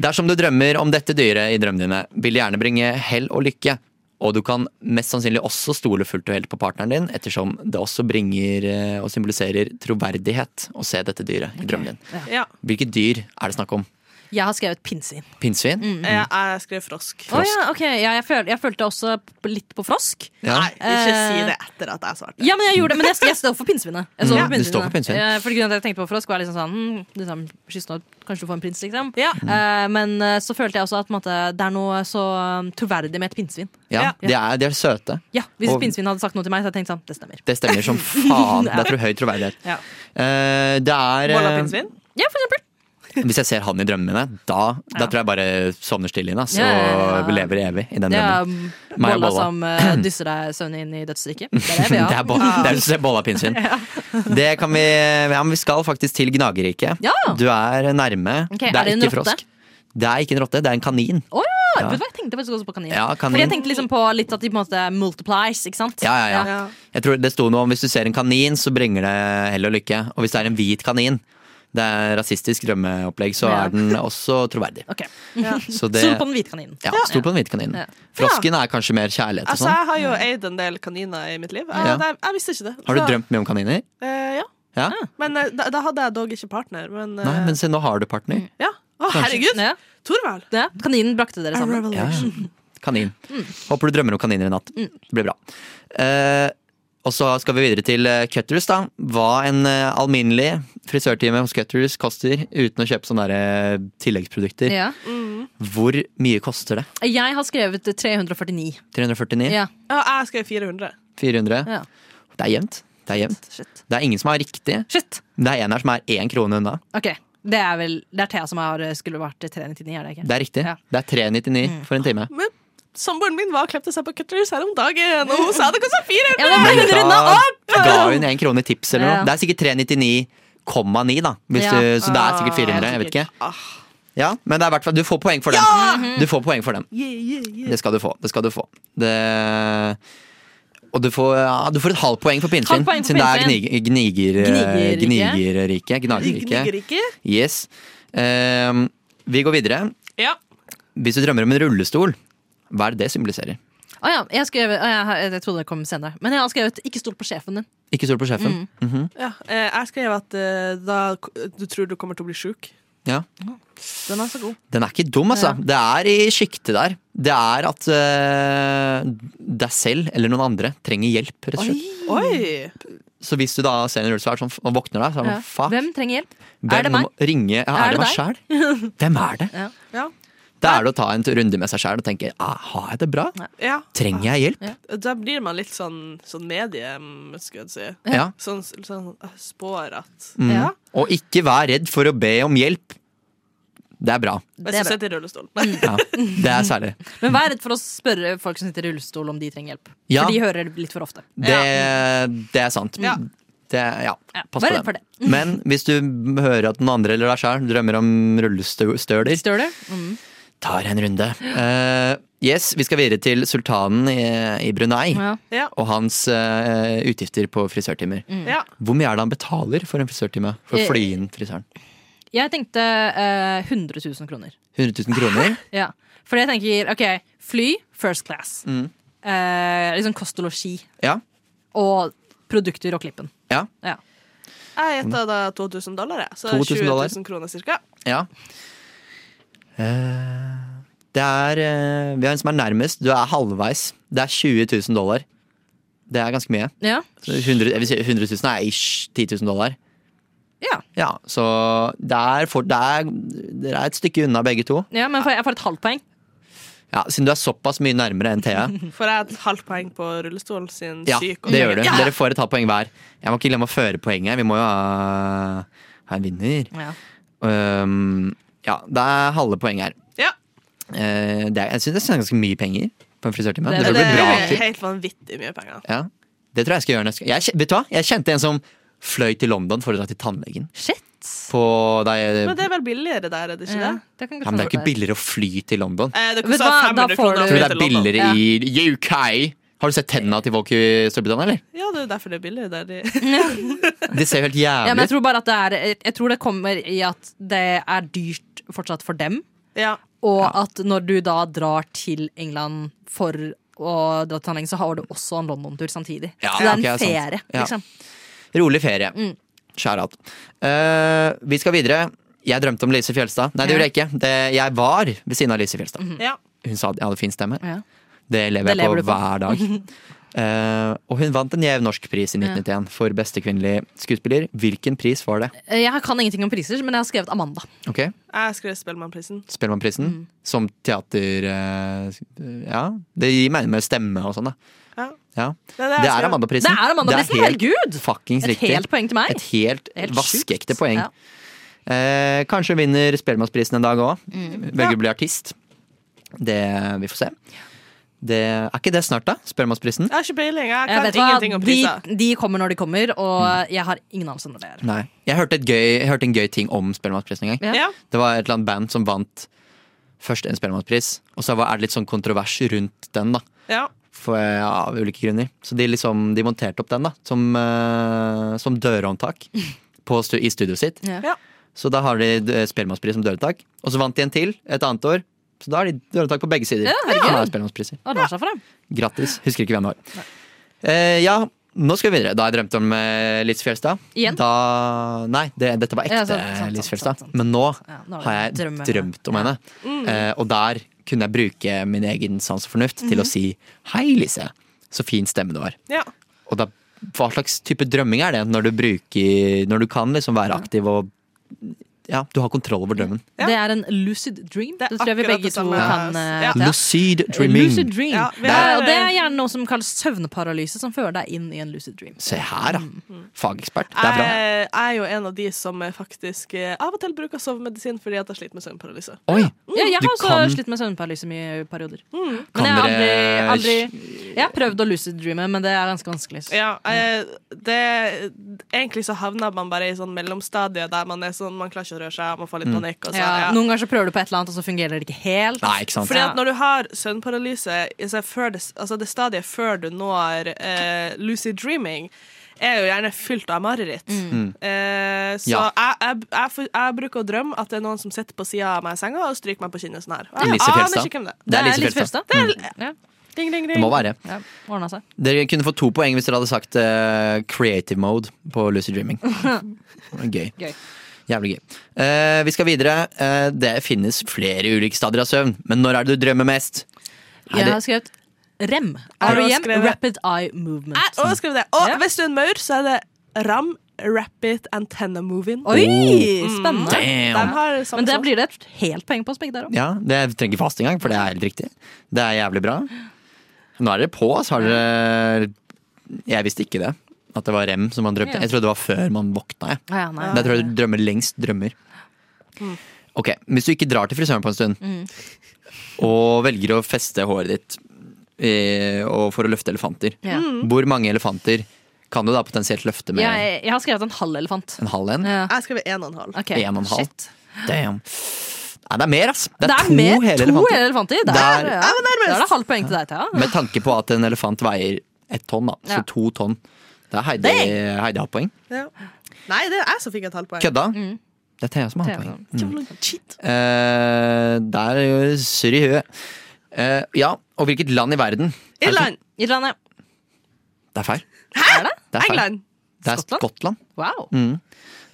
Speaker 5: Dersom du drømmer om dette dyret i drømmene dine, vil det gjerne bringe hell og lykke. Og du kan mest sannsynlig også stole fullt og helt på partneren din, ettersom det også bringer eh, og symboliserer troverdighet å se dette dyret i drømmen din.
Speaker 3: Ja.
Speaker 5: Hvilket dyr er det snakk om?
Speaker 4: Jeg har skrevet pinnsvin.
Speaker 5: Pinnsvin?
Speaker 3: Jeg, Eh, jeg skrev frosk.
Speaker 4: Å ja, ok. Ja, jeg, føl, jeg følte også p- litt på frosk.
Speaker 5: Ja.
Speaker 3: Nei, ikke si det etter at jeg svarte.
Speaker 4: Eh, Ja, men jeg gjorde det, men jeg, jeg står for pinnsvinet. Jeg står
Speaker 5: Mm,
Speaker 4: for
Speaker 5: du står for pinnsvin.
Speaker 4: pinnsvinet. Eh, For grunnen til at jeg tenkte på frosk, var liksom sånn hm, liksom, kyssen og Kanskje du får en prins, liksom. Eh, men eh, så følte jeg også at på en måte, det er noe så um, troverdig med et pinnsvin.
Speaker 5: Ja, de er, de er søte.
Speaker 4: Ja, Hvis
Speaker 5: Og-
Speaker 4: et pinnsvin hadde sagt noe til meg, så hadde jeg tenkt sånn, det stemmer.
Speaker 5: Det stemmer som faen. Det er tro- høy troverdighet.
Speaker 4: Ja.
Speaker 5: Eh, det er eh,
Speaker 3: Mollapinnsvin?
Speaker 4: Ja, for eksempel.
Speaker 5: Hvis jeg ser han i drømmene mine, da, da tror jeg bare sovner stille inn. ass,
Speaker 4: Ja, ja,
Speaker 5: Og
Speaker 4: ja.
Speaker 5: lever evig i den
Speaker 4: Det er
Speaker 5: drømmen.
Speaker 4: um,
Speaker 5: Meg og
Speaker 4: bolla
Speaker 5: bolla.
Speaker 4: som eh, dysser deg søvnig inn i dødsriket. Det er det vi
Speaker 5: Det er,
Speaker 4: har.
Speaker 5: bo det er, det er bolla pinnsvin. Det kan vi, ja, men vi skal faktisk til gnagerriket.
Speaker 4: Ja.
Speaker 5: Du er nærme.
Speaker 4: Ok, er det en rotte?
Speaker 5: Det er ikke en rotte, det er en kanin.
Speaker 4: Å ja!
Speaker 5: Ja.
Speaker 4: Vet du hva, jeg tenkte faktisk også på kanin.
Speaker 5: Ja, kanin.
Speaker 4: Fordi jeg tenkte liksom på litt at de på en måte multiplies, ikke sant?
Speaker 5: Ja, ja, ja. Jeg tror det sto noe om hvis du ser en kanin, så bringer det hell og lykke. Og hvis det er en hvit kanin, det er rasistisk drømmeopplegg, så
Speaker 4: Ja.
Speaker 5: er den også troverdig.
Speaker 4: Ok.
Speaker 5: Så det,
Speaker 4: Stol på den hvite kaninen.
Speaker 5: ja, stol på den hvite kaninen. Frosken er kanskje mer kjærlighet og
Speaker 3: Altså,
Speaker 5: sånn.
Speaker 3: jeg har jo eid en del kaniner i mitt liv. Jeg,
Speaker 5: Ja.
Speaker 3: jeg, jeg visste ikke det.
Speaker 5: Har du
Speaker 3: Så-
Speaker 5: drømt mye om kaniner?
Speaker 3: Eh, ja.
Speaker 5: Ja?
Speaker 3: Men eh, da, da hadde jeg dog ikke partner. Men, eh,
Speaker 5: Nei, men se, nå har du
Speaker 4: Mm.
Speaker 5: partner.
Speaker 3: ja. Å, herregud!
Speaker 4: Ja.
Speaker 3: Torvald!
Speaker 4: Ja, kaninen brakte dere sammen.
Speaker 5: Ja.
Speaker 4: Mm.
Speaker 5: Kanin. Håper du drømmer om kaniner i natt. Det blir bra. Eh, og så skal vi videre til eh, Cutters, da. Hva en eh, alminnelig frisørtime hos Cutters koster uten å kjøpe sånne der, eh, tilleggsprodukter.
Speaker 4: Ja.
Speaker 5: Hvor mye koster det?
Speaker 4: Jeg har skrevet 349.
Speaker 5: 349?
Speaker 4: Ja.
Speaker 3: Ja, jeg skrev 400.
Speaker 5: 400?
Speaker 4: Ja.
Speaker 5: Det er jevnt. Det er jevnt.
Speaker 4: Shit.
Speaker 5: Det er ingen som har riktig.
Speaker 4: Shit.
Speaker 5: Det er en her som er én krone unna.
Speaker 4: Ok, det er vel Det er Thea som har, eh, skulle vært 399, er det ikke?
Speaker 5: Det er riktig.
Speaker 4: Ja. Mm.
Speaker 5: Det er 399 for en time.
Speaker 3: Men samboeren min var og klepte seg på Cutters her om dagen, og hun sa det kosta 400!
Speaker 4: Ja, men
Speaker 5: Men
Speaker 4: begynner unna
Speaker 5: da
Speaker 4: opp!
Speaker 5: ga hun én krone i tips eller noe.
Speaker 4: Ja.
Speaker 5: Det er sikkert 399,9, da. Hvis
Speaker 4: Ja.
Speaker 5: du, så det er sikkert
Speaker 4: Ah,
Speaker 5: 400. Jeg vet ikke. Ja, men det er i hvert fall, du får poeng for den. Du får poeng for den. Det skal du få. Det skal du få. Det... Og du får, ja, du får et halvt poeng for pinnsvin,
Speaker 4: Halvt poeng for
Speaker 5: siden det er
Speaker 4: pinnsvin.
Speaker 5: gniger, gniger,
Speaker 4: Gnigerrike.
Speaker 5: gnigerrike. Gnagerrike.
Speaker 3: Gniger ikke.
Speaker 5: Yes. Ehm, vi går videre.
Speaker 3: Ja.
Speaker 5: Hvis du drømmer om en rullestol, hva er det det symboliserer?
Speaker 4: Å ja, jeg, har skrevet, å, jeg, har- jeg trodde det kom senere. Men jeg har skrevet 'ikke stol på sjefen din'.
Speaker 5: Ikke stol på sjefen.
Speaker 4: Mm.
Speaker 5: Mhm.
Speaker 3: ja. eh, Jeg skrev at eh, da k- du tror du kommer til å bli sjuk.
Speaker 5: ja.
Speaker 4: Den er så god.
Speaker 5: Den er ikke dum, altså. Det er i sjiktet der. Det er at eh, deg selv eller noen andre trenger hjelp, rett og slett.
Speaker 3: Oi!
Speaker 4: Mm.
Speaker 5: Så hvis du da ser en rullestol er sånn, og våkner deg, så er det
Speaker 4: Ja.
Speaker 5: sånn fuck.
Speaker 4: Hvem trenger hjelp?
Speaker 5: Hvem
Speaker 4: er det meg?
Speaker 5: må Ringe, ja,
Speaker 4: Er
Speaker 5: er det
Speaker 4: det
Speaker 5: meg sjæl? Hvem er det?
Speaker 4: Ja.
Speaker 3: Ja.
Speaker 5: Da er det å ta en runde med seg sjæl og tenke ah, har jeg det bra?
Speaker 3: ja.
Speaker 5: Trenger jeg hjelp?
Speaker 3: Da blir man litt sånn, sånn medie, mm, skulle jeg si.
Speaker 5: Ja.
Speaker 3: Sånn, sånn eh, spår at
Speaker 5: Mm.
Speaker 3: Ja.
Speaker 5: Og ikke vær redd for å be om hjelp. Det er bra.
Speaker 3: Hvis du
Speaker 4: er bra.
Speaker 3: sitter i rullestol. Nei.
Speaker 5: Ja, det er særlig.
Speaker 4: Men vær redd for å spørre folk som sitter i rullestol om de trenger hjelp.
Speaker 5: Ja.
Speaker 4: For de hører det litt for ofte.
Speaker 5: Det, det er sant.
Speaker 3: Ja.
Speaker 5: Det, ja.
Speaker 4: Ja,
Speaker 5: Pass
Speaker 4: vær
Speaker 5: på
Speaker 4: redd for
Speaker 5: det. Men hvis du hører at noen andre eller deg sjæl drømmer om rullestøler,
Speaker 4: Stør det? Mm.
Speaker 5: tar jeg en runde. Eh, yes, vi skal videre til sultanen i, i Brunei
Speaker 4: Ja. Mm.
Speaker 3: Ja.
Speaker 5: og hans eh, utgifter på frisørtimer.
Speaker 3: Ja.
Speaker 5: Hvor mye er det han betaler for en frisørtime? For
Speaker 4: Eh,
Speaker 5: å fly inn frisøren?
Speaker 4: Jeg tenkte eh, 100 000 kroner.
Speaker 5: 100 000 kroner?
Speaker 4: Ja. For jeg tenker OK, fly first class.
Speaker 5: Mm.
Speaker 4: Eh, liksom kost og losji.
Speaker 5: Ja.
Speaker 4: Og produkter og klippen.
Speaker 5: ja.
Speaker 4: Ja.
Speaker 3: Jeg gjetta
Speaker 4: Mm.
Speaker 3: da 2000 dollar, jeg. Så
Speaker 5: 2000
Speaker 3: 20
Speaker 5: dollar.
Speaker 3: 000 kroner cirka.
Speaker 5: Ja. Eh, det er eh, Vi har en som er nærmest. Du er halvveis. Det er 20 000 dollar. Det er ganske mye.
Speaker 4: Ja.
Speaker 5: Så 100, jeg vil si 100 000 er ish 10 000 dollar.
Speaker 4: Ja.
Speaker 5: Ja, så det er, for, det er, dere er et stykke unna begge to.
Speaker 4: ja, men får jeg jeg får et halvt poeng.
Speaker 5: Ja, siden du er såpass mye nærmere enn Thea.
Speaker 3: Får jeg et halvt poeng på rullestol sin
Speaker 5: Ja,
Speaker 3: syk og
Speaker 5: det gjør du.
Speaker 3: Ja.
Speaker 5: Dere får et halvt poeng hver. Jeg må ikke glemme å føre poenget. Vi må jo ha, ha en vinner.
Speaker 4: Ja.
Speaker 5: Um, ja, det er halve poeng her.
Speaker 3: Ja.
Speaker 5: Eh, det er, jeg syns det er ganske mye penger på en frisørtime.
Speaker 4: Det-
Speaker 5: Det, burde
Speaker 3: Det
Speaker 5: bli bra.
Speaker 3: er
Speaker 5: til-
Speaker 3: helt vanvittig mye penger.
Speaker 5: Ja, det tror jeg jeg skal gjøre neste gang. Jeg, kje- vet du hva? Jeg kjente en som fløy til London for å dra til tannlegen.
Speaker 4: Shit.
Speaker 5: på deg
Speaker 3: Men det er vel billigere der, er det ikke det?
Speaker 4: det kan
Speaker 5: ja, men det er ikke billigere å fly til London.
Speaker 3: Eh, det
Speaker 4: Vet du
Speaker 3: koster
Speaker 4: hva, da
Speaker 3: 500
Speaker 4: får
Speaker 3: kroner. å
Speaker 4: du-
Speaker 5: Tror du
Speaker 3: fly
Speaker 5: det er
Speaker 3: til London.
Speaker 5: billigere i UK? Har du sett tennene til folk i Storbritannia, eller?
Speaker 3: Ja, det er jo derfor det er billigere der. de-
Speaker 5: De ser jo helt
Speaker 4: Ja, men
Speaker 5: jævlig
Speaker 4: jeg tror bare at det er Jeg tror det kommer i at det er dyrt fortsatt for dem.
Speaker 3: Ja.
Speaker 4: Og at når du da drar til England for å dra til tannlegen, så har du også en London-tur samtidig.
Speaker 5: Ja,
Speaker 4: så det er en
Speaker 5: ok, sant.
Speaker 4: ferie,
Speaker 5: Ja.
Speaker 4: liksom.
Speaker 5: Rolig ferie.
Speaker 4: Mm.
Speaker 5: Shout-out. Eh, vi skal videre. Jeg drømte om Lise Fjelstad. Nei, det
Speaker 4: Ja.
Speaker 5: gjorde jeg ikke. Det, jeg var ved siden av Lise Fjelstad.
Speaker 3: ja.
Speaker 5: Hun sa at jeg hadde fin stemme.
Speaker 4: Ja.
Speaker 5: Det lever
Speaker 4: Det
Speaker 5: jeg
Speaker 4: lever
Speaker 5: på,
Speaker 4: du på.
Speaker 5: hver dag. Eh, og hun vant en gjev norsk pris i 1991 for beste kvinnelige skuespiller. Hvilken pris var det?
Speaker 4: Eh, Jeg kan ingenting om priser, men jeg har skrevet Amanda.
Speaker 5: Ok,
Speaker 3: Jeg skrev Spellemannprisen.
Speaker 5: Spellemannprisen.
Speaker 4: Mm.
Speaker 5: Som teater... eh, ja, det gir mening med stemme og sånn, da.
Speaker 3: Ja.
Speaker 5: Ja.
Speaker 3: Nei,
Speaker 5: Det
Speaker 3: jeg
Speaker 5: er
Speaker 3: skrev.
Speaker 5: Amanda-prisen.
Speaker 4: Det er Amanda-prisen,
Speaker 5: helt
Speaker 4: herregud!
Speaker 5: Fuckings
Speaker 4: Et
Speaker 5: riktig.
Speaker 4: helt poeng til meg.
Speaker 5: Et helt,
Speaker 4: Helt sjukt.
Speaker 5: vaskeekte poeng.
Speaker 4: Ja.
Speaker 5: Eh, kanskje hun vinner Spellemannsprisen en dag òg.
Speaker 4: Mm.
Speaker 5: Velger å bli artist. Det Vi får se. Det, er ikke det snart, da? Spellemannsprisen?
Speaker 3: Jeg har ikke peiling. Jeg
Speaker 4: Jeg
Speaker 3: kan
Speaker 4: vet
Speaker 3: ingenting
Speaker 4: hva,
Speaker 3: om
Speaker 4: de,
Speaker 3: priser.
Speaker 4: de kommer når de kommer, og
Speaker 5: Mm.
Speaker 4: jeg har ingen anelse om når det er.
Speaker 5: Nei. Jeg hørte, et gøy, jeg hørte en gøy ting om Spellemannsprisen en gang.
Speaker 3: Ja.
Speaker 5: Det var et eller annet band som vant først en Spellemannpris, og så var, er det litt sånn kontrovers rundt den, da.
Speaker 3: Ja.
Speaker 5: For, ja, av ulike grunner. Så de, liksom, de monterte opp den da, som, eh, som dørhåndtak på stu, i studioet sitt.
Speaker 4: Ja.
Speaker 3: Ja.
Speaker 5: Så da har de eh, Spellemannspris som dørhåndtak. Og så vant de en til et annet år. Så da har de dørhåndtak på begge sider.
Speaker 4: Ja, herregud.
Speaker 5: Som er Spellemannspriser.
Speaker 4: Og lar seg for dem.
Speaker 5: Grattis. Husker ikke hvem det var. Eh, ja, nå skal vi videre. Da jeg drømte om eh, Lise Fjelstad
Speaker 4: Igjen?
Speaker 5: Da, Nei, det, dette var ekte
Speaker 4: Ja, sant, sant, sant,
Speaker 5: Lise
Speaker 4: sant,
Speaker 5: Fjelstad.
Speaker 4: sant.
Speaker 5: Men nå
Speaker 4: Ja, nå
Speaker 5: har jeg
Speaker 4: drømmer.
Speaker 5: drømt om henne.
Speaker 4: Mm.
Speaker 5: Eh, og der kunne jeg bruke min egen sans og fornuft til
Speaker 4: Mhm.
Speaker 5: å si hei, Lise. Så fin stemme du har.
Speaker 3: Ja.
Speaker 5: Og da, hva slags type drømming er det når du, bruker, når du kan liksom være aktiv og ja, du har kontroll over drømmen?
Speaker 3: Ja.
Speaker 4: Det er en lucid dream.
Speaker 3: Det er
Speaker 4: Det, tror jeg vi
Speaker 3: akkurat
Speaker 4: begge
Speaker 3: det
Speaker 4: to
Speaker 3: samme.
Speaker 4: kan eh,
Speaker 3: Ja.
Speaker 4: dette.
Speaker 5: Lucid dreaming.
Speaker 4: Lucid dream.
Speaker 3: Ja, vi
Speaker 4: det, er,
Speaker 3: har,
Speaker 4: og det er
Speaker 3: eh,
Speaker 4: gjerne noe som kalles søvnparalyse, som fører deg inn i en lucid dream.
Speaker 5: Se her, da.
Speaker 4: Mm,
Speaker 5: Fagekspert. Det er bra.
Speaker 4: Eh,
Speaker 3: Jeg, jeg er jo en av de som faktisk eh, av og til bruker sovemedisin fordi at jeg sliter med søvnparalyse.
Speaker 5: Oi,
Speaker 4: Ja, jeg
Speaker 5: Du
Speaker 4: har også
Speaker 5: kan-
Speaker 4: slitt med søvnparalyse mye i perioder.
Speaker 3: Mm.
Speaker 5: Kan
Speaker 4: Men jeg har aldri,
Speaker 5: dere-
Speaker 4: aldri Jeg har prøvd å lucid dreame, men det er ganske vanskelig.
Speaker 3: Ja, eh, det, egentlig så havner man bare i sånn mellomstadie der man er sånn, man klarer ikke å røre seg, man får
Speaker 5: Mm.
Speaker 3: litt panikk. Og så,
Speaker 4: Ja,
Speaker 3: altså, ja.
Speaker 4: Noen ganger så prøver du på et eller annet, og så fungerer det ikke helt.
Speaker 5: Nei, ikke sant.
Speaker 3: Fordi at når du har søvnparalyse, altså, før det, altså det stadiet før du når eh, lucid dreaming, er jo gjerne fylt av mareritt.
Speaker 5: Mm.
Speaker 3: Eh, så
Speaker 5: Ja.
Speaker 3: jeg, jeg, jeg, får- jeg bruker å drømme at det er noen som sitter på sida av meg i senga og stryker meg på kinnet sånn her. Og jeg
Speaker 5: Lise Fjelstad.
Speaker 3: aner ikke hvem det er.
Speaker 5: Det er Lise Fjelstad. Mm.
Speaker 4: Fjelstad. Ja,
Speaker 3: Ding, ding,
Speaker 5: Det
Speaker 3: ding.
Speaker 5: må være.
Speaker 4: ja, ordnet seg.
Speaker 5: Dere kunne fått to poeng hvis dere hadde sagt eh, creative mode på Lucy Dreaming. Gøy.
Speaker 4: Gøy.
Speaker 5: Jævlig gøy. Eh, vi skal videre. Eh, det finnes flere ulike stadier av søvn, men når er det du drømmer mest? Er
Speaker 4: Jeg
Speaker 5: det,
Speaker 4: har skrevet REM.
Speaker 3: har
Speaker 4: REM
Speaker 3: skrevet-
Speaker 4: Rapid Eye Movement.
Speaker 3: Jeg, og, skriv det. og
Speaker 4: Ja.
Speaker 3: hvis du er en maur, så er det Ram Rapid Antenna Moving.
Speaker 4: Oi,
Speaker 5: Oh.
Speaker 4: spennende!
Speaker 3: De
Speaker 5: damn!
Speaker 3: har samme
Speaker 4: Men det
Speaker 3: sak.
Speaker 4: blir det et helt poeng på oss begge der òg.
Speaker 5: Ja, det trenger ikke faste engang, for det er helt riktig. Det er jævlig bra. Nå er dere på, så har dere Jeg visste ikke det. At det var rem som man drømte.
Speaker 4: Ja.
Speaker 5: Jeg trodde det var før man våkna. Jeg.
Speaker 4: Ja, nei. Mm.
Speaker 5: Det er tror jeg du drømmer lengst drømmer. Ok, Hvis du ikke drar til frisøren på en stund, og velger å feste håret ditt eh, og for å løfte elefanter,
Speaker 4: Ja.
Speaker 5: hvor mange elefanter kan du da potensielt løfte med
Speaker 4: Jeg, jeg har skrevet en halv elefant.
Speaker 5: en halv en?
Speaker 4: Ja.
Speaker 3: Jeg skriver en og en halv.
Speaker 4: Ok,
Speaker 5: En og en halv.
Speaker 4: Shit.
Speaker 5: Damn. Nei, det er mer, ass! Det er,
Speaker 4: Det er
Speaker 5: to
Speaker 4: mer,
Speaker 5: hele
Speaker 4: to
Speaker 5: elefanter.
Speaker 4: hele elefanter. Der,
Speaker 5: Der-
Speaker 4: ja.
Speaker 5: Jeg
Speaker 4: Da er det halvt poeng til deg, Thea.
Speaker 5: Med tanke på at en elefant veier ett tonn, da. Så
Speaker 4: Ja.
Speaker 5: to tonn. Det er Heidi, Heidi har poeng.
Speaker 3: Ja. Nei, det er jeg som fikk et halvt poeng.
Speaker 5: Kødda?
Speaker 4: Mm.
Speaker 5: Det er Thea som har poeng.
Speaker 3: Jævla cheat.
Speaker 5: Eh, der er jo surr i huet. Eh, ja, og hvilket land i verden? Er det som-
Speaker 3: Irland.
Speaker 4: Irland, ja.
Speaker 5: Det er feil.
Speaker 4: Er det?
Speaker 5: Det er feil.
Speaker 3: England.
Speaker 5: Det er
Speaker 4: Skottland?
Speaker 5: Skottland.
Speaker 4: Wow.
Speaker 5: Mm.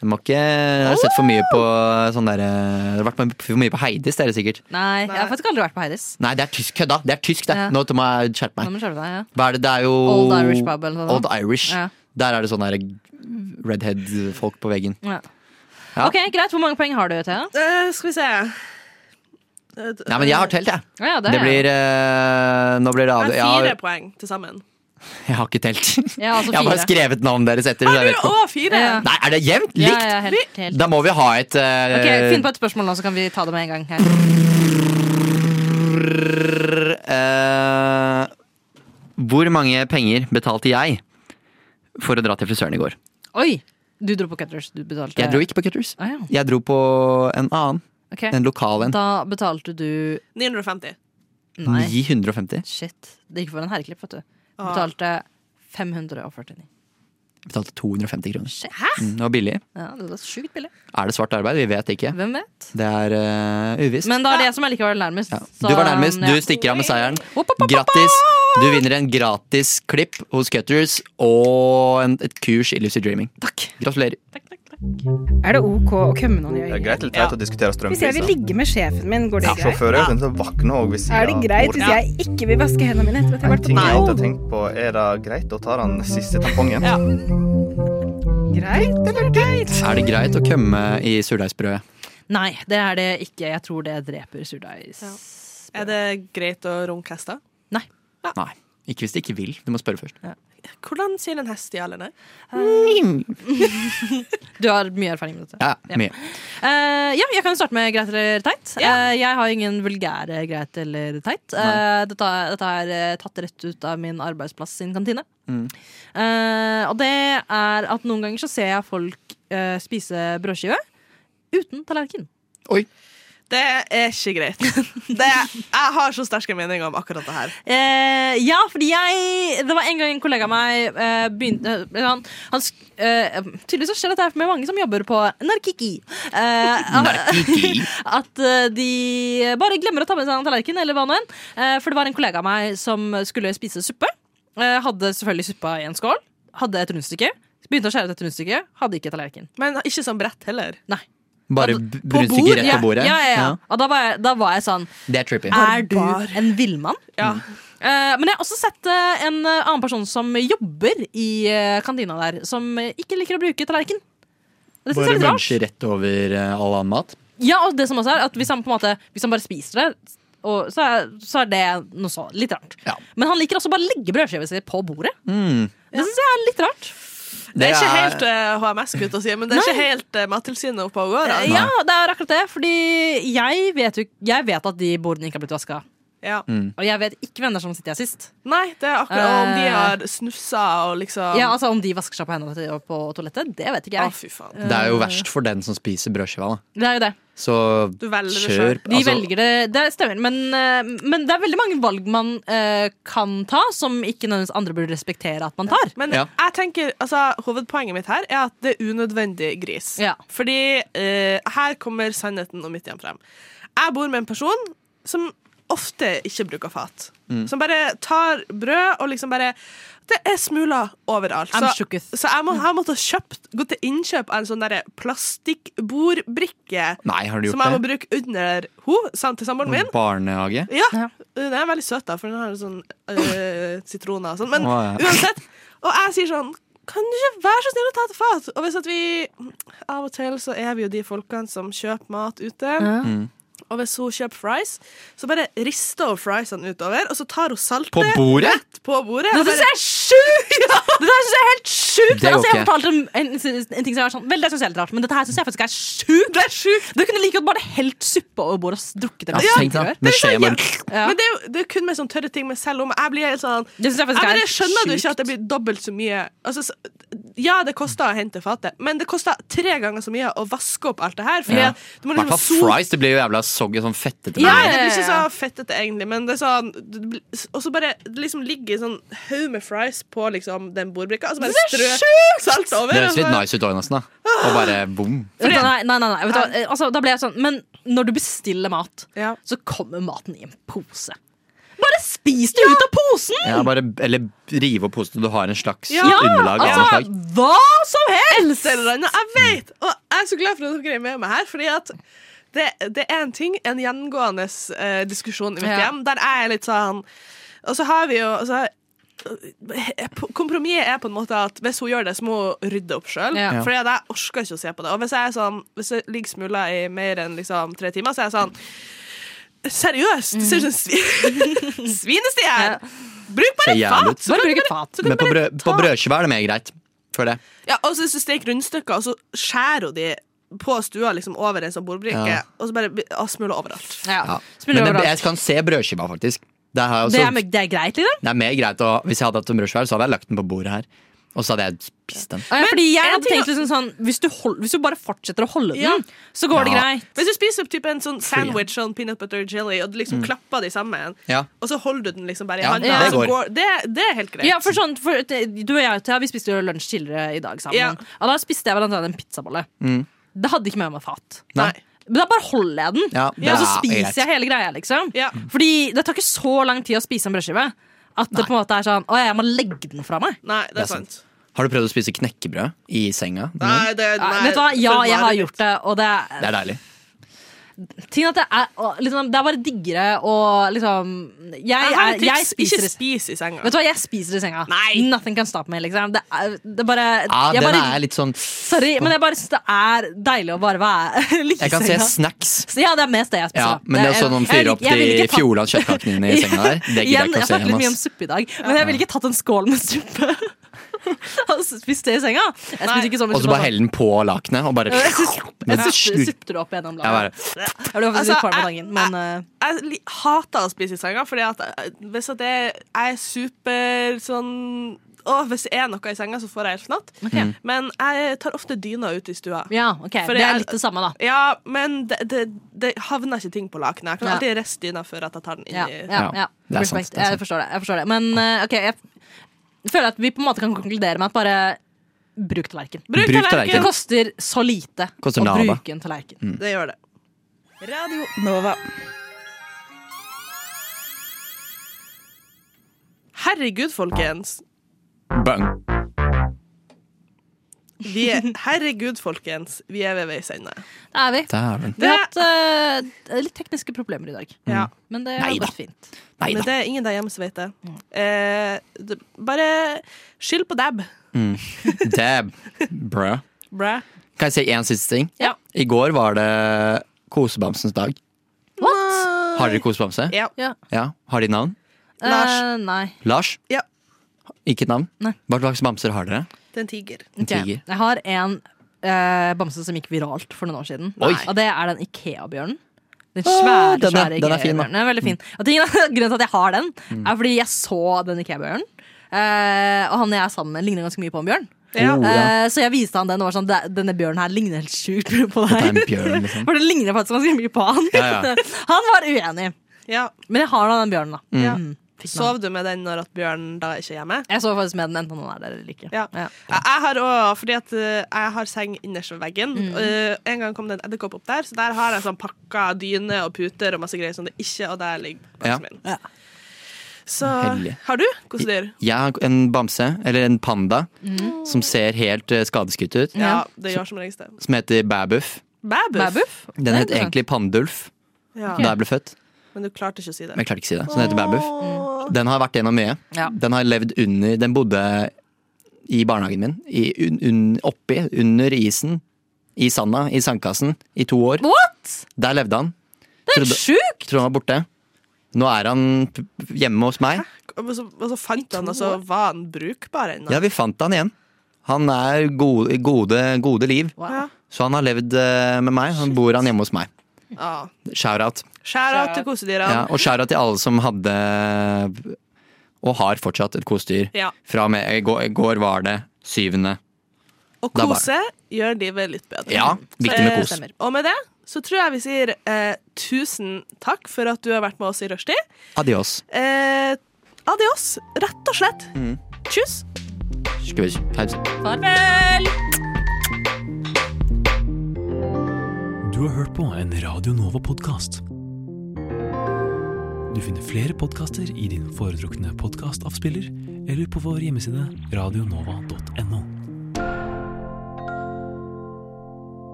Speaker 5: Du må ikke jeg har sett for mye på sånn der eh, Det har vært for mye på Heidis, dere sikkert.
Speaker 4: Nei, jeg har faktisk aldri vært på Heidis.
Speaker 5: Nei, det er tysk, kødda! Det er tysk, det.
Speaker 4: Ja.
Speaker 5: Nå må jeg skjerpe
Speaker 4: Nå må
Speaker 5: meg.
Speaker 4: du skjerpe deg, ja.
Speaker 5: Hva er det? Det er jo
Speaker 4: Old Irish pub eller noe sånt.
Speaker 5: Old Irish.
Speaker 4: Ja.
Speaker 5: Der er det sånne der redhead-folk på veggen.
Speaker 4: Ja.
Speaker 5: Ja.
Speaker 4: Ok, Greit. Hvor mange poeng har du, Thea?
Speaker 3: Eh, skal vi se Eh,
Speaker 5: Nei, men jeg har telt, jeg.
Speaker 4: Ja,
Speaker 5: Det
Speaker 4: er-
Speaker 5: blir eh, Nå blir det av...
Speaker 3: Jeg
Speaker 5: Jeg
Speaker 3: har fire
Speaker 5: har,
Speaker 3: poeng til sammen.
Speaker 5: jeg har ikke telt. Jeg
Speaker 4: Ja, altså
Speaker 5: har bare
Speaker 4: fire.
Speaker 5: skrevet navnet deres etter. så
Speaker 3: Har du
Speaker 5: jeg vet ikke.
Speaker 3: òg fire?
Speaker 4: Ja.
Speaker 5: Nei, er det jevnt?
Speaker 4: Ja,
Speaker 5: Likt?
Speaker 4: ja, helt, helt.
Speaker 5: Da må vi ha et eh,
Speaker 4: Ok, Finn på et spørsmål nå, så kan vi ta det med en gang. her
Speaker 5: Eh, Hvor mange penger betalte jeg for å dra til frisøren i går?
Speaker 4: Oi! Du dro på Cutters. Du betalte
Speaker 5: Jeg dro ikke på Cutters.
Speaker 4: Ah, ja.
Speaker 5: Jeg dro på en annen.
Speaker 4: Ok.
Speaker 5: En lokal en.
Speaker 4: Da betalte du
Speaker 3: 950.
Speaker 4: Nei.
Speaker 5: 950.
Speaker 4: Shit. Det gikk for en herreklipp, vet du. Du betalte 549.
Speaker 5: Jeg betalte 250 kroner. Mm, det var billig.
Speaker 4: Ja, det var sjukt billig.
Speaker 5: Er det svart arbeid? Vi vet ikke.
Speaker 4: Hvem vet?
Speaker 5: Det er eh, uvisst.
Speaker 4: Men det er det som er likevel nærmest. Så,
Speaker 5: du var nærmest. Du
Speaker 4: ja.
Speaker 5: stikker av med seieren. Grattis! Du vinner en gratis klipp hos Cutters og en, et kurs i Lucy Dreaming. Takk. Gratulerer.
Speaker 12: Er det ok å kømme noen i
Speaker 13: Det
Speaker 12: øyet?
Speaker 13: er greit litt greit å diskutere
Speaker 12: Hvis jeg vil
Speaker 13: strømpriser.
Speaker 12: ligge med sjefen min, går det greit?
Speaker 13: Sjåfører er jo sånn som våkner også hvis
Speaker 12: Er det greit hvis jeg ikke vil vaske hendene mine etter at jeg har vært på
Speaker 13: Ting jeg alltid har
Speaker 12: do?
Speaker 13: tenkt på, er det greit å ta den siste tampongen?
Speaker 12: Greit eller greit?
Speaker 5: Er det greit å kømme i surdeigsbrødet?
Speaker 4: Nei, det er det ikke. Jeg tror det dreper surdeigs.
Speaker 3: Er det greit å runke hester?
Speaker 5: Nei. Ikke hvis de ikke vil. Du må spørre først.
Speaker 3: Hvordan sier en hest ja eller nei?
Speaker 4: Mm. Du har mye erfaring med dette.
Speaker 5: Ja, mye.
Speaker 4: Eh, ja, jeg kan jo starte med greit eller teit. Eh, jeg har ingen vulgære greit eller teit. Eh, dette, dette er eh, tatt rett ut av min arbeidsplass sin kantine. Eh, og det er at noen ganger så ser jeg folk eh, spise brødskive uten tallerken.
Speaker 3: Det er ikke greit. Det, jeg har så sterke meninger om akkurat det her.
Speaker 4: Eh, ja, fordi jeg Det var en gang en kollega av meg eh, begynte eh, han, han, sk- eh, Tydeligvis så skjer dette her med mange som jobber på narkiki. Eh, at- at eh, de bare glemmer å ta med seg en tallerken eller hva nå enn. Eh, for det var en kollega av meg som skulle spise suppe. Eh, hadde selvfølgelig suppa i en skål. Hadde et rundstykke. Begynte å skjære ut et rundstykke. Hadde ikke tallerken.
Speaker 3: Men ikke som brett heller.
Speaker 4: Nei.
Speaker 5: Bare b- brunstykker rett på bordet?
Speaker 4: Ja, ja, ja, Og da var, jeg, da var jeg sånn
Speaker 5: Ja. Det er trippy.
Speaker 4: er du en villmann?
Speaker 5: Mm.
Speaker 4: Eh, men jeg har også sett eh, en eh, annen person som jobber i eh, kantina der, som eh, ikke liker å bruke tallerken. Det synes jeg
Speaker 5: Bare
Speaker 4: er litt rart.
Speaker 5: lunsje rett over eh, all annen mat?
Speaker 4: Ja, og det som også er at hvis han på en måte Hvis han bare spiser det, og, så, er, så er det noe så litt rart. Men han liker også bare å legge brødskiva si på bordet.
Speaker 5: Mm.
Speaker 4: Det syns jeg er litt rart.
Speaker 3: Det er ikke
Speaker 5: er-
Speaker 3: helt eh, HMS-gutt å si, men det er ikke helt uh, Mattilsynet oppe og går.
Speaker 4: Eh,
Speaker 3: altså.
Speaker 4: Ja, det er akkurat det. Fordi jeg vet, jo, jeg vet at de bordene ikke har blitt vaska.
Speaker 3: Ja.
Speaker 5: Mm.
Speaker 4: Og jeg vet ikke hvem det er som sitter her sist.
Speaker 3: Nei, det er akkurat og om de
Speaker 4: Eh.
Speaker 3: har snussa og liksom
Speaker 4: Ja, altså Om de vasker seg på hendene og på toalettet, det vet ikke jeg.
Speaker 3: Å, fy faen.
Speaker 4: eh,
Speaker 5: Det er jo verst for den som spiser brødskiva. da.
Speaker 4: Det er jo det.
Speaker 5: Så
Speaker 4: Du velger det
Speaker 5: kjør. altså,
Speaker 4: selv. De velger det, det stemmer. Men, eh, men det er veldig mange valg man eh, kan ta, som ikke nødvendigvis andre burde respektere at man tar.
Speaker 3: Men jeg tenker, altså, hovedpoenget mitt her er at det er unødvendig gris. Fordi eh, her kommer sannheten om mitt igjen frem. Jeg bor med en person som ofte ikke bruker fat.
Speaker 5: Mm.
Speaker 3: Som bare tar brød og liksom bare Det er smuler overalt.
Speaker 4: I'm
Speaker 3: Så, så jeg, må, jeg måtte ha kjøpt, gå til innkjøp av en sånn derre plastikkbordbrikke
Speaker 5: Nei, har du gjort
Speaker 3: som jeg må
Speaker 5: det?
Speaker 3: bruke under henne til samboeren min.
Speaker 5: Barnehage?
Speaker 3: Ja, eh, Den er veldig søt, da, for den har sånn øh, sitroner og sånn. Men
Speaker 5: Å, ja.
Speaker 3: uansett. Og jeg sier sånn Kan du ikke være så snill å ta et fat? Og hvis at vi Av og til så er vi jo de folkene som kjøper mat ute.
Speaker 5: Mm.
Speaker 3: Og hvis hun kjøper fries, så bare rister hun friesene utover, og så tar hun saltet
Speaker 5: På bordet?
Speaker 3: rett på bordet.
Speaker 4: Det
Speaker 3: og
Speaker 4: syns
Speaker 3: bare-
Speaker 4: jeg er sjukt! Det der synes jeg er helt sjukt!
Speaker 5: Det går
Speaker 4: Altså, jeg
Speaker 5: ikke.
Speaker 4: fortalte en, en, en ting som jeg var sånn Vel, det syns jeg er litt rart, men dette her syns jeg faktisk er sjukt!
Speaker 3: Det er sjukt
Speaker 4: Du kunne like godt bare helt suppe over bordet og s- drukket
Speaker 5: Ja,
Speaker 4: det.
Speaker 5: tenk da, med skjeen bare-
Speaker 4: Ja.
Speaker 3: Men det er, jo, det er kun med sånne tørre ting, men selv om jeg blir helt sånn
Speaker 4: Det synes jeg faktisk
Speaker 3: bare
Speaker 4: er
Speaker 3: Skjønner du
Speaker 4: sjukt.
Speaker 3: ikke at det blir dobbelt så mye altså, så, Ja, det koster å hente fatet, men det koster tre ganger så mye å vaske opp alt det her. Fordi
Speaker 5: Ja.
Speaker 3: at du må
Speaker 5: I hvert
Speaker 3: liksom
Speaker 5: fall
Speaker 3: so-
Speaker 5: fries. Det blir jo jævla soggy, sånn fettete.
Speaker 3: Nei,
Speaker 5: brød.
Speaker 3: det blir ikke så fettete, egentlig, men det er sånn det blir- Og så bare det liksom ligger en sånn haug med fries på liksom, den bordbrikka, og så bare
Speaker 4: Det er
Speaker 3: strø salt over.
Speaker 5: Det
Speaker 3: og
Speaker 5: høres litt
Speaker 3: så-
Speaker 5: nice ut òg, nesten. da.
Speaker 4: Ah.
Speaker 5: Og bare bom.
Speaker 4: Vet du hva, nei, nei, nei, nei. Vet du, hva, eh, altså, da ble jeg sånn Men når du bestiller mat, så kommer maten i en pose. Bare spis det ut av posen!
Speaker 5: Ja, bare, eller rive opp posen, du har en slags
Speaker 4: Ja,
Speaker 5: underlag. av
Speaker 4: altså,
Speaker 5: noe slag.
Speaker 4: Hva som helst!
Speaker 3: Et eller annet. Jeg vet! Og jeg er så glad for at dere er med meg her, fordi at det, det er en ting, en gjengående eh, diskusjon i mitt
Speaker 4: Ja.
Speaker 3: hjem, der jeg er litt sånn Og så har vi jo altså, Kompromisset er på en måte at hvis hun gjør det, så må hun rydde opp sjøl.
Speaker 4: Ja.
Speaker 3: Fordi at jeg orker ikke å se på det. Og hvis, jeg er sånn, hvis det ligger smuler i mer enn liksom, tre timer, så er jeg sånn Seriøst! Det ser ut som en svi svinestie her! Bruk bare
Speaker 5: Ser
Speaker 3: et
Speaker 5: jævlig ut.
Speaker 3: fat! så kan du bare- så kan
Speaker 5: Men
Speaker 3: du
Speaker 5: på,
Speaker 3: bare
Speaker 5: brød, på
Speaker 3: ta-
Speaker 5: brødskive er det mer greit. For det.
Speaker 3: ja, og så hvis du steker rundstykker, og så skjærer hun de på stua liksom over en sånn bordbrikke,
Speaker 5: Ja.
Speaker 3: og så bare ja, smuler overalt.
Speaker 5: Ja.
Speaker 4: Smuler
Speaker 5: Men det,
Speaker 4: overalt.
Speaker 5: jeg altså- kan se brødskiva, faktisk. Det, har jeg
Speaker 4: Det
Speaker 5: også,
Speaker 4: er, det er greit, liksom?
Speaker 5: det er mer greit å, Hvis jeg hadde hatt en brødskive, her, så hadde jeg lagt den på bordet her. Og så hadde jeg spist den.
Speaker 4: Ja, ja, fordi jeg
Speaker 3: en
Speaker 4: hadde
Speaker 3: ting-
Speaker 4: tenkt liksom sånn hvis du, hold, hvis du bare fortsetter å holde den, så går det
Speaker 5: Ja.
Speaker 4: greit.
Speaker 3: Hvis du spiser typ en sånn sandwich sånn peanut butter jelly, og du liksom klapper de sammen,
Speaker 5: Mm. Ja.
Speaker 3: og så holder du den liksom bare i
Speaker 5: Ja,
Speaker 3: hånda,
Speaker 5: det
Speaker 3: så
Speaker 5: går.
Speaker 3: går det, det er helt greit.
Speaker 4: Ja, for sånn, for, det- du og jeg Thea, vi spiste jo lunsj tidligere i dag sammen.
Speaker 3: Ja.
Speaker 4: Og da spiste jeg blant annet en pizzabolle.
Speaker 5: Mm.
Speaker 4: Det hadde ikke med meg fat.
Speaker 5: Nei.
Speaker 4: Men da bare holder jeg den,
Speaker 5: Ja, det
Speaker 4: og så
Speaker 5: er
Speaker 4: spiser
Speaker 5: greit.
Speaker 4: jeg hele greia. liksom Fordi det tar ikke så lang tid å spise en brødskive at det på en måte er sånn Å, jeg må legge den fra meg.
Speaker 3: Nei, det
Speaker 5: Det er
Speaker 3: er sant.
Speaker 5: Har du prøvd å spise knekkebrød i senga?
Speaker 3: Nei, det, nei,
Speaker 4: Vet du hva? Ja,
Speaker 3: for
Speaker 4: jeg
Speaker 3: bare-
Speaker 4: har gjort det, og det
Speaker 5: Det er deilig.
Speaker 4: Ting at det er og liksom, Det er bare diggere og liksom Jeg,
Speaker 3: Jeg har et
Speaker 4: er- jeg
Speaker 3: tips.
Speaker 4: spiser
Speaker 3: Ikke spis i senga.
Speaker 4: Vet du hva, jeg spiser i senga. Nothing can stop me. Liksom. Det er, det er bare,
Speaker 5: Ja,
Speaker 4: jeg
Speaker 5: den
Speaker 4: bare
Speaker 5: er litt sånn
Speaker 4: Sorry, men jeg bare syns det er deilig å bare være ligge
Speaker 5: Jeg kan se snacks.
Speaker 4: Så ja, det er mest Altså, det jeg spiser.
Speaker 5: Ja,
Speaker 4: da.
Speaker 5: men det er sånn noen
Speaker 4: jeg-
Speaker 5: fyrer
Speaker 4: jeg-
Speaker 5: opp
Speaker 4: jeg vil
Speaker 5: de
Speaker 4: ikke ta-
Speaker 5: Fjordland kjøttkakene dine i senga der. Det gidder
Speaker 4: Igjen,
Speaker 5: jeg ikke å
Speaker 4: jeg
Speaker 5: se
Speaker 4: snakket litt
Speaker 5: igjen.
Speaker 4: mye om
Speaker 5: ass.
Speaker 4: suppe i dag, men jeg ville ikke tatt en skål med suppe. Og spist det i senga. Jeg spiste ikke sånn med
Speaker 5: Og så
Speaker 4: suppe,
Speaker 5: bare helle den på lakenet, og bare
Speaker 4: Jeg synes-
Speaker 5: Men
Speaker 4: Jeg
Speaker 5: slurp.
Speaker 4: supter opp gjennom
Speaker 5: Jeg bare-
Speaker 4: laget. Jeg ble faktisk litt
Speaker 3: Altså,
Speaker 4: kvalm på
Speaker 3: jeg-
Speaker 4: dagen, men eh,
Speaker 3: Jeg li- hater å spise i senga, fordi at eh, hvis at jeg, jeg er super sånn å, hvis det er noe i senga, så får jeg helt fnatt.
Speaker 4: Ok.
Speaker 3: Men jeg tar ofte dyna ut i stua.
Speaker 4: Mm. ja, ok.
Speaker 3: For
Speaker 4: Det
Speaker 3: jeg-
Speaker 4: er litt det samme, da.
Speaker 3: Ja, men det, det, det havner ikke ting på lakenet. Jeg kan
Speaker 4: Ja.
Speaker 3: alltid riste dyna før at jeg tar den inn
Speaker 4: Ja,
Speaker 3: i
Speaker 4: ja, ja.
Speaker 5: Det er sant,
Speaker 4: Respekt.
Speaker 5: det er sant.
Speaker 4: Jeg forstår det. Jeg forstår det. Men eh, ok, jeg f- føler at vi på en måte kan konkludere med at bare bruk tallerken.
Speaker 5: Bruk Bruk tallerken. tallerken.
Speaker 4: Det koster så lite
Speaker 5: Koster Mm.
Speaker 4: å
Speaker 5: lava.
Speaker 4: bruke en tallerken.
Speaker 3: Det gjør det.
Speaker 12: Radio Nova.
Speaker 3: Herregud, folkens.
Speaker 5: Bang.
Speaker 3: Vi er, herregud, folkens. Vi er ved veis ende.
Speaker 4: Det er vi.
Speaker 5: Dæven.
Speaker 4: Vi har hatt eh, litt tekniske problemer i dag.
Speaker 3: Ja.
Speaker 4: Men det har
Speaker 5: Neida.
Speaker 4: gått fint.
Speaker 5: Nei
Speaker 3: Men
Speaker 5: da.
Speaker 3: det er ingen der hjemme som vet det.
Speaker 4: Mm.
Speaker 3: Eh, det bare skyld på dab.
Speaker 5: Mm. Dab. Brø.
Speaker 3: Bra.
Speaker 5: Kan jeg si én siste ting?
Speaker 3: Ja.
Speaker 5: I går var det kosebamsens dag.
Speaker 4: What?
Speaker 5: Har dere kosebamse?
Speaker 3: Ja.
Speaker 4: Ja.
Speaker 5: Ja. Har de navn?
Speaker 4: Eh,
Speaker 3: Lars.
Speaker 4: nei.
Speaker 5: Lars?
Speaker 3: Ja.
Speaker 5: Ikke navn?
Speaker 4: Nei.
Speaker 5: Hva slags bamser har dere?
Speaker 3: Det er en tiger.
Speaker 5: En
Speaker 4: Ok.
Speaker 5: tiger.
Speaker 4: Jeg har en eh, bamse som gikk viralt for noen år siden.
Speaker 5: Oi.
Speaker 4: Og det er den Ikea-bjørnen. Den
Speaker 5: Ah,
Speaker 4: svære,
Speaker 5: den er-
Speaker 4: svære
Speaker 5: den er fin, da. Mm.
Speaker 4: Ikea-bjørnen. Den er veldig fin. Og tingen er- grunnen til at jeg har den, er fordi jeg så den Ikea-bjørnen. Eh, og han jeg er sammen med, ligner ganske mye på en bjørn.
Speaker 5: Ja. Oh, ja.
Speaker 4: Eh, så jeg viste han den og var sånn "Det- Denne bjørnen her ligner helt sjukt på
Speaker 5: Dette er en
Speaker 4: deg.
Speaker 5: bjørn, liksom.
Speaker 4: For den ligner faktisk ganske mye på han.
Speaker 5: Ja, ja.
Speaker 4: han var uenig.
Speaker 3: Ja.
Speaker 4: Men jeg har da den bjørnen, da.
Speaker 5: Mm.
Speaker 3: Ja.
Speaker 4: Mm.
Speaker 3: Sov du med den når at bjørnen da ikke er hjemme?
Speaker 4: Jeg så faktisk med den enten han er der eller ikke.
Speaker 3: Ja.
Speaker 4: Ja.
Speaker 3: Jeg jeg har også, fordi at eh, jeg har seng innerst ved veggen.
Speaker 5: Mm.
Speaker 3: Eh, en gang kom det en edderkopp opp der, så der har jeg sånn pakka dyne og puter og masse greier som det ikke Og der ligger
Speaker 5: Ja.
Speaker 3: bamsen min. Så
Speaker 5: Heldig.
Speaker 3: har du kosedyr?
Speaker 5: Jeg har en bamse, eller en panda, som ser helt eh, skadeskutt ut.
Speaker 3: Ja, det gjør som regel det.
Speaker 5: Som heter Bæbuff.
Speaker 3: Bæbuff?
Speaker 5: Den het egentlig Pandulf
Speaker 3: Ja.
Speaker 5: da jeg ble født,
Speaker 3: Men du klarte ikke å si det.
Speaker 5: men jeg klarte ikke å si det. Så den heter Bæbuff. Den har vært gjennom mye.
Speaker 4: Ja.
Speaker 5: Den har levd under Den bodde i barnehagen min. I, un, un, oppi, under isen. I sanda, i sandkassen, i to år.
Speaker 4: What?!
Speaker 5: Der levde han.
Speaker 4: Det er
Speaker 5: Trodde-
Speaker 4: sjukt!
Speaker 5: Trodde han var borte. Nå er han p- p- hjemme hos meg.
Speaker 3: Og så, og så fant han, og så var han brukbar ennå.
Speaker 5: Ja, vi fant han igjen. Han er gode, gode, gode liv.
Speaker 3: Wow.
Speaker 5: Så han har levd eh, med meg. Han bor han hjemme hos meg.
Speaker 3: Ja.
Speaker 5: Shout-out.
Speaker 3: Skjæra til kosedyrene.
Speaker 5: Ja, og shout-out til alle som hadde og har fortsatt et kosedyr.
Speaker 3: Ja.
Speaker 5: Fra og med i går, i går var det syvende.
Speaker 3: Og
Speaker 5: Da var
Speaker 3: kose gjør livet litt bedre.
Speaker 5: Ja, viktig med
Speaker 3: Eh,
Speaker 5: kos.
Speaker 3: stemmer. Og med det så tror jeg vi sier eh, tusen takk for at du har vært med oss i rushtid.
Speaker 5: Adios.
Speaker 3: Eh, adios, rett og slett.
Speaker 5: Mm.
Speaker 3: Tjus.
Speaker 5: Skal vi pause?
Speaker 4: Farvel!
Speaker 14: Du har hørt på en Radio Nova-podkast. Du finner flere podkaster i din foretrukne podkastavspiller eller på vår hjemmeside radionova.no.